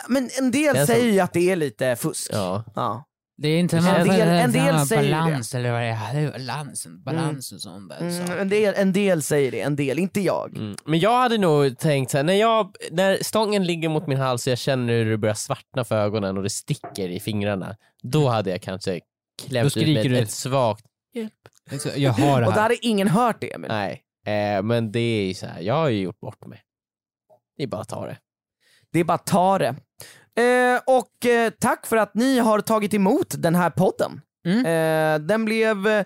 [SPEAKER 3] Men en del
[SPEAKER 2] Den som-
[SPEAKER 3] säger ju att det är lite fusk.
[SPEAKER 2] Ja.
[SPEAKER 3] Ja.
[SPEAKER 4] Det är inte
[SPEAKER 3] En del-
[SPEAKER 4] det är
[SPEAKER 3] en del
[SPEAKER 4] sån här
[SPEAKER 3] säger
[SPEAKER 4] balans eller vad det är. Det är balansen, balansen och sånt där.
[SPEAKER 3] Mm,
[SPEAKER 4] Så.
[SPEAKER 3] en, del, en del säger det, en del, inte jag.
[SPEAKER 2] Mm. Men jag hade nog tänkt så här, när, jag, när stången ligger mot min hals och jag känner hur det börjar svartna för ögonen och det sticker i fingrarna, då hade jag kanske
[SPEAKER 4] Då
[SPEAKER 2] klämt ut
[SPEAKER 4] skriker
[SPEAKER 2] med
[SPEAKER 4] du.
[SPEAKER 2] ett svagt
[SPEAKER 4] Så Liksom, Jag har det
[SPEAKER 3] Och då
[SPEAKER 4] här.
[SPEAKER 3] hade ingen hört det. Men...
[SPEAKER 2] nej. Eh, men det är ju så här, jag har ju gjort bort mig. Det är bara att ta det.
[SPEAKER 3] Det är bara att ta det. Eh, och eh, tack för att ni har tagit emot den här podden.
[SPEAKER 4] Mm.
[SPEAKER 3] Eh, den blev eh, eh,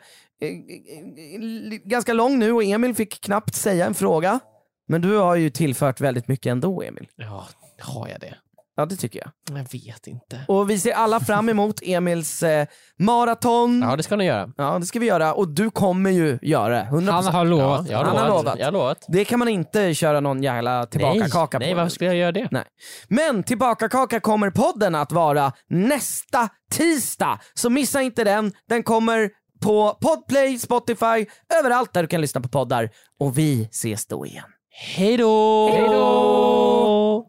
[SPEAKER 3] li- ganska lång nu och Emil fick knappt säga en fråga. Men du har ju tillfört väldigt mycket ändå Emil.
[SPEAKER 2] Ja, har jag det?
[SPEAKER 3] Ja det tycker jag.
[SPEAKER 2] Jag vet inte.
[SPEAKER 3] Och vi ser alla fram emot Emils eh, maraton. Ja.
[SPEAKER 2] Ja, det ska ni göra.
[SPEAKER 3] det ska vi göra och du kommer ju göra det. 100%.
[SPEAKER 4] Han har
[SPEAKER 2] Ja,
[SPEAKER 4] lovat.
[SPEAKER 2] jag har
[SPEAKER 3] Han har
[SPEAKER 2] lovat.
[SPEAKER 3] lovat.
[SPEAKER 2] Jag har lovat.
[SPEAKER 3] Det kan man inte köra någon jävla
[SPEAKER 2] Nej,
[SPEAKER 3] tillbaka-kaka
[SPEAKER 2] nej
[SPEAKER 3] på.
[SPEAKER 2] varför skulle jag göra det?
[SPEAKER 3] Nej. Men Tillbaka-kaka kommer podden att vara nästa tisdag. Så missa inte den. Den kommer på Podplay, Spotify, överallt där du kan lyssna på poddar. Och vi ses då igen.
[SPEAKER 2] Hej då!
[SPEAKER 4] Hej då!